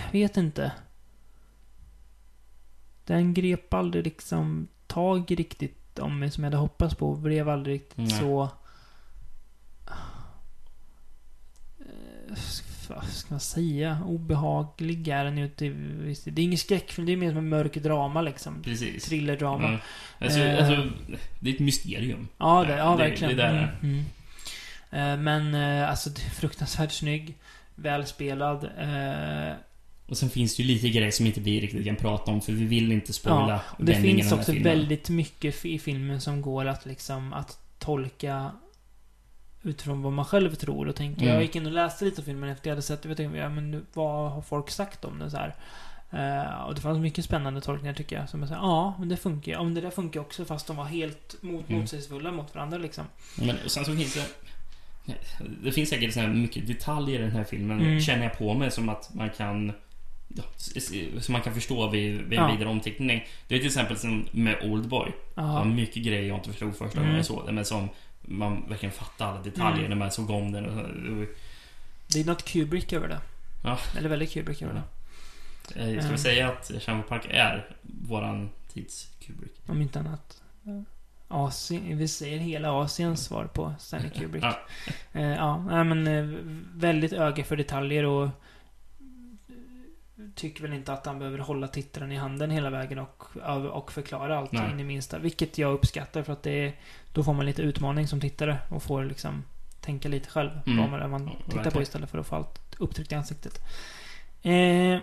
S3: jag vet inte. Den grep aldrig liksom tag riktigt om mig som jag hade hoppats på. Blev aldrig riktigt
S4: Nej.
S3: så... Eh, Vad ska man säga? Obehaglig är den ju inte. visst. Det är ingen skräckfilm. Det är mer som en mörk drama liksom.
S4: Precis.
S3: Thrillerdrama.
S4: Mm. Alltså,
S3: Ehm.
S4: alltså, det är ett mysterium.
S3: Ja, det, ja
S4: Det- det
S3: verkligen.
S4: där är.
S3: Mm, mm. Eh, Men eh, alltså, det är fruktansvärt snygg. Välspelad. eh,
S4: Och sen finns det ju lite grejer som inte vi riktigt kan prata om för vi vill inte spoila
S3: och Det
S4: vändningen
S3: finns
S4: av den här
S3: också
S4: filmen.
S3: väldigt mycket f- i filmen som går att liksom att tolka utifrån vad man själv tror och tänker.
S4: Mm.
S3: Jag gick in och läste lite om filmen efter jag hade sett det. Jag tänkte, ja, men nu, vad har folk sagt om den så här? Eh, och det fanns mycket spännande tolkningar tycker jag. Som jag sa, ja, men det funkar ju. Ja, men det där funkar ju också fast de var helt mot,
S4: Mm.
S3: motsägelsefulla mot varandra liksom.
S4: Men och sen så finns det... Det finns säkert så här mycket detaljer i den här filmen,
S3: Mm.
S4: känner jag på mig, som att man kan... ja, s- s- Som man kan förstå vid, vid en
S3: Ja.
S4: vidare omteckning. Det är till exempel som med Oldboy. Det var
S3: Ja,
S4: mycket grejer jag inte förstod första gången
S3: Mm.
S4: jag såg den, men som man verkligen fattade alla detaljer
S3: Mm.
S4: när man såg om den. och- eh, och-
S3: det är något Kubrick över det.
S4: Ja.
S3: Eller väldigt Kubrick över det.
S4: eh, Ska
S3: Mm.
S4: vi säga att Shamrock Park är våran tids Kubrick?
S3: Om inte annat. Asien, vi säger hela Asiens svar på Stanley Kubrick.
S4: Ja.
S3: Eh, ja, nej, men eh, väldigt öga för detaljer och tycker väl inte att han behöver hålla tittaren i handen hela vägen och, och förklara allt
S4: Nej.
S3: in i minsta. Vilket jag uppskattar för att det är, då får man lite utmaning som tittare och får liksom tänka lite själv
S4: Mm.
S3: vad man, vad man
S4: Ja,
S3: tittar på
S4: verkligen.
S3: istället för att få allt upptryckt i ansiktet. Eh,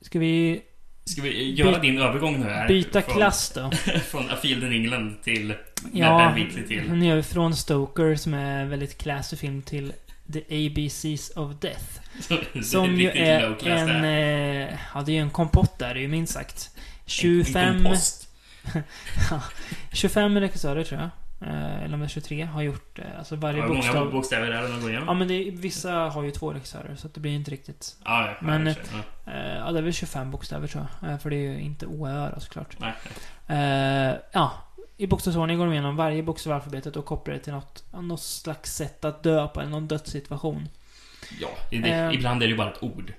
S3: ska vi
S4: Ska vi göra din övergång nu här?
S3: byta
S4: Från-
S3: klass då?
S4: Från A Field in England till
S3: Ja,
S4: Ben Wheatley till.
S3: nu är vi från Stoker som är en väldigt classy film till The ABCs of Death. Som ju
S4: riktigt
S3: är
S4: low-class
S3: en...
S4: det här.
S3: eh, Ja, det är ju en kompott där, det är ju minst sagt. 25,
S4: kompost.
S3: 25 regissörer tror jag. Eh, Eller om det är 23 har gjort, eh, alltså varje
S4: Hur många
S3: bokstav.
S4: bokstäver är det de går igenom?
S3: Ja men det, är- vissa har ju två regissörer så att det blir inte riktigt.
S4: Ah, Ja, ja,
S3: men-
S4: ja, ja.
S3: eh, Ja det är väl 25 bokstäver tror jag. Eh, För det är ju inte OÖ då såklart.
S4: Nej.
S3: Eh, ja, i bokstavsordning går de igenom varje bokstav i alfabetet och kopplar det till något, något slags sätt att dö på, eller någon dödssituation.
S4: ja det, det,
S3: Eh.
S4: ibland är det ju bara ett ord.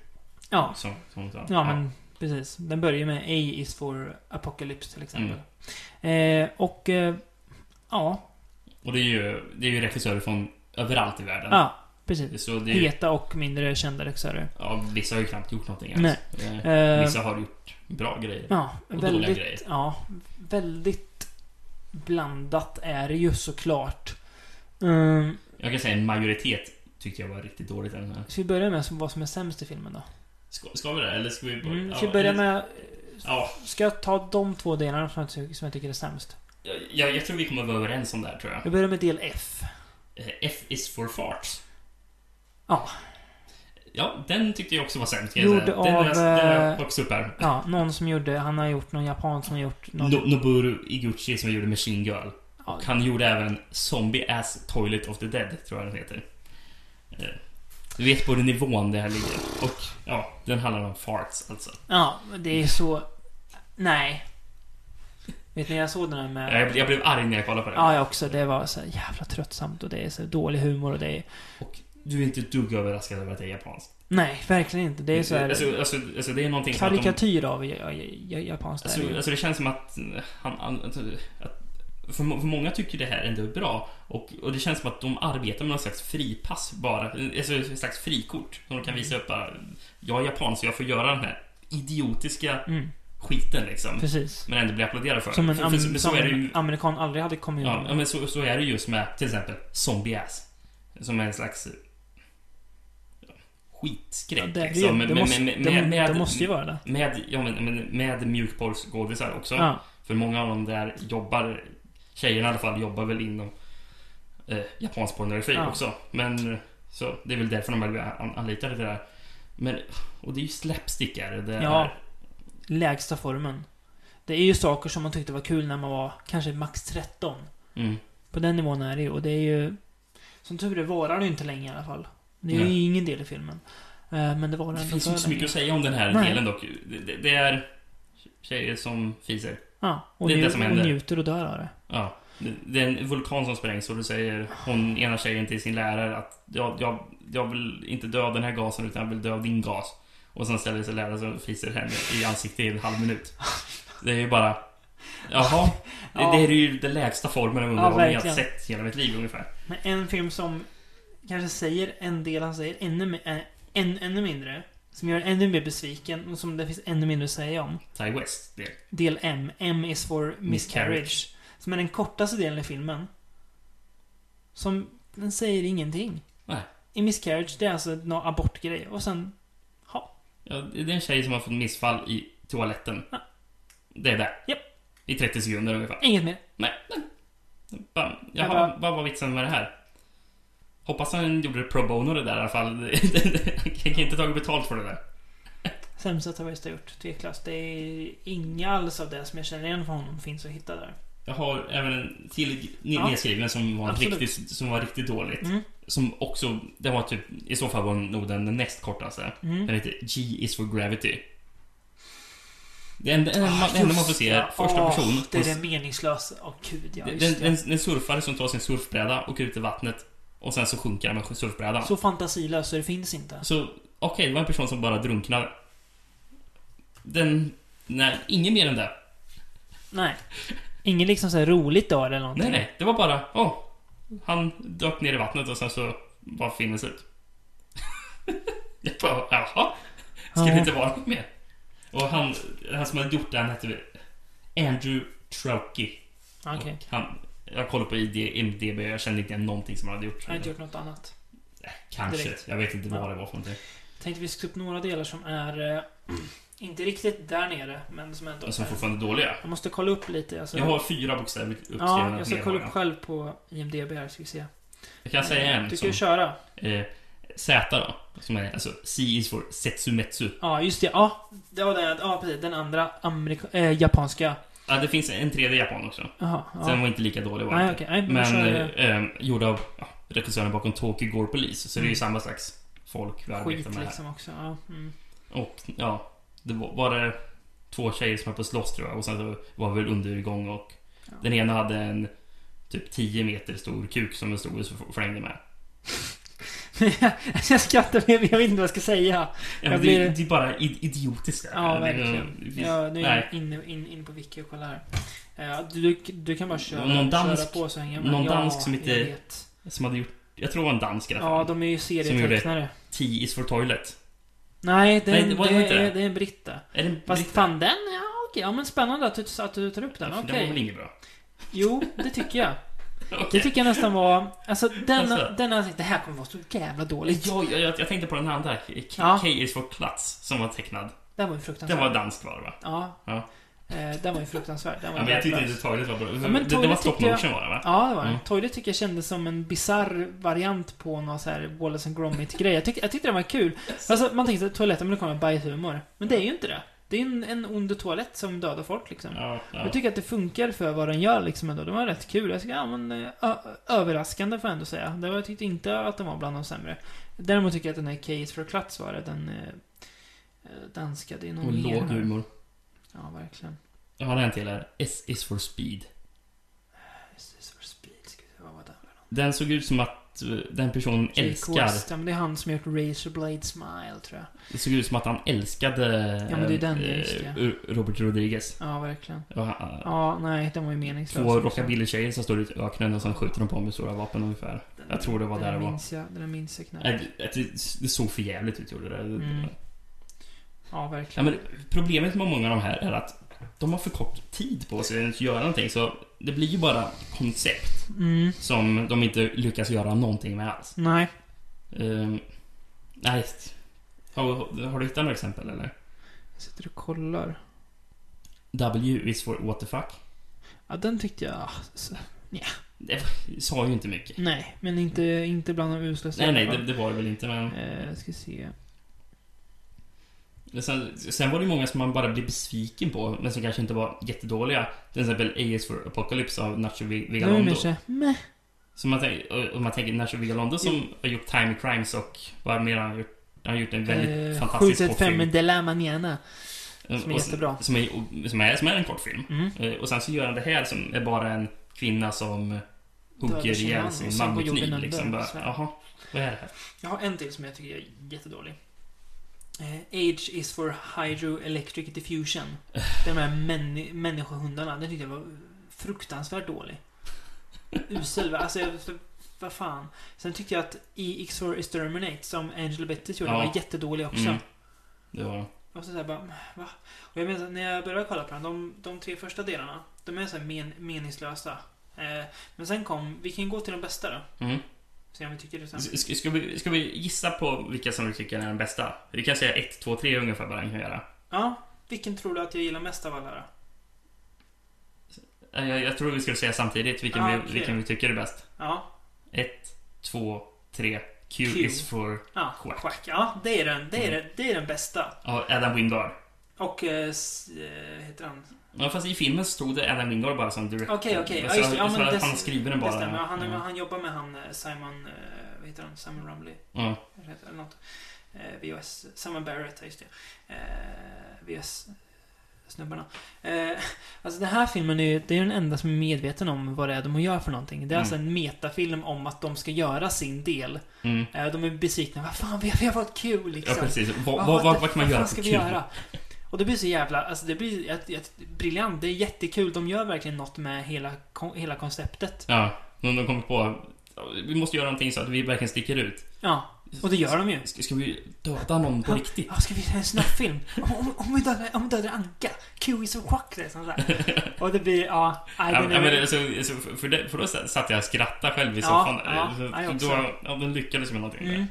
S3: Ja,
S4: Som, som, som,
S3: ja men precis. Den börjar med A is for apocalypse till exempel.
S4: Mm.
S3: Eh, och, eh, ja,
S4: Och det är ju, det är ju regissörer från överallt i världen.
S3: ja, precis.
S4: Så det är ju,
S3: Heta och mindre kända regissörer.
S4: ja, vissa har ju knappt gjort någonting
S3: Nej.
S4: ens. Eh,
S3: Eh,
S4: Vissa har gjort bra grejer.
S3: ja,
S4: och dåliga
S3: väldigt,
S4: grejer.
S3: ja, väldigt blandat är det ju såklart. Um,
S4: Jag kan säga en majoritet tyckte jag var riktigt dåligt i den här.
S3: ska vi börja med vad som är sämst i filmen då?
S4: Ska, ska vi det? Eller ska vi bara...
S3: Mm,
S4: ja,
S3: ska vi börja
S4: eller-
S3: med
S4: Ja,
S3: Ska jag ta de två delarna som jag, ty- som jag tycker är sämst?
S4: jag, jag tror vi kommer vara överens om det här tror jag.
S3: Jag börjar med del F.
S4: Eh, F is for farts.
S3: Ja.
S4: Ja, den tyckte jag också var sämst. kan jag
S3: Gjord
S4: säga. Den har jag-
S3: av,
S4: Den har jag
S3: eh,
S4: också upp här.
S3: Ja, någon som gjorde, han har gjort, någon japan som har gjort någon...
S4: No, Noburu Iguchi som gjorde Machine Girl.
S3: Ja,
S4: Han gjorde även Zombie Ass Toilet of the Dead, tror jag den heter. Eh, Du vet både nivån det här ligger. Och ja, den handlar om farts alltså.
S3: ja, det är så... Nej. Vet ni, jag såg den här med...
S4: Jag, jag blev arg när jag kollade på den.
S3: Ja, jag också. Det var så jävla tröttsamt och det är så dålig humor och det är...
S4: Och du är inte ett dugg överraskad över att det är japanskt.
S3: Nej, verkligen inte. Det är så här...
S4: alltså, alltså, alltså, det är någonting som att de-
S3: karikatyr av ja, ja, ja, japanskt är det
S4: Alltså,
S3: ju.
S4: alltså det känns som att han... han alltså, att, för, må- för många tycker det här ändå är bra och, och det känns som att de arbetar med någon slags fripass bara. Alltså ett slags frikort som de kan visa upp bara. Jag är japan så jag får göra den här idiotiska
S3: Mm,
S4: skiten liksom.
S3: precis.
S4: Men ändå bli applåderad för.
S3: Som en,
S4: för, för,
S3: am-
S4: så, så
S3: som
S4: är det
S3: en
S4: ju,
S3: amerikan aldrig hade kommit
S4: ja,
S3: undan
S4: ja, men så, så är det just med till exempel Zombie Ass. Som är en slags ja,
S3: Ja,
S4: skitskräck.
S3: det, det,
S4: liksom.
S3: det,
S4: Med-
S3: måste,
S4: med-
S3: det,
S4: med- med-
S3: det måste ju vara det.
S4: Med, ja, men, men med mjukporrsgodisar också.
S3: Ja.
S4: För många av dem där jobbar, tjejerna i alla fall, jobbar väl inom eh, japansk pornografi
S3: Ja.
S4: också. Men så, det är väl därför de väl an- anlitar det där. Men, och det är ju slapstickare. Det
S3: Ja.
S4: är,
S3: Lägsta formen. Det är ju saker som man tyckte var kul när man var kanske max 13.
S4: mm,
S3: På den nivån är det ju. Och det är ju... Som tur är varar det ju inte länge i alla fall. Det är ju
S4: Nej.
S3: ingen del i filmen. Eh, Men det varar
S4: det
S3: inte
S4: finns ju
S3: för
S4: inte så
S3: länge.
S4: mycket att säga om den här
S3: Nej.
S4: delen dock. Det, det, det är tjejer som fiser.
S3: Ja, och,
S4: Det är det
S3: nju-
S4: som
S3: och
S4: händer.
S3: njuter och dör av det.
S4: Ja. Det, det är en vulkan som sprängs och du säger, hon ena tjejen till sin lärare att jag, jag, jag vill inte dö av den här gasen utan jag vill dö av din gas. Och sen ställer sig läraren och fiser henne i ansiktet i en halv minut. Det är ju bara... Jaha. Det,
S3: Ja.
S4: det är ju den lägsta formen av underhållning jag har
S3: verkligen.
S4: sett hela mitt liv ungefär.
S3: Men en film som kanske säger en del han säger ännu, mi- äh, än, ännu mindre. Som gör en ännu mer besviken och som det finns ännu mindre att säga om.
S4: Ty West. Det.
S3: Del M. M is for
S4: Miscarriage.
S3: miscarriage. Som är den kortaste delen i filmen. Som, den säger ingenting.
S4: Nej.
S3: I miscarriage, det är alltså någon abortgrej. Och sen, ja.
S4: Ja, det är en tjej som har fått missfall i toaletten.
S3: Ja.
S4: Det är där.
S3: Japp.
S4: I 30 sekunder ungefär.
S3: Inget mer.
S4: Nej, nej. Bara,
S3: Jag
S4: jaha,
S3: bara-
S4: vad var vitsen med det här? Hoppas han gjorde det pro bono det där i alla fall. Han kan inte tagit betalt för det där.
S3: Sämsta Tavares har gjort, tveklöst. Det är inga alls av det som jag känner igen från honom finns att hitta där.
S4: Jag har även en till ne-
S3: Ja.
S4: nedskriven som var,
S3: Absolut.
S4: riktigt, som var riktigt dåligt.
S3: Mm.
S4: Som också, det var typ, i så fall var nog den näst kortaste.
S3: Mm.
S4: Den heter G is for gravity. Det enda, enda,
S3: Ah,
S4: det enda man
S3: just
S4: får se
S3: det.
S4: är första
S3: Åh,
S4: person.
S3: Det är
S4: hon-
S3: det meningslösa. Åh gud ja.
S4: den,
S3: just
S4: den,
S3: det.
S4: den, den surfare som tar sin surfbräda, och åker ut i vattnet och sen så sjunker han med surfbrädan.
S3: Så fantasilös så det finns inte.
S4: Så Alltså, okej, det var en person som bara drunknade. Den... Nej, ingen mer än det.
S3: Nej. Inget liksom så här roligt då eller någonting.
S4: Nej, nej. Det var bara, åh. han dök ner i vattnet och sen så var filmen slut. Jag bara, jaha? Ska det inte vara något mer? Och han, han som hade gjort det, han hette Andrew Trauki.
S3: Okej.
S4: Och Han, jag kollade på ID, IMDB jag kände inte igen någonting som han hade gjort.
S3: Jag har inte gjort något annat.
S4: Kanske.
S3: direkt.
S4: Jag vet inte vad det var för någonting.
S3: Tänkte vi skulle upp några delar som är... Eh, inte riktigt där nere, men som ändå...
S4: Och som
S3: är.
S4: fortfarande är dåliga.
S3: Jag måste kolla upp lite. Alltså,
S4: Jag har fyra bokstäver uppskrivna.
S3: ja, jag ska
S4: ner
S3: kolla
S4: bara.
S3: upp själv på IMDB här, ska vi se.
S4: Jag kan säga en
S3: Du ska
S4: som...
S3: ju köra.
S4: eh, Z då, som är alltså C is for Setsumetsu.
S3: Ja, just det. Ja, det var den, ja precis. Den andra amerika, eh, japanska.
S4: Ja, det finns en tredje japan också.
S3: Jaha.
S4: Den
S3: Ja.
S4: var inte lika dålig var den
S3: Nej,
S4: inte.
S3: okej. Nej, men,
S4: Men
S3: kör,
S4: eh,
S3: eh,
S4: eh, gjord av ja, regissören bakom Tokyo Gore Police, så det är ju
S3: Mm.
S4: samma slags folk vi arbetar
S3: skit
S4: med här.
S3: liksom också. Ja, mm.
S4: Och ja, det var, var det två tjejer som höll på att slåss tror jag och sen så var det väl undergång och
S3: Ja.
S4: den ena hade en typ 10 meter stor kuk som den stod och flängde med.
S3: jag skrattar, men jag vet inte vad jag ska säga.
S4: Ja,
S3: Jag
S4: men
S3: blir-
S4: det, det är bara id- idiotiskt. det här.
S3: Ja,
S4: Det är-
S3: verkligen.
S4: det-
S3: Ja, nu är
S4: nej.
S3: jag inne in, in på Wiki och kollar här. Eh, Du, du kan bara köra,
S4: Någon dansk-
S3: köra på så hänger jag med.
S4: någon
S3: ja,
S4: dansk som inte-
S3: jag vet.
S4: Som hade gjort, jag tror det var en dansk i alla fall.
S3: Ja, de är ju serietecknare.
S4: T is for toilet.
S3: Nej, det är,
S4: Nej, det
S3: en-
S4: var
S3: det,
S4: inte det.
S3: är, det är en britta.
S4: Är det en
S3: Fast
S4: britt?
S3: fan den, ja okej. Ja men spännande att du, att du tar upp den.
S4: Ja, för
S3: Okej.
S4: Det var väl inget bra?
S3: Jo, det tycker jag. Det
S4: Okej.
S3: tycker jag nästan var... Alltså denna...
S4: Alltså.
S3: denna det här kommer vara så jävla dåligt.
S4: Ja, jag, jag, jag tänkte på den här andra. K,
S3: Ja. Alltså.
S4: K is for klats, som var tecknad.
S3: Det här var ju
S4: Den
S3: fruktansvärt.
S4: var dansk var det va?
S3: Ja.
S4: Ja.
S3: Eh, den var ju fruktansvärd. Den var
S4: Ja, men jag tyckte
S3: värdelös.
S4: inte taget var bra.
S3: men
S4: det, det var
S3: Toilet
S4: stop
S3: tyckte jag-
S4: motion var det va?
S3: Ja, det var det.
S4: Mm.
S3: Toilet tycker jag kändes som en bizarr variant på någon så här Wallace and Gromit-grej. Jag, tyck, jag tyckte den var kul. Alltså, man tänkte att toaletten, men det kommer bajshumor. Men det är ju inte det. Det är en, en ond toalett som dödar folk liksom.
S4: Ja, ja.
S3: Jag tycker att det funkar för vad den gör liksom ändå. Den var rätt kul. Jag tycker, ja, men, eh, ö- överraskande får jag ändå säga. Det var, jag tyckte inte att den var bland de sämre. Däremot tycker jag att den här Case for Klats var det. Den eh, eh, danska. Det är någon
S4: Och
S3: mer
S4: låg
S3: här.
S4: humor.
S3: Ja, verkligen.
S4: Jag har en till här. S is for speed.
S3: This is for speed. Ska vi se, Vad var det?
S4: Den såg ut som att att eh, den personen
S3: Jake
S4: älskar...
S3: West. Ja, men det är han som gjort Razorblade Smile, tror jag.
S4: Det såg ut som att han älskade
S3: Ja, men det är den,
S4: eh,
S3: just det.
S4: Ro- Robert Rodriguez.
S3: Ja, verkligen.
S4: Och han,
S3: Ja, nej, den var ju meningslös.
S4: Två
S3: också.
S4: rockabilly-tjejer som står ute i öknen och sen skjuter de på med stora vapen ungefär.
S3: Den-
S4: Jag tror det var
S3: den
S4: där det var.
S3: minns jag, den minns jag knappt.
S4: Nej, Det, det, det såg för jävligt ut gjorde det.
S3: Mm. Ja,
S4: Ja,
S3: verkligen.
S4: men problemet med många av de här är att de har för kort tid på sig att göra någonting så det blir ju bara koncept
S3: Mm.
S4: som de inte lyckas göra någonting med alls.
S3: Nej.
S4: Ehm, nej. Har, har du hittat några exempel eller?
S3: Jag sitter och kollar.
S4: W is for what the fuck.
S3: Ja, den tyckte jag... Så,
S4: Det sa ju inte mycket.
S3: nej, men inte, inte bland de uslaste.
S4: Nej, nej, det, det var det väl inte men...
S3: Eh, ska se.
S4: Men Sen, sen var det ju många som man bara blev besviken på, men som kanske inte var jättedåliga. Till exempel AS for Apocalypse av Nacho Vi-
S3: Den var ju mer
S4: Vigalondo.
S3: såhär, meh.
S4: Så man tänk, om man tänker Nacho Vigalondo som har gjort Time Crimes och vad mer har han gjort? Han har gjort en väldigt
S3: Eh,
S4: fantastisk
S3: 735
S4: kortfilm.
S3: med De La Manana.
S4: Eh,
S3: Som är
S4: och sen-
S3: jättebra.
S4: Som är, och- som, är, som är en kortfilm.
S3: Mm.
S4: Eh, Och sen så gör han det här som är bara en kvinna som
S3: Dödar
S4: hugger
S3: sin man
S4: ihjäl
S3: och
S4: sin
S3: sen
S4: man
S3: går
S4: med kniv.
S3: jorden
S4: Liksom.
S3: under,
S4: Bara,
S3: så här.
S4: Jaha, vad är det här?
S3: Jag har en till som jag tycker är jättedålig. Eh, Age is for Hydroelectric Diffusion. De här män- människohundarna, den tyckte jag var fruktansvärt dålig. Usel, va? Alltså, jag- för- vad fan. Sen tyckte jag att EX for Exterminate, som Angela Bettis gjorde,
S4: Ja.
S3: var jättedålig också.
S4: Mm. Det var...
S3: Och så såhär bara, va? Och jag menar, när jag började kolla på den, de, de tre första delarna, de är såhär men, meningslösa. Eh, men sen kom, vi kan gå till de bästa då.
S4: Mm.
S3: Se om vi tycker det sen.
S4: S- Ska, ska, vi, ska vi gissa på vilka som vi tycker är den bästa? Vi kan säga 1, 2, 3 ungefär vad den kan göra.
S3: Ja, vilken tror du att jag gillar mest av alla då?
S4: Eh, Jag, jag tror vi skulle säga samtidigt vilken,
S3: Ah,
S4: vi,
S3: okej.
S4: vilken vi tycker är bäst.
S3: Ja,
S4: 1, 2, 3. Q,
S3: Q.
S4: is for
S3: ja
S4: Quack.
S3: Quack. Ja, det är den, det är
S4: Mm.
S3: den, det är den bästa.
S4: ja, Adam Wingard.
S3: Och, eh, s- eh, heter han?
S4: Ja, fast i filmen stod det Adam Wingard bara som direkt.
S3: Okej, okej. Ja,
S4: Så-
S3: just det. Ja,
S4: så
S3: men
S4: att
S3: det-
S4: han skriver den
S3: Det
S4: bara. Mm.
S3: stämmer. Ja, Han,
S4: ja.
S3: han jobbar med han eh, Simon, eh, vad heter han? Simon Rumley?
S4: Ja.
S3: Eller heter- eller något. Eh, VOS. Simon Barrett, ja, just det. Eh, VOS. Snubbarna. Eh, alltså den här filmen är ju det är ju den enda som är medveten om vad det är de gör för någonting. Det är
S4: Mm.
S3: alltså en metafilm om att de ska göra sin del.
S4: Mm.
S3: Eh, de är besvikna. Vad fan, vi har, vi har fått kul
S4: ja,
S3: liksom.
S4: precis. Vad,
S3: Ja,
S4: vad, vad,
S3: det-
S4: vad kan man göra
S3: fan
S4: för typ?
S3: ska
S4: kul?
S3: vi göra? Och det blir så jävla, alltså det blir ett, ett, briljant, det är jättekul. De gör verkligen något med hela, kon- hela konceptet.
S4: Ja, men de kommer på... ja, Vi måste göra någonting så att vi verkligen sticker ut.
S3: Ja, och det gör de ju.
S4: Ska, ska vi döda någon på
S3: Ja.
S4: riktigt?
S3: Ja, ska vi göra en snabbfilm? Om, om, om, vi dödar, om vi dödar Anka? Q is a quack, liksom sådär. Och det blir, ja... I
S4: Ja,
S3: don't
S4: ja,
S3: know.
S4: men, alltså, alltså, för- för, det, för då satt jag och skrattade själv i
S3: Ja,
S4: soffan.
S3: ja,
S4: Så-
S3: ja, jag
S4: då,
S3: också.
S4: ja, de lyckades med någonting. där.
S3: Mm.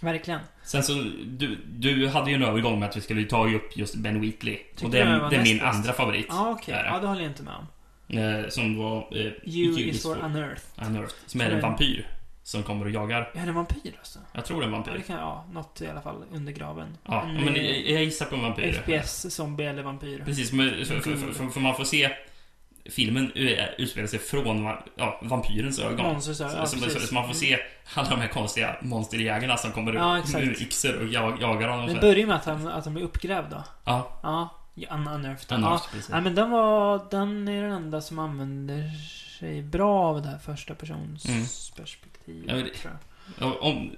S3: Verkligen.
S4: Sen så, du, du hade ju en övergång med att vi skulle ta upp just Ben Wheatley.
S3: Tyckte
S4: och det,
S3: jag var
S4: är- det är
S3: näst
S4: min
S3: bäst.
S4: andra favorit.
S3: Ja, okej.
S4: Där.
S3: Ja, det håller jag inte med om.
S4: Eh, som var... Eh,
S3: You is for unearth.
S4: Unearthed. Som är
S3: Som
S4: en
S3: är-
S4: vampyr. Som kommer och jagar.
S3: Är det en vampyr alltså?
S4: Jag tror det är en
S3: Ja, det
S4: vampyr.
S3: kan, ja, något i alla fall under graven.
S4: Ja,
S3: En,
S4: men
S3: eh,
S4: jag, jag gissar på en vampyr.
S3: FPS, zombie eller vampyr.
S4: Precis, men, för, för, för, för, för man får se... Filmen eh, utspelar sig från va- ja, vampyrens ögon.
S3: Monsters, ja,
S4: Så,
S3: ja,
S4: så, så,
S3: precis.
S4: så man får se alla de här konstiga monsterjägarna som kommer
S3: Ja,
S4: upp
S3: exakt.
S4: med yxor och jag, jagar honom.
S3: Den
S4: så här.
S3: börjar med att han, att han blir uppgrävd då.
S4: Ja,
S3: Ja, ja, un- unearthed.
S4: den
S3: ja.
S4: hörs, precis.
S3: Nej men den var, den är den enda som använder sig bra av det här första persons
S4: Mm.
S3: perspektiv.
S4: Ja, men det-
S3: tror jag.
S4: Ja, Om,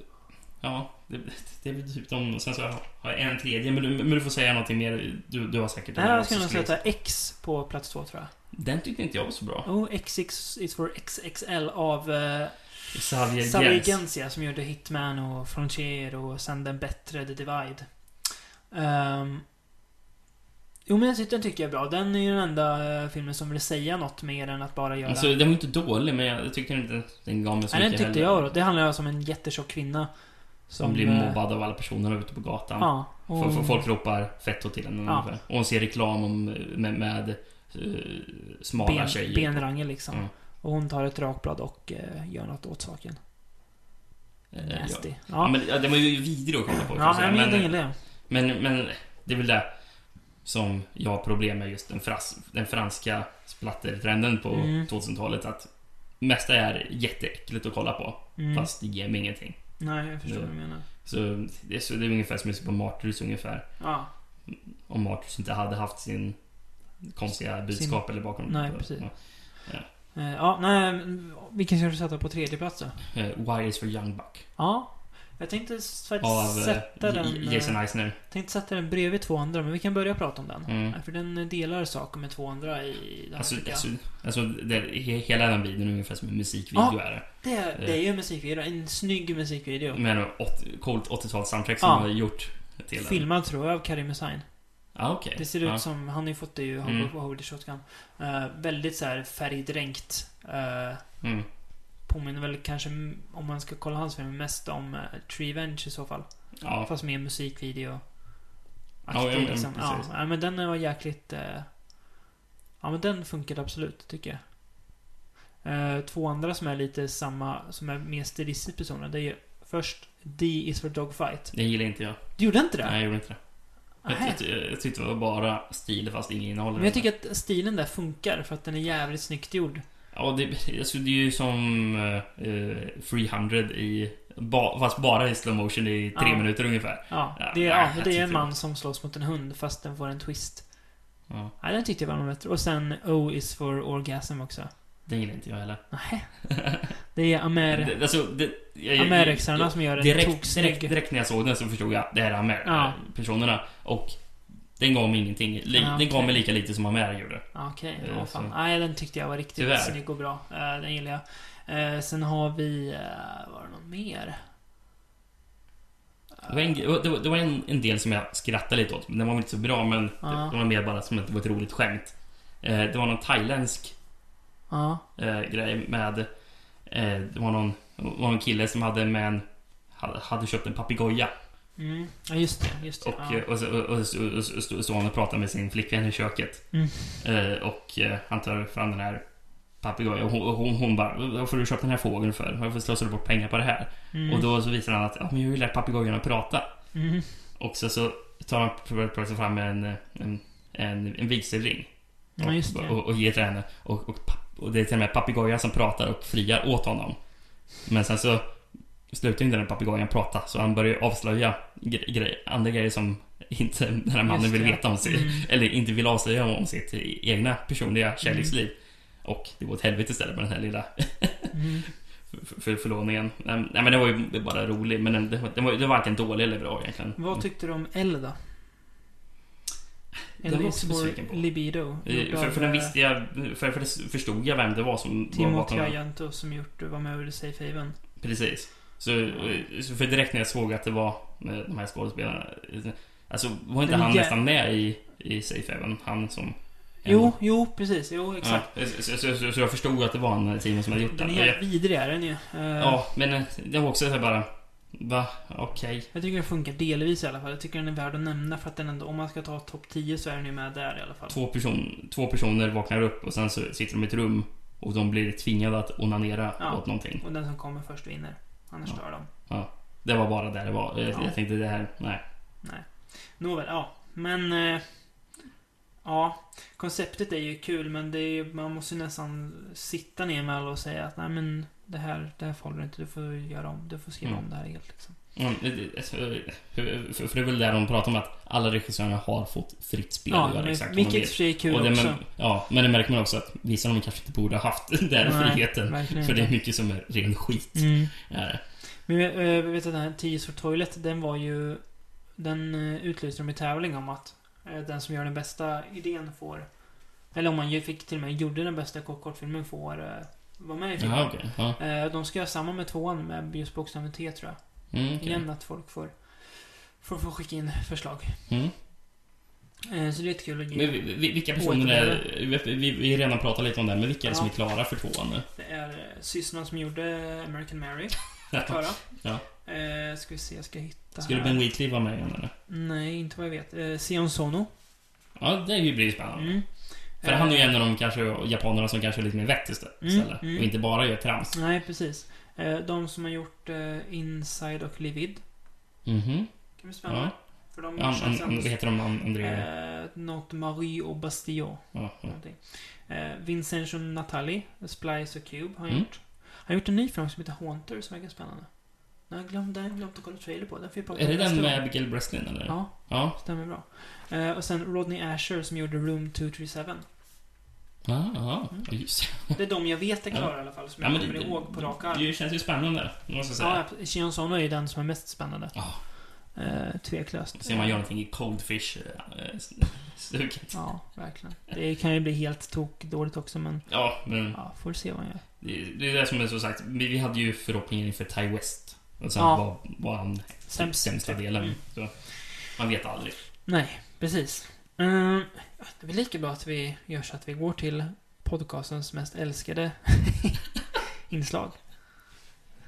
S4: ja, det, det är typ de... Sen så har jag en tredje, men du, men du får säga någonting mer. Du, du har säkert...
S3: Det här
S4: något
S3: skulle
S4: som
S3: jag nog sätta X på plats två tror jag.
S4: Den tyckte inte jag var så bra.
S3: Oh, XX is for XXL av eh,
S4: Xavier
S3: Xavier
S4: Gens.
S3: Gensia som gjorde Hitman och Frontier och sen den bättre The Divide. Ehm, jo men jag- den tycker jag är bra. Den är ju den enda eh, filmen som vill säga något mer än att bara göra...
S4: Alltså, den var inte dålig, men jag tyckte inte den gav mig så
S3: Nej, den
S4: mycket
S3: tyckte jag då. Det handlar alltså om en jättetjock kvinna.
S4: Som,
S3: som,
S4: blir
S3: eh,
S4: mobbad av alla personer ute på gatan.
S3: Ja. och-
S4: F- f- Folk ropar fetto till henne
S3: Ja.
S4: ungefär. Och hon ser reklam om, med, med eh, smala
S3: ben,
S4: tjejer.
S3: benrangel liksom.
S4: Mm.
S3: Och hon tar ett rakblad och eh, gör något åt saken.
S4: Eh, ja.
S3: Nasty.
S4: Ja,
S3: Ja,
S4: men ja, den var ju vidrig att kolla på. får jag
S3: ja
S4: säga.
S3: nej, men den
S4: men,
S3: gillar jag.
S4: men, men det är väl det som jag har problem med just den, fras, den franska splattertrenden på
S3: Mm.
S4: 2000-talet. Att mesta är jätteäckligt att kolla på.
S3: Mm.
S4: Fast det ger mig ingenting.
S3: Nej, jag förstår vad du menar.
S4: Så det, är- så det är ungefär som att se på Martyrs ungefär.
S3: Ja,
S4: Om Martyrs inte hade haft sin konstiga budskap eller bakom.
S3: Nej, precis.
S4: Ja.
S3: Eh, Eh, ja, nej, men vilken ska du sätta på tredje plats då?
S4: Eh, Why is for Young Buck?
S3: Ja. Jag tänkte s- faktiskt
S4: Av eh,
S3: sätta den...
S4: J-
S3: eh,
S4: Jason Eisner.
S3: tänkte sätta den bredvid två andra, men vi kan börja prata om den.
S4: Mm.
S3: Eh, För den delar saker med två andra i det här
S4: Alltså,
S3: tycker jag.
S4: alltså, alltså det, he- hela den videon är ungefär som en musikvideo
S3: Ja.
S4: är det.
S3: Det,
S4: eh.
S3: är- det är ju en musikvideo. En snygg musikvideo.
S4: Med en åt- coolt 80-tals soundtrack som
S3: Ja.
S4: har gjort till den.
S3: Filmad tror jag av Karim Hussein.
S4: Ja, okej.
S3: Det ser ut
S4: ja.
S3: som, han har ju fått det ju,
S4: Mm.
S3: mm. Holy Shotgun. Eh, väldigt så här färgdränkt. Eh,
S4: Mm.
S3: påminner väl kanske, m- om man ska kolla hans film, mest om uh, Tree Venge i så fall.
S4: Ja.
S3: Fast mer musikvideo.
S4: Ja,
S3: Ja,
S4: ja, men
S3: liksom. ja,
S4: precis.
S3: ja, men den var jäkligt... eh, ja, men den funkade absolut, tycker jag. Eh, två andra som är lite samma, som är mer stilistiskt personer, det är ju först D is for Dogfight.
S4: Det gillar inte jag.
S3: Du gjorde inte det?
S4: Nej, jag gjorde inte det. Jag,
S3: Nähä.
S4: jag, ty- jag tyckte det var bara stil fast ingen innehåll.
S3: Men jag tycker att stilen där funkar för att den är jävligt snyggt gjord.
S4: Ja, det, alltså, det är ju som eh, 300 i... Ba, fast bara i slow motion i tre
S3: Ja.
S4: minuter ungefär.
S3: Ja,
S4: Ja,
S3: det är,
S4: nej,
S3: ja,
S4: jag
S3: det är
S4: tyckte-
S3: en man som slåss mot en hund fast den får en twist.
S4: Ja,
S3: Ja, den tyckte jag var nog bättre. Och sen O is for Orgasm också.
S4: det gillar inte jag heller.
S3: Nähä. Det är Amer,
S4: Det, alltså, det, jag, jag-
S3: Amerexarna som gör den
S4: direkt, direkt,
S3: toksnygg.
S4: direkt när jag såg den så förstod jag det här är Amer, eh,
S3: Ja.
S4: personerna. Och den gav mig ingenting. Li,
S3: Ja,
S4: Den gav
S3: okej.
S4: mig lika lite som Amer gjorde.
S3: Ja, Okej,
S4: Eh,
S3: ja
S4: så.
S3: fan. Nej, den tyckte jag var riktigt
S4: Tyvärr.
S3: snygg och bra. Eh, Den gillar jag. Eh, Sen har vi... eh, Var det någon mer? Eh,
S4: Det var, en, det var, det var en, en del som jag skrattade lite åt. men Den var väl inte så bra men det,
S3: Ja.
S4: det var mer bara som att det var ett roligt skämt. Eh, det var någon thailändsk
S3: Ja.
S4: eh, grej med... Eh, det var någon, det var någon kille som hade med en... Hade, hade köpt en papegoja.
S3: Mm. Ja, just det. Just det.
S4: Och,
S3: ja.
S4: eh, och, så- och, och, så- och, så- och, så står han och pratar med sin flickvän i köket.
S3: Mm.
S4: Eh, och eh, han tar fram den här papegojan och hon, och hon, hon bara Varför har du köpt den här fågeln för? Varför slösar du bort pengar på det här?
S3: Mm.
S4: Och då så visar han att ja, men jag har ju lärt papegojan att prata.
S3: Mm.
S4: Och så, så tar han pr- plötsligt fram en, eh, en, en, en vigselring.
S3: Ja, just det.
S4: Och, och, och ger till henne. Och, och, pa- och det är till och med papegojan som pratar och friar åt honom. Men sen så slutar ju inte den papegojan prata så han börjar ju avslöja gre- gre- andra grejer som inte den här mannen
S3: Just
S4: vill
S3: det.
S4: veta om sig.
S3: Mm.
S4: Eller inte vill avslöja om sitt egna personliga kärleksliv. Och det går åt helvete istället med den här lilla
S3: Mm.
S4: för, för förlåningen. Nej men det var ju bara rolig men den, den, var, den var ju varken dålig eller bra egentligen.
S3: Vad tyckte du om L då?
S4: Den
S3: L
S4: var jag
S3: is
S4: också besviken
S3: for
S4: på.
S3: Libido.
S4: Eh, För, för den visste jag, för, för det förstod jag vem det var som var bakom
S3: Timothy
S4: den.
S3: Ayanto som gjort eh, var med ur Safe Haven.
S4: Precis. Så, eh, så för direkt när jag såg att det var eh, de här skådespelarna. eh, Alltså var inte
S3: Men
S4: han
S3: jä-
S4: nästan med i, i Safe Haven? Han som...
S3: Jo, jo precis. Jo,
S4: Ja,
S3: exakt.
S4: så, så, så, så jag förstod att det var en Simon som hade gjort
S3: Den
S4: den.
S3: är
S4: Och jag,
S3: helt vidrig är den ju. Eh,
S4: ja, men eh, det var också så här bara... Va? Okej.
S3: Jag tycker den funkar delvis i alla fall. Jag tycker den är värd att nämna för att den ändå, om man ska ta topp 10 så är den ju med där i alla fall.
S4: Två, person, två personer vaknar upp och sen så sitter de i ett rum och de blir tvingade att onanera
S3: Ja.
S4: åt någonting.
S3: Och den som kommer först vinner. Annars
S4: Ja.
S3: dör de.
S4: Det var bara där det var. Jag,
S3: Ja.
S4: jag tänkte det här, nej.
S3: Nåväl, ja. Men... Eh, ja. Konceptet är ju kul men det är, ju- man måste ju nästan sitta ner med alla och säga att nej men det här, det här håller inte. Du får göra om. Du får skriva
S4: Mm.
S3: om det här helt liksom.
S4: Mm, det- det- för, för för det är väl där de pratar om att alla regissörer har fått fritt spel
S3: Ja,
S4: att göra
S3: men-
S4: exakt vad de
S3: vilket i
S4: vill.
S3: och för sig är kul
S4: Och det,
S3: också.
S4: men, ja, men det märker man också att vissa av dem kanske inte borde ha haft den
S3: Nej,
S4: friheten.
S3: verkligen
S4: För det är
S3: inte.
S4: mycket som är ren skit.
S3: Mm.
S4: Ja, det.
S3: Men jag, jag vet att den här 10 sort toilet, den var ju... Den eh, utlyste de i tävling om att eh, den som gör den bästa idén får... Eller om man ju fick till och med gjorde den bästa kort- kortfilmen får eh, vara med i filmen.
S4: Jaha, okej. Ja.
S3: Eh, De ska göra samma med tvåan med just bokstaven T tror jag.
S4: Mm, okej.
S3: Igen att folk får, får, får skicka in förslag.
S4: Mm.
S3: Eh, Så det är ett kul att
S4: Men
S3: ge.
S4: vi- vi- vilka personer är... Vi, vi, vi har redan pratat lite om det, här, men vilka är det som är
S3: Ja.
S4: klara för tvåan nu?
S3: Det är eh, systrarna som gjorde American Mary. Klara.
S4: Ja.
S3: Eh, Ska vi se, jag ska hitta
S4: Skulle
S3: här.
S4: Ben Wheatley vara med igen eller?
S3: Nej, inte vad jag vet. Eh, Sion Sono.
S4: Ja, det är ju blir spännande.
S3: Mm. Eh,
S4: För han är ju en av de kanske japanerna som kanske är lite mer vett istället.
S3: Mm, mm.
S4: Och inte bara gör trams.
S3: Nej, precis. Eh, De som har gjort eh, Inside och Livid. Mm,
S4: Mhm.
S3: Kan bli spännande.
S4: Ja.
S3: För de
S4: An,
S3: känns
S4: an, an, vad
S3: ändå...
S4: heter de? An, André?
S3: Eh, något Marie och Bastillon.
S4: Ja, ja.
S3: Någonting. Eh, Vincenzo Natali, Splice och Cube har han
S4: Mm.
S3: gjort. Han har gjort en ny film som heter Haunter som verkar spännande. Nej, jag glömde, jag glömde att kolla trailer på. Den får vi prata
S4: Är
S3: om
S4: det
S3: nästa
S4: den med
S3: gång.
S4: Abigail Breslin eller?
S3: Ja,
S4: Ja.
S3: stämmer bra. Eh, och sen Rodney Asher som gjorde Room 237.
S4: Ja, ja, ja, just det.
S3: Det är de jag vet är klara i alla fall, som
S4: ja,
S3: jag
S4: men
S3: kommer ihåg på rak arm.
S4: Det känns ju spännande, måste jag säga.
S3: Ja, Shion är ju den som är mest spännande.
S4: Ja.
S3: Eh, tveklöst.
S4: Se om man gör någonting i eh, Coldfish-stuket.
S3: Ja, verkligen. Det kan ju bli helt tokdåligt också, men
S4: Ja, men
S3: ja, får se vad han gör.
S4: det det är det som är så sagt. Vi vi hade ju förhoppningar inför Ty West. Alltså,
S3: Ja.
S4: var, var han typ
S3: Sämst.
S4: sämsta delen.
S3: Mm.
S4: Så, man vet aldrig.
S3: Nej, precis.
S4: Mm.
S3: Ehm, det är väl lika bra att vi gör så att vi går till podcastens mest älskade inslag.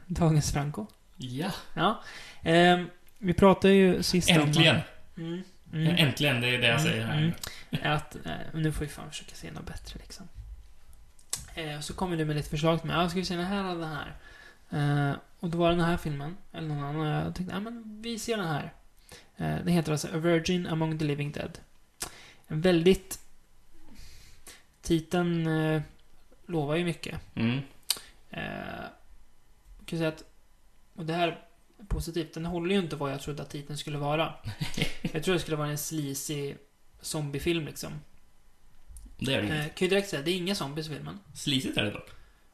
S3: Dagens Franco.
S4: Ja,
S3: Ja. Ehm, vi pratade ju sist
S4: äntligen!
S3: om... Mm, mm.
S4: Äntligen, det är det jag säger här.
S3: Mm. är att eh, nu får vi fan försöka se något bättre liksom. Eh, och så kommer du med lite förslag till mig. Ja, ska vi se den här eller den här? Eh, och då var det den här filmen, eller någon annan, och jag tänkte, ja men vi ser den här. Eh, den heter alltså A Virgin Among the Living Dead. En väldigt... Titeln eh, lovar ju mycket.
S4: Mm.
S3: Eh, jag kan säga att, och det här är positivt, den håller ju inte vad jag trodde att titeln skulle vara. jag tror det skulle vara en sleazy zombiefilm liksom.
S4: Det är det
S3: Eh,
S4: ju.
S3: kan ju direkt säga, det är inga zombies i filmen.
S4: Sliset är det dock.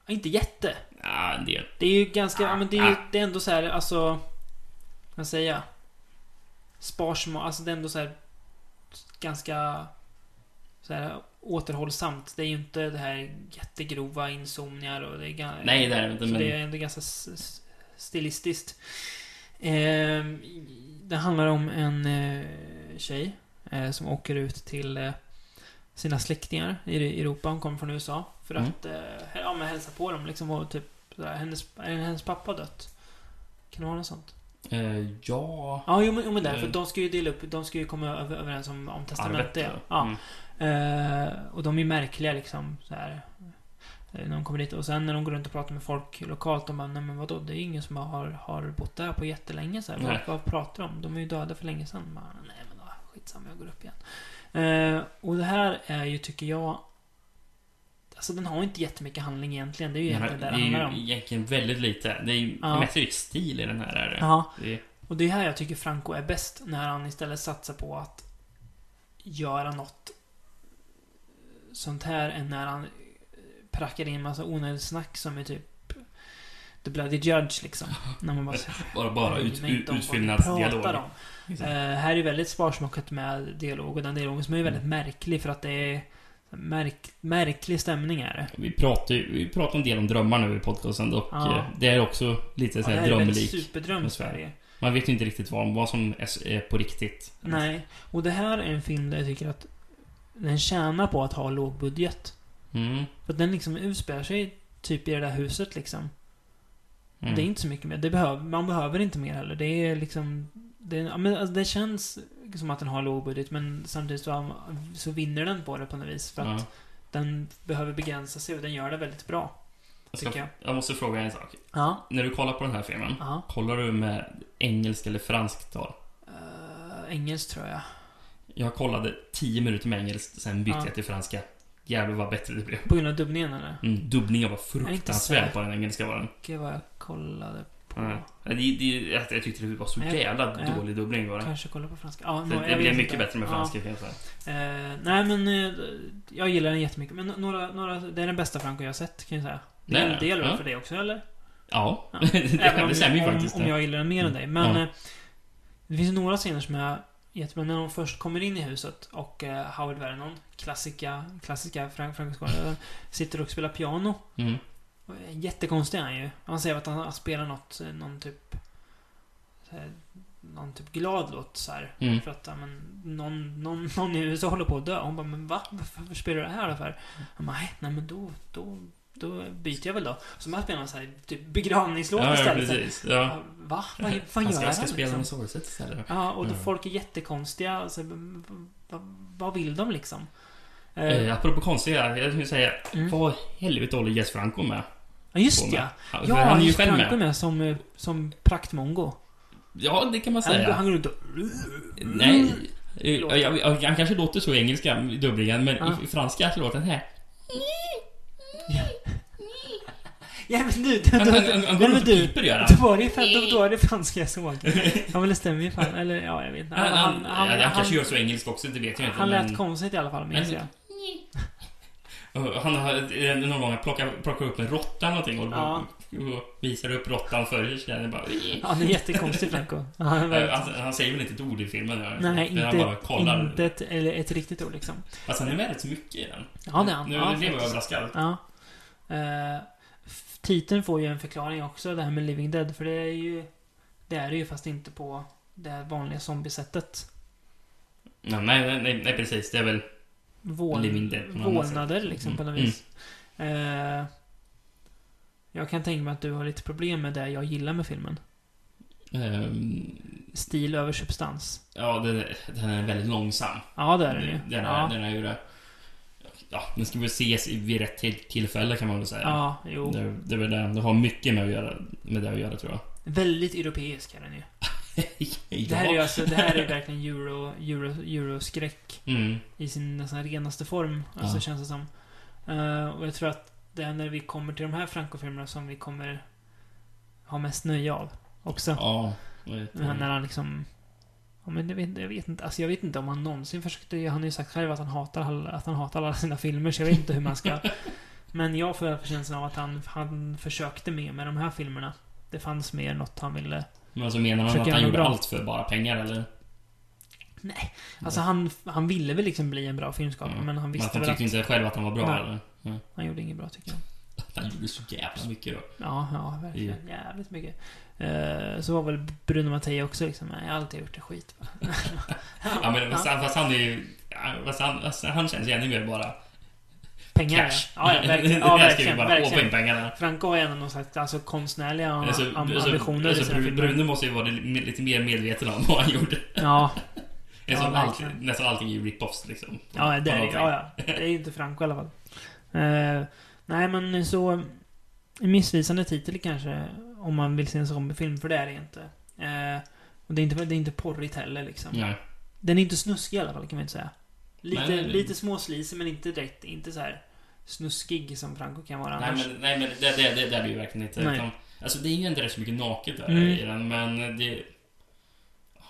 S3: Ja, inte jätte.
S4: Ja, en del.
S3: Det är ju ganska, ja, men det är ju,
S4: Ah.
S3: det är ändå så här, alltså... Vad ska jag säga? Sparsma, alltså det är ändå så här... Ganska... Så här återhållsamt. Det är ju inte det här jättegrova insomningar och det är ganska...
S4: Nej, det är det inte,
S3: Så
S4: men-
S3: det är ändå ganska s- s- stilistiskt. Ehm, det handlar om en eh, tjej eh, som åker ut till eh, sina släktingar i Europa. Hon kommer från USA. För
S4: Mm.
S3: att eh, ja, men hälsa på dem. Liksom, och typ, sådär, hennes, är hennes pappa dött? Kan det vara något sånt?
S4: Eh, ja...
S3: Ja, jo men, jo, men där. För
S4: Mm.
S3: de ska ju dela upp. De ska ju komma över, överens om, om testamentet. Ja.
S4: Arvet,
S3: Ja.
S4: Mm.
S3: Eh, och de är märkliga liksom. Så här. Eh, När de kommer dit. Och sen när de går runt och pratar med folk lokalt. De bara, nej men vadå? Det är ju ingen som har, har bott där på jättelänge. Så här. Vad,
S4: Nej.
S3: vad pratar de om? De är ju döda för länge sedan. Bara, nej men ah, skitsamma, jag går upp igen. Eh, och det här är ju, tycker jag... Alltså den har inte jättemycket handling egentligen. Det är ju
S4: Det
S3: egentligen det det handlar
S4: är ju
S3: om.
S4: egentligen väldigt lite. Det är ju
S3: Ja.
S4: mest är stil i den här. Är det.
S3: Ja.
S4: Det är,
S3: Och det är här jag tycker Franco är bäst, när han istället satsar på att göra något sånt här än när han eh, prackar in massa onödigt snack som är typ The Bloody Judge liksom. När man bara säger,
S4: bara bara ut,
S3: "Bryr mig
S4: ut,
S3: inte om vad ni
S4: utfyllnadsdialog.
S3: pratar om." Eh, här är det väldigt sparsmakat med dialog och den dialogen som är väldigt
S4: Mm.
S3: märklig för att det är märk, märklig stämning är det.
S4: Vi pratar ju vi pratar en del om drömmar nu i podcasten och
S3: Ja.
S4: eh, det är också lite så
S3: Ja, det
S4: här
S3: här är väldigt
S4: drömlik.
S3: superdröm i
S4: atmosfär.
S3: Sverige.
S4: Man vet ju inte riktigt vad, vad som är s- är på riktigt.
S3: Nej, och det här är en film där jag tycker att den tjänar på att ha låg budget.
S4: Mm.
S3: För att den liksom utspelar sig typ i det där huset liksom.
S4: Mm.
S3: Det är inte så mycket mer. Det behöver, man behöver inte mer heller. Det är liksom... Det, ja, men alltså, det känns som att den har låg budget men samtidigt så, så vinner den på det på något vis. För att
S4: Ja.
S3: den behöver begränsa sig och den gör det väldigt bra.
S4: Jag,
S3: Tycker
S4: ska,
S3: jag.
S4: jag måste fråga en sak.
S3: Ja.
S4: När du kollar på den här filmen,
S3: Ja.
S4: kollar du med engelskt eller franskt tal?
S3: Uh, engelskt tror jag.
S4: Jag kollade 10 minuter med engelskt, sen bytte
S3: Ja.
S4: jag till franska. Jävlar vad bättre det blev.
S3: På grund av dubbningen eller?
S4: Mm, dubbningen var
S3: är inte
S4: fruktansvärd
S3: så-
S4: på den engelska var den.
S3: Gud vad jag kollade på.
S4: Mm. Det, det, jag, jag tyckte det typ var så
S3: Nej,
S4: jävla
S3: ja.
S4: dålig dubbling var det.
S3: Kanske kolla på franska. Ja,
S4: Så
S3: nå, jag
S4: Det, det
S3: vet
S4: blev
S3: inte.
S4: mycket bättre med
S3: Ja.
S4: franska kan jag säga.
S3: Eh, nej men eh, jag gillar den jättemycket. Men några, några, det är den bästa Franco jag har sett kan jag säga. Det,
S4: Nej,
S3: det gäller väl
S4: ja.
S3: för dig också eller?
S4: Ja,
S3: Ja. Även
S4: det,
S3: om,
S4: det stämmer ju
S3: om,
S4: faktiskt.
S3: om jag gillar den mer än
S4: Mm.
S3: dig. Men
S4: Ja.
S3: eh, det finns några scener som jag jättebra. När de först kommer in i huset och eh, Howard Vernon, klassiska, klassiska Frank Franco-skådespelaren, sitter och spelar piano.
S4: Mm.
S3: Och är Jättekonstig är han ju. Han säger att han spelar något, eh, någon typ... så här, Någon typ glad låt så här.
S4: Mm.
S3: För att ja, men, någon, någon, någon i USA håller på att dö. Hon bara, men va? Varför, varför spelar du det här då för? Han bara, nej, nej men då, då, då byter jag väl då. Så man spelar en så här typ begravningslåt
S4: Ja, ja,
S3: istället.
S4: precis. Ja.
S3: Va? Vad, vad gör han?
S4: han ska, ska
S3: liksom?
S4: spela Mm. med sorgset istället.
S3: Ja, och då
S4: Ja.
S3: folk är jättekonstiga. Alltså, v- v- vad- vad vill de liksom? Eh,
S4: Eh, apropå konstiga, jag skulle säga,
S3: Mm.
S4: vad i helvete håller Jess Franco med?
S3: ja, just
S4: på
S3: ja.
S4: med? Han,
S3: Ja,
S4: för han är ju
S3: just
S4: själv
S3: Franco är
S4: med.
S3: med som, eh, som praktmongo.
S4: Ja, det kan man
S3: Han,
S4: säga.
S3: han Mm. går runt och...
S4: Nej. eh,
S3: Låter.
S4: jag- jag- Han kanske låter så i engelska, i dubbningen, men
S3: Ja.
S4: i i franska så låter han här.
S3: Ja, men du, då, då,
S4: Han- han- han- han
S3: nej,
S4: går
S3: men
S4: runt och
S3: du,
S4: piper, gör han.
S3: då var det ju fan, då, då är det franska jag såg. Ja, men det stämmer ju fan. Eller ja, jag vet inte.
S4: Han, han, han,
S3: han,
S4: kanske gör så engelsk också, det vet jag inte.
S3: han
S4: men-
S3: lät konstigt i alla fall, minns
S4: Men-
S3: jag.
S4: Och Han har eh, någon gång plockat, plockat upp en råtta eller någonting och,
S3: Ja.
S4: och visar upp råttan för tjejen. Bara, "Ih."
S3: Han är jättekonstig Franco. Ja, Han är
S4: Eh,
S3: väldigt...
S4: alltså, han säger väl inte ett ord i filmen? eller?
S3: Nej,
S4: Men Han bara
S3: inte,
S4: kollar.
S3: inte ett, eller ett riktigt ord liksom.
S4: Alltså han är med rätt så mycket i den.
S3: Ja, det är han.
S4: Nu
S3: Ja,
S4: blev jag
S3: faktiskt.
S4: överraskad.
S3: Ja. Eh, f- titeln får ju en förklaring också, det här med Living Dead. För det är ju... Det är det ju fast inte på det vanliga zombiesättet.
S4: Nej, nej, nej, nej, precis. Det är väl...
S3: Vål,
S4: Living Dead på något annat
S3: vålnader liksom på något
S4: Mm.
S3: vis. Eh, jag kan tänka mig att du har lite problem med det jag gillar med filmen.
S4: ehm,
S3: Stil över substans.
S4: ja, den, den är väldigt långsam.
S3: Ja, det är den ju.
S4: Den är,
S3: ja.
S4: den är ju det. Ja, den ska väl ses i- vid rätt till- tillfälle kan man väl säga.
S3: ja, jo.
S4: Det, det är väl den. Det har mycket med, att göra, med det att göra tror jag.
S3: Väldigt europeisk är den ju.
S4: ja.
S3: Det här är ju alltså, det här är verkligen euro, euro, euroskräck
S4: Mm.
S3: i sin nästan renaste form. Alltså
S4: Ja.
S3: känns det som. Eh, och jag tror att det är när vi kommer till de här Franco-filmerna som vi kommer ha mest nöje av också.
S4: Ja. vet
S3: Men han- När
S4: jag.
S3: han liksom... Ja, men jag, vet, jag, vet inte, alltså jag vet inte om han någonsin försökte... Han har ju sagt själv att han hatar, alla- att han hatar alla sina filmer, så jag vet inte hur man ska... Men jag får känslan av att han, han försökte mer med de här filmerna. Det fanns mer något han ville...
S4: Men alltså menar han
S3: Försöker
S4: att han
S3: han
S4: gjorde
S3: bra?
S4: allt för bara pengar eller?
S3: Alltså han, han ville väl liksom bli en bra filmskapare, men han
S4: Mm. Men
S3: visste
S4: han
S3: väl
S4: tyckte
S3: att...
S4: inte själv att han var bra
S3: Nej.
S4: eller? Ja.
S3: Han gjorde inget bra tycker jag.
S4: Han gjorde så jävla mycket då.
S3: Ja, ja, verkligen. Jävligt mycket. Eh, så var väl Bruno Mattei också liksom, nej, allt jag gjort är skit.
S4: Ja, men fast han, fast han är ju... ja, Fast han, fast han känns ju ännu mer bara
S3: Pengar.
S4: cash.
S3: Ja, ja, verkligen. Ja,
S4: Det här ska ju
S3: verkligen,
S4: bara få in
S3: verkligen.
S4: pengarna.
S3: Franco har ju ändå någon slags alltså, konstnärliga
S4: Alltså,
S3: am-
S4: alltså,
S3: ambitioner
S4: alltså,
S3: i sina
S4: Bru-
S3: filmer.
S4: Bruno måste ju vara li- lite mer medveten om vad han gjorde.
S3: Ja,
S4: Eftersom
S3: Ja,
S4: allt,
S3: verkligen.
S4: nästan allting är ju rip-offs liksom.
S3: ja, det är,
S4: På
S3: det. ja, ja. det är ju inte Franco i alla fall. Eh, nej, men så... En missvisande titel kanske, om man vill se en zombiefilm, för det är det inte. Eh, och det är inte, det är inte porrigt heller liksom.
S4: någonting. Ja.
S3: Den är inte snuskig i alla fall, kan man inte säga. Lite,
S4: Nej, men-
S3: lite småslisig, men inte direkt, inte så här snuskig som Franco kan vara
S4: Nej
S3: annars.
S4: men, nej, men det, det, det, det är det ju verkligen inte.
S3: Nej.
S4: Utan, alltså det är ju inte rätt så mycket naket där
S3: Mm.
S4: i den, men det...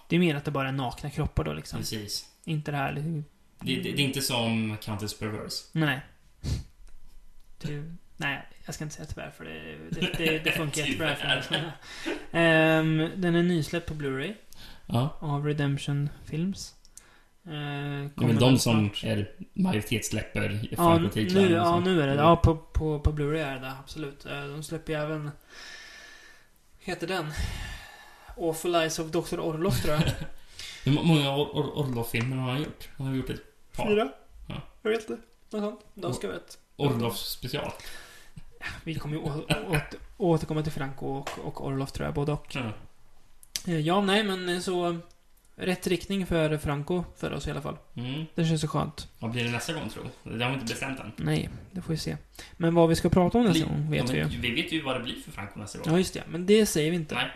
S3: Det är mer att det bara är nakna kroppar då liksom.
S4: Precis.
S3: Inte det här liksom,
S4: Det, det, det är inte som Countess Perverse.
S3: Nej. Du, nej, jag ska inte säga tyvärr för det, det, det, det funkar jättebra. För mig. Ehm, den är nysläppt på Blu-ray
S4: Ja.
S3: av Redemption Films. Uh,
S4: Det är väl de som är majoritetssläpper
S3: Ja,
S4: Franco-titlar liksom.
S3: nu,
S4: och
S3: ja,
S4: sånt.
S3: nu är det Ja, på, på, på Blu-ray är det absolut. Eh, De släpper ju även... Heter den? Awful Eyes of Dr. Orloff tror jag.
S4: Hur må- många Or- Or- Orloff-filmer har han gjort? Han har gjort ett par. Ja.
S3: Jag vet inte. Något sånt. De ska vara ett.
S4: Orloff-special.
S3: Vi kommer ju å, å, återkomma till Franco och, och Orloff tror jag, både och.
S4: Ja.
S3: Eh, Ja, nej, men eh, så... Rätt riktning för Franco, för oss i alla fall.
S4: Mm.
S3: Det känns så skönt.
S4: Vad blir det nästa gång tro? Det har vi inte bestämt än.
S3: Nej, det får vi se. Men vad vi ska prata om nästa gång vet
S4: ja,
S3: vi ju.
S4: men Vi vet ju vad det blir för Franco nästa gång.
S3: Ja, just det. Men det säger vi inte.
S4: Nej.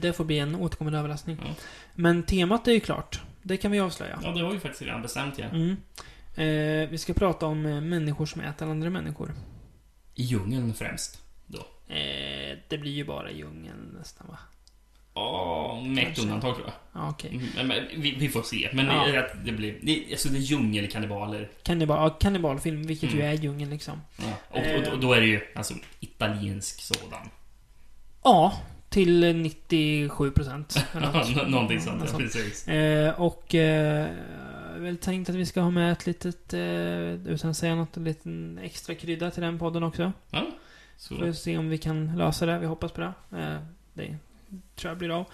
S3: Det får bli en återkommande överraskning.
S4: Ja.
S3: Men temat är ju klart. Det kan vi avslöja.
S4: Ja, det har vi faktiskt redan bestämt ja.
S3: Mm. Eh, vi ska prata om eh, människor som äter andra människor.
S4: I djungeln främst. Då.
S3: Eh, det blir ju bara djungeln nästan, va?
S4: Ja, med ett
S3: Kanske.
S4: undantag tror jag.
S3: Ja, okej.
S4: Mm, Men, men, vi, vi får se. Men
S3: Ja.
S4: det, att det blir... Det, alltså det är djungelkannibaler.
S3: Kannibal, ja, kannibalfilm, vilket
S4: Mm.
S3: ju är djungeln liksom.
S4: Och, och, och då är det ju alltså italiensk sådan.
S3: Ja, till eh, 97 procent.
S4: Nå- Någonting sånt, ja, precis.
S3: Eh, och eh, jag har väl tänkt att vi ska ha med ett litet, eh, utan att säga något, en liten extra krydda till den podden också. Får
S4: Så,
S3: se om vi kan lösa det. Vi hoppas på det. Eh, det tror jag blir av.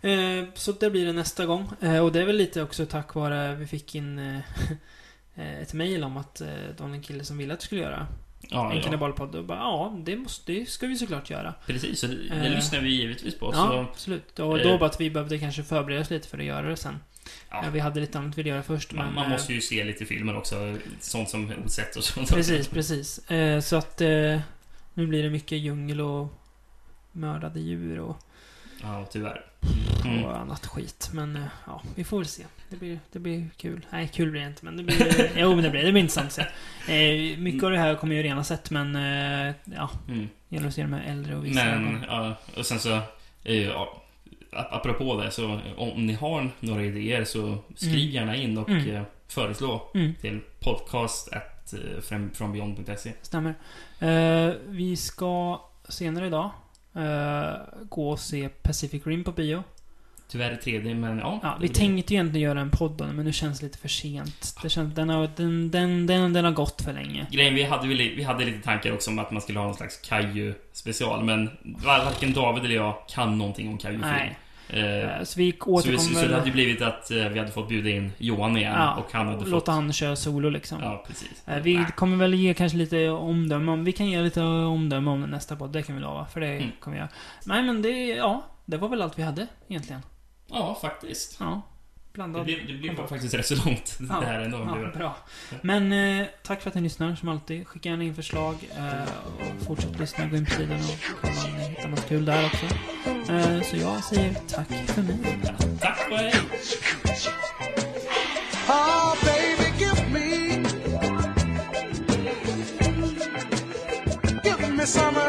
S3: Eh, så det blir det nästa gång. Eh, och det är väl lite också tack vare vi fick in eh, ett mejl om att eh, det var en kille som ville att vi skulle göra
S4: ja,
S3: en
S4: ja.
S3: kannibalpodd. Och bara, ja, det, måste, det ska vi såklart göra.
S4: Precis, så det, det
S3: Eh.
S4: lyssnar vi givetvis på.
S3: ja,
S4: Så,
S3: absolut. Och då
S4: eh,
S3: bara att vi behövde kanske förbereda oss lite för att göra det sen.
S4: ja,
S3: Eh, vi hade lite annat vi ville göra först.
S4: man,
S3: men,
S4: man
S3: eh,
S4: måste ju se lite filmer också. Sånt som är osett och sånt.
S3: Precis, precis. Eh, så att eh, nu blir det mycket djungel och mördade djur och
S4: Ja, tyvärr. Mm.
S3: och annat skit. Men eh, ja, vi får väl se. Det blir, det blir kul. Nej, kul blir det inte, men det blir... jo, men det blir, det blir intressant att se. Eh, mycket av det här kommer ju redan ha sett, men eh, ja,
S4: Mm.
S3: gäller att se det med äldre och vissa
S4: Men,
S3: ögon.
S4: ja, och sen så... eh, Ja, ap- apropå det, så om ni har några idéer så skriv
S3: Mm.
S4: gärna in och
S3: Mm.
S4: eh, föreslå
S3: Mm.
S4: till podcast at att eh, fram- från beyond.se.
S3: Stämmer. Eh, vi ska senare idag eh, gå och se Pacific Rim på bio.
S4: Tyvärr i 3D, men ja.
S3: Ja,
S4: det
S3: vi
S4: blir-
S3: tänkte ju egentligen göra en podd om det, men nu känns det lite för sent. Det känns, den, har, den, den, den, den har gått för länge.
S4: Grejen, vi hade, väl- vi hade lite tankar också om att man skulle ha någon slags Kaiju-special, men varken David eller jag kan någonting om Kaiju-film.
S3: Nej.
S4: Eh,
S3: Eh, så vi
S4: så, vi- så,
S3: återkommer
S4: så det hade
S3: väl
S4: ju blivit att eh, vi hade fått bjuda in Johan igen
S3: Ja,
S4: och han hade
S3: och
S4: fått...
S3: låta han köra solo liksom.
S4: Ja, precis.
S3: Eh, Vi
S4: Nej.
S3: kommer väl ge kanske lite omdöme om... Vi kan ge lite omdöme om den nästa podd, det kan vi lova. För det
S4: Mm.
S3: kommer vi göra. Nej men det, ja. Det var väl allt vi hade egentligen.
S4: Ja, faktiskt.
S3: Ja.
S4: Det
S3: Blandad.
S4: blev, det blev faktiskt rätt så långt,
S3: Ja,
S4: det här ändå.
S3: Ja, bra. Men eh, tack för att ni lyssnar som alltid. Skicka gärna in förslag. Eh, och fortsätt lyssna, gå in på sidan och kolla om ni hittar något kul där också. Eh, så jag säger tack för mig.
S4: Tack och hej!
S5: Oh, baby, give me, give me some uh, oh, of Oh, uh, oh, Oh,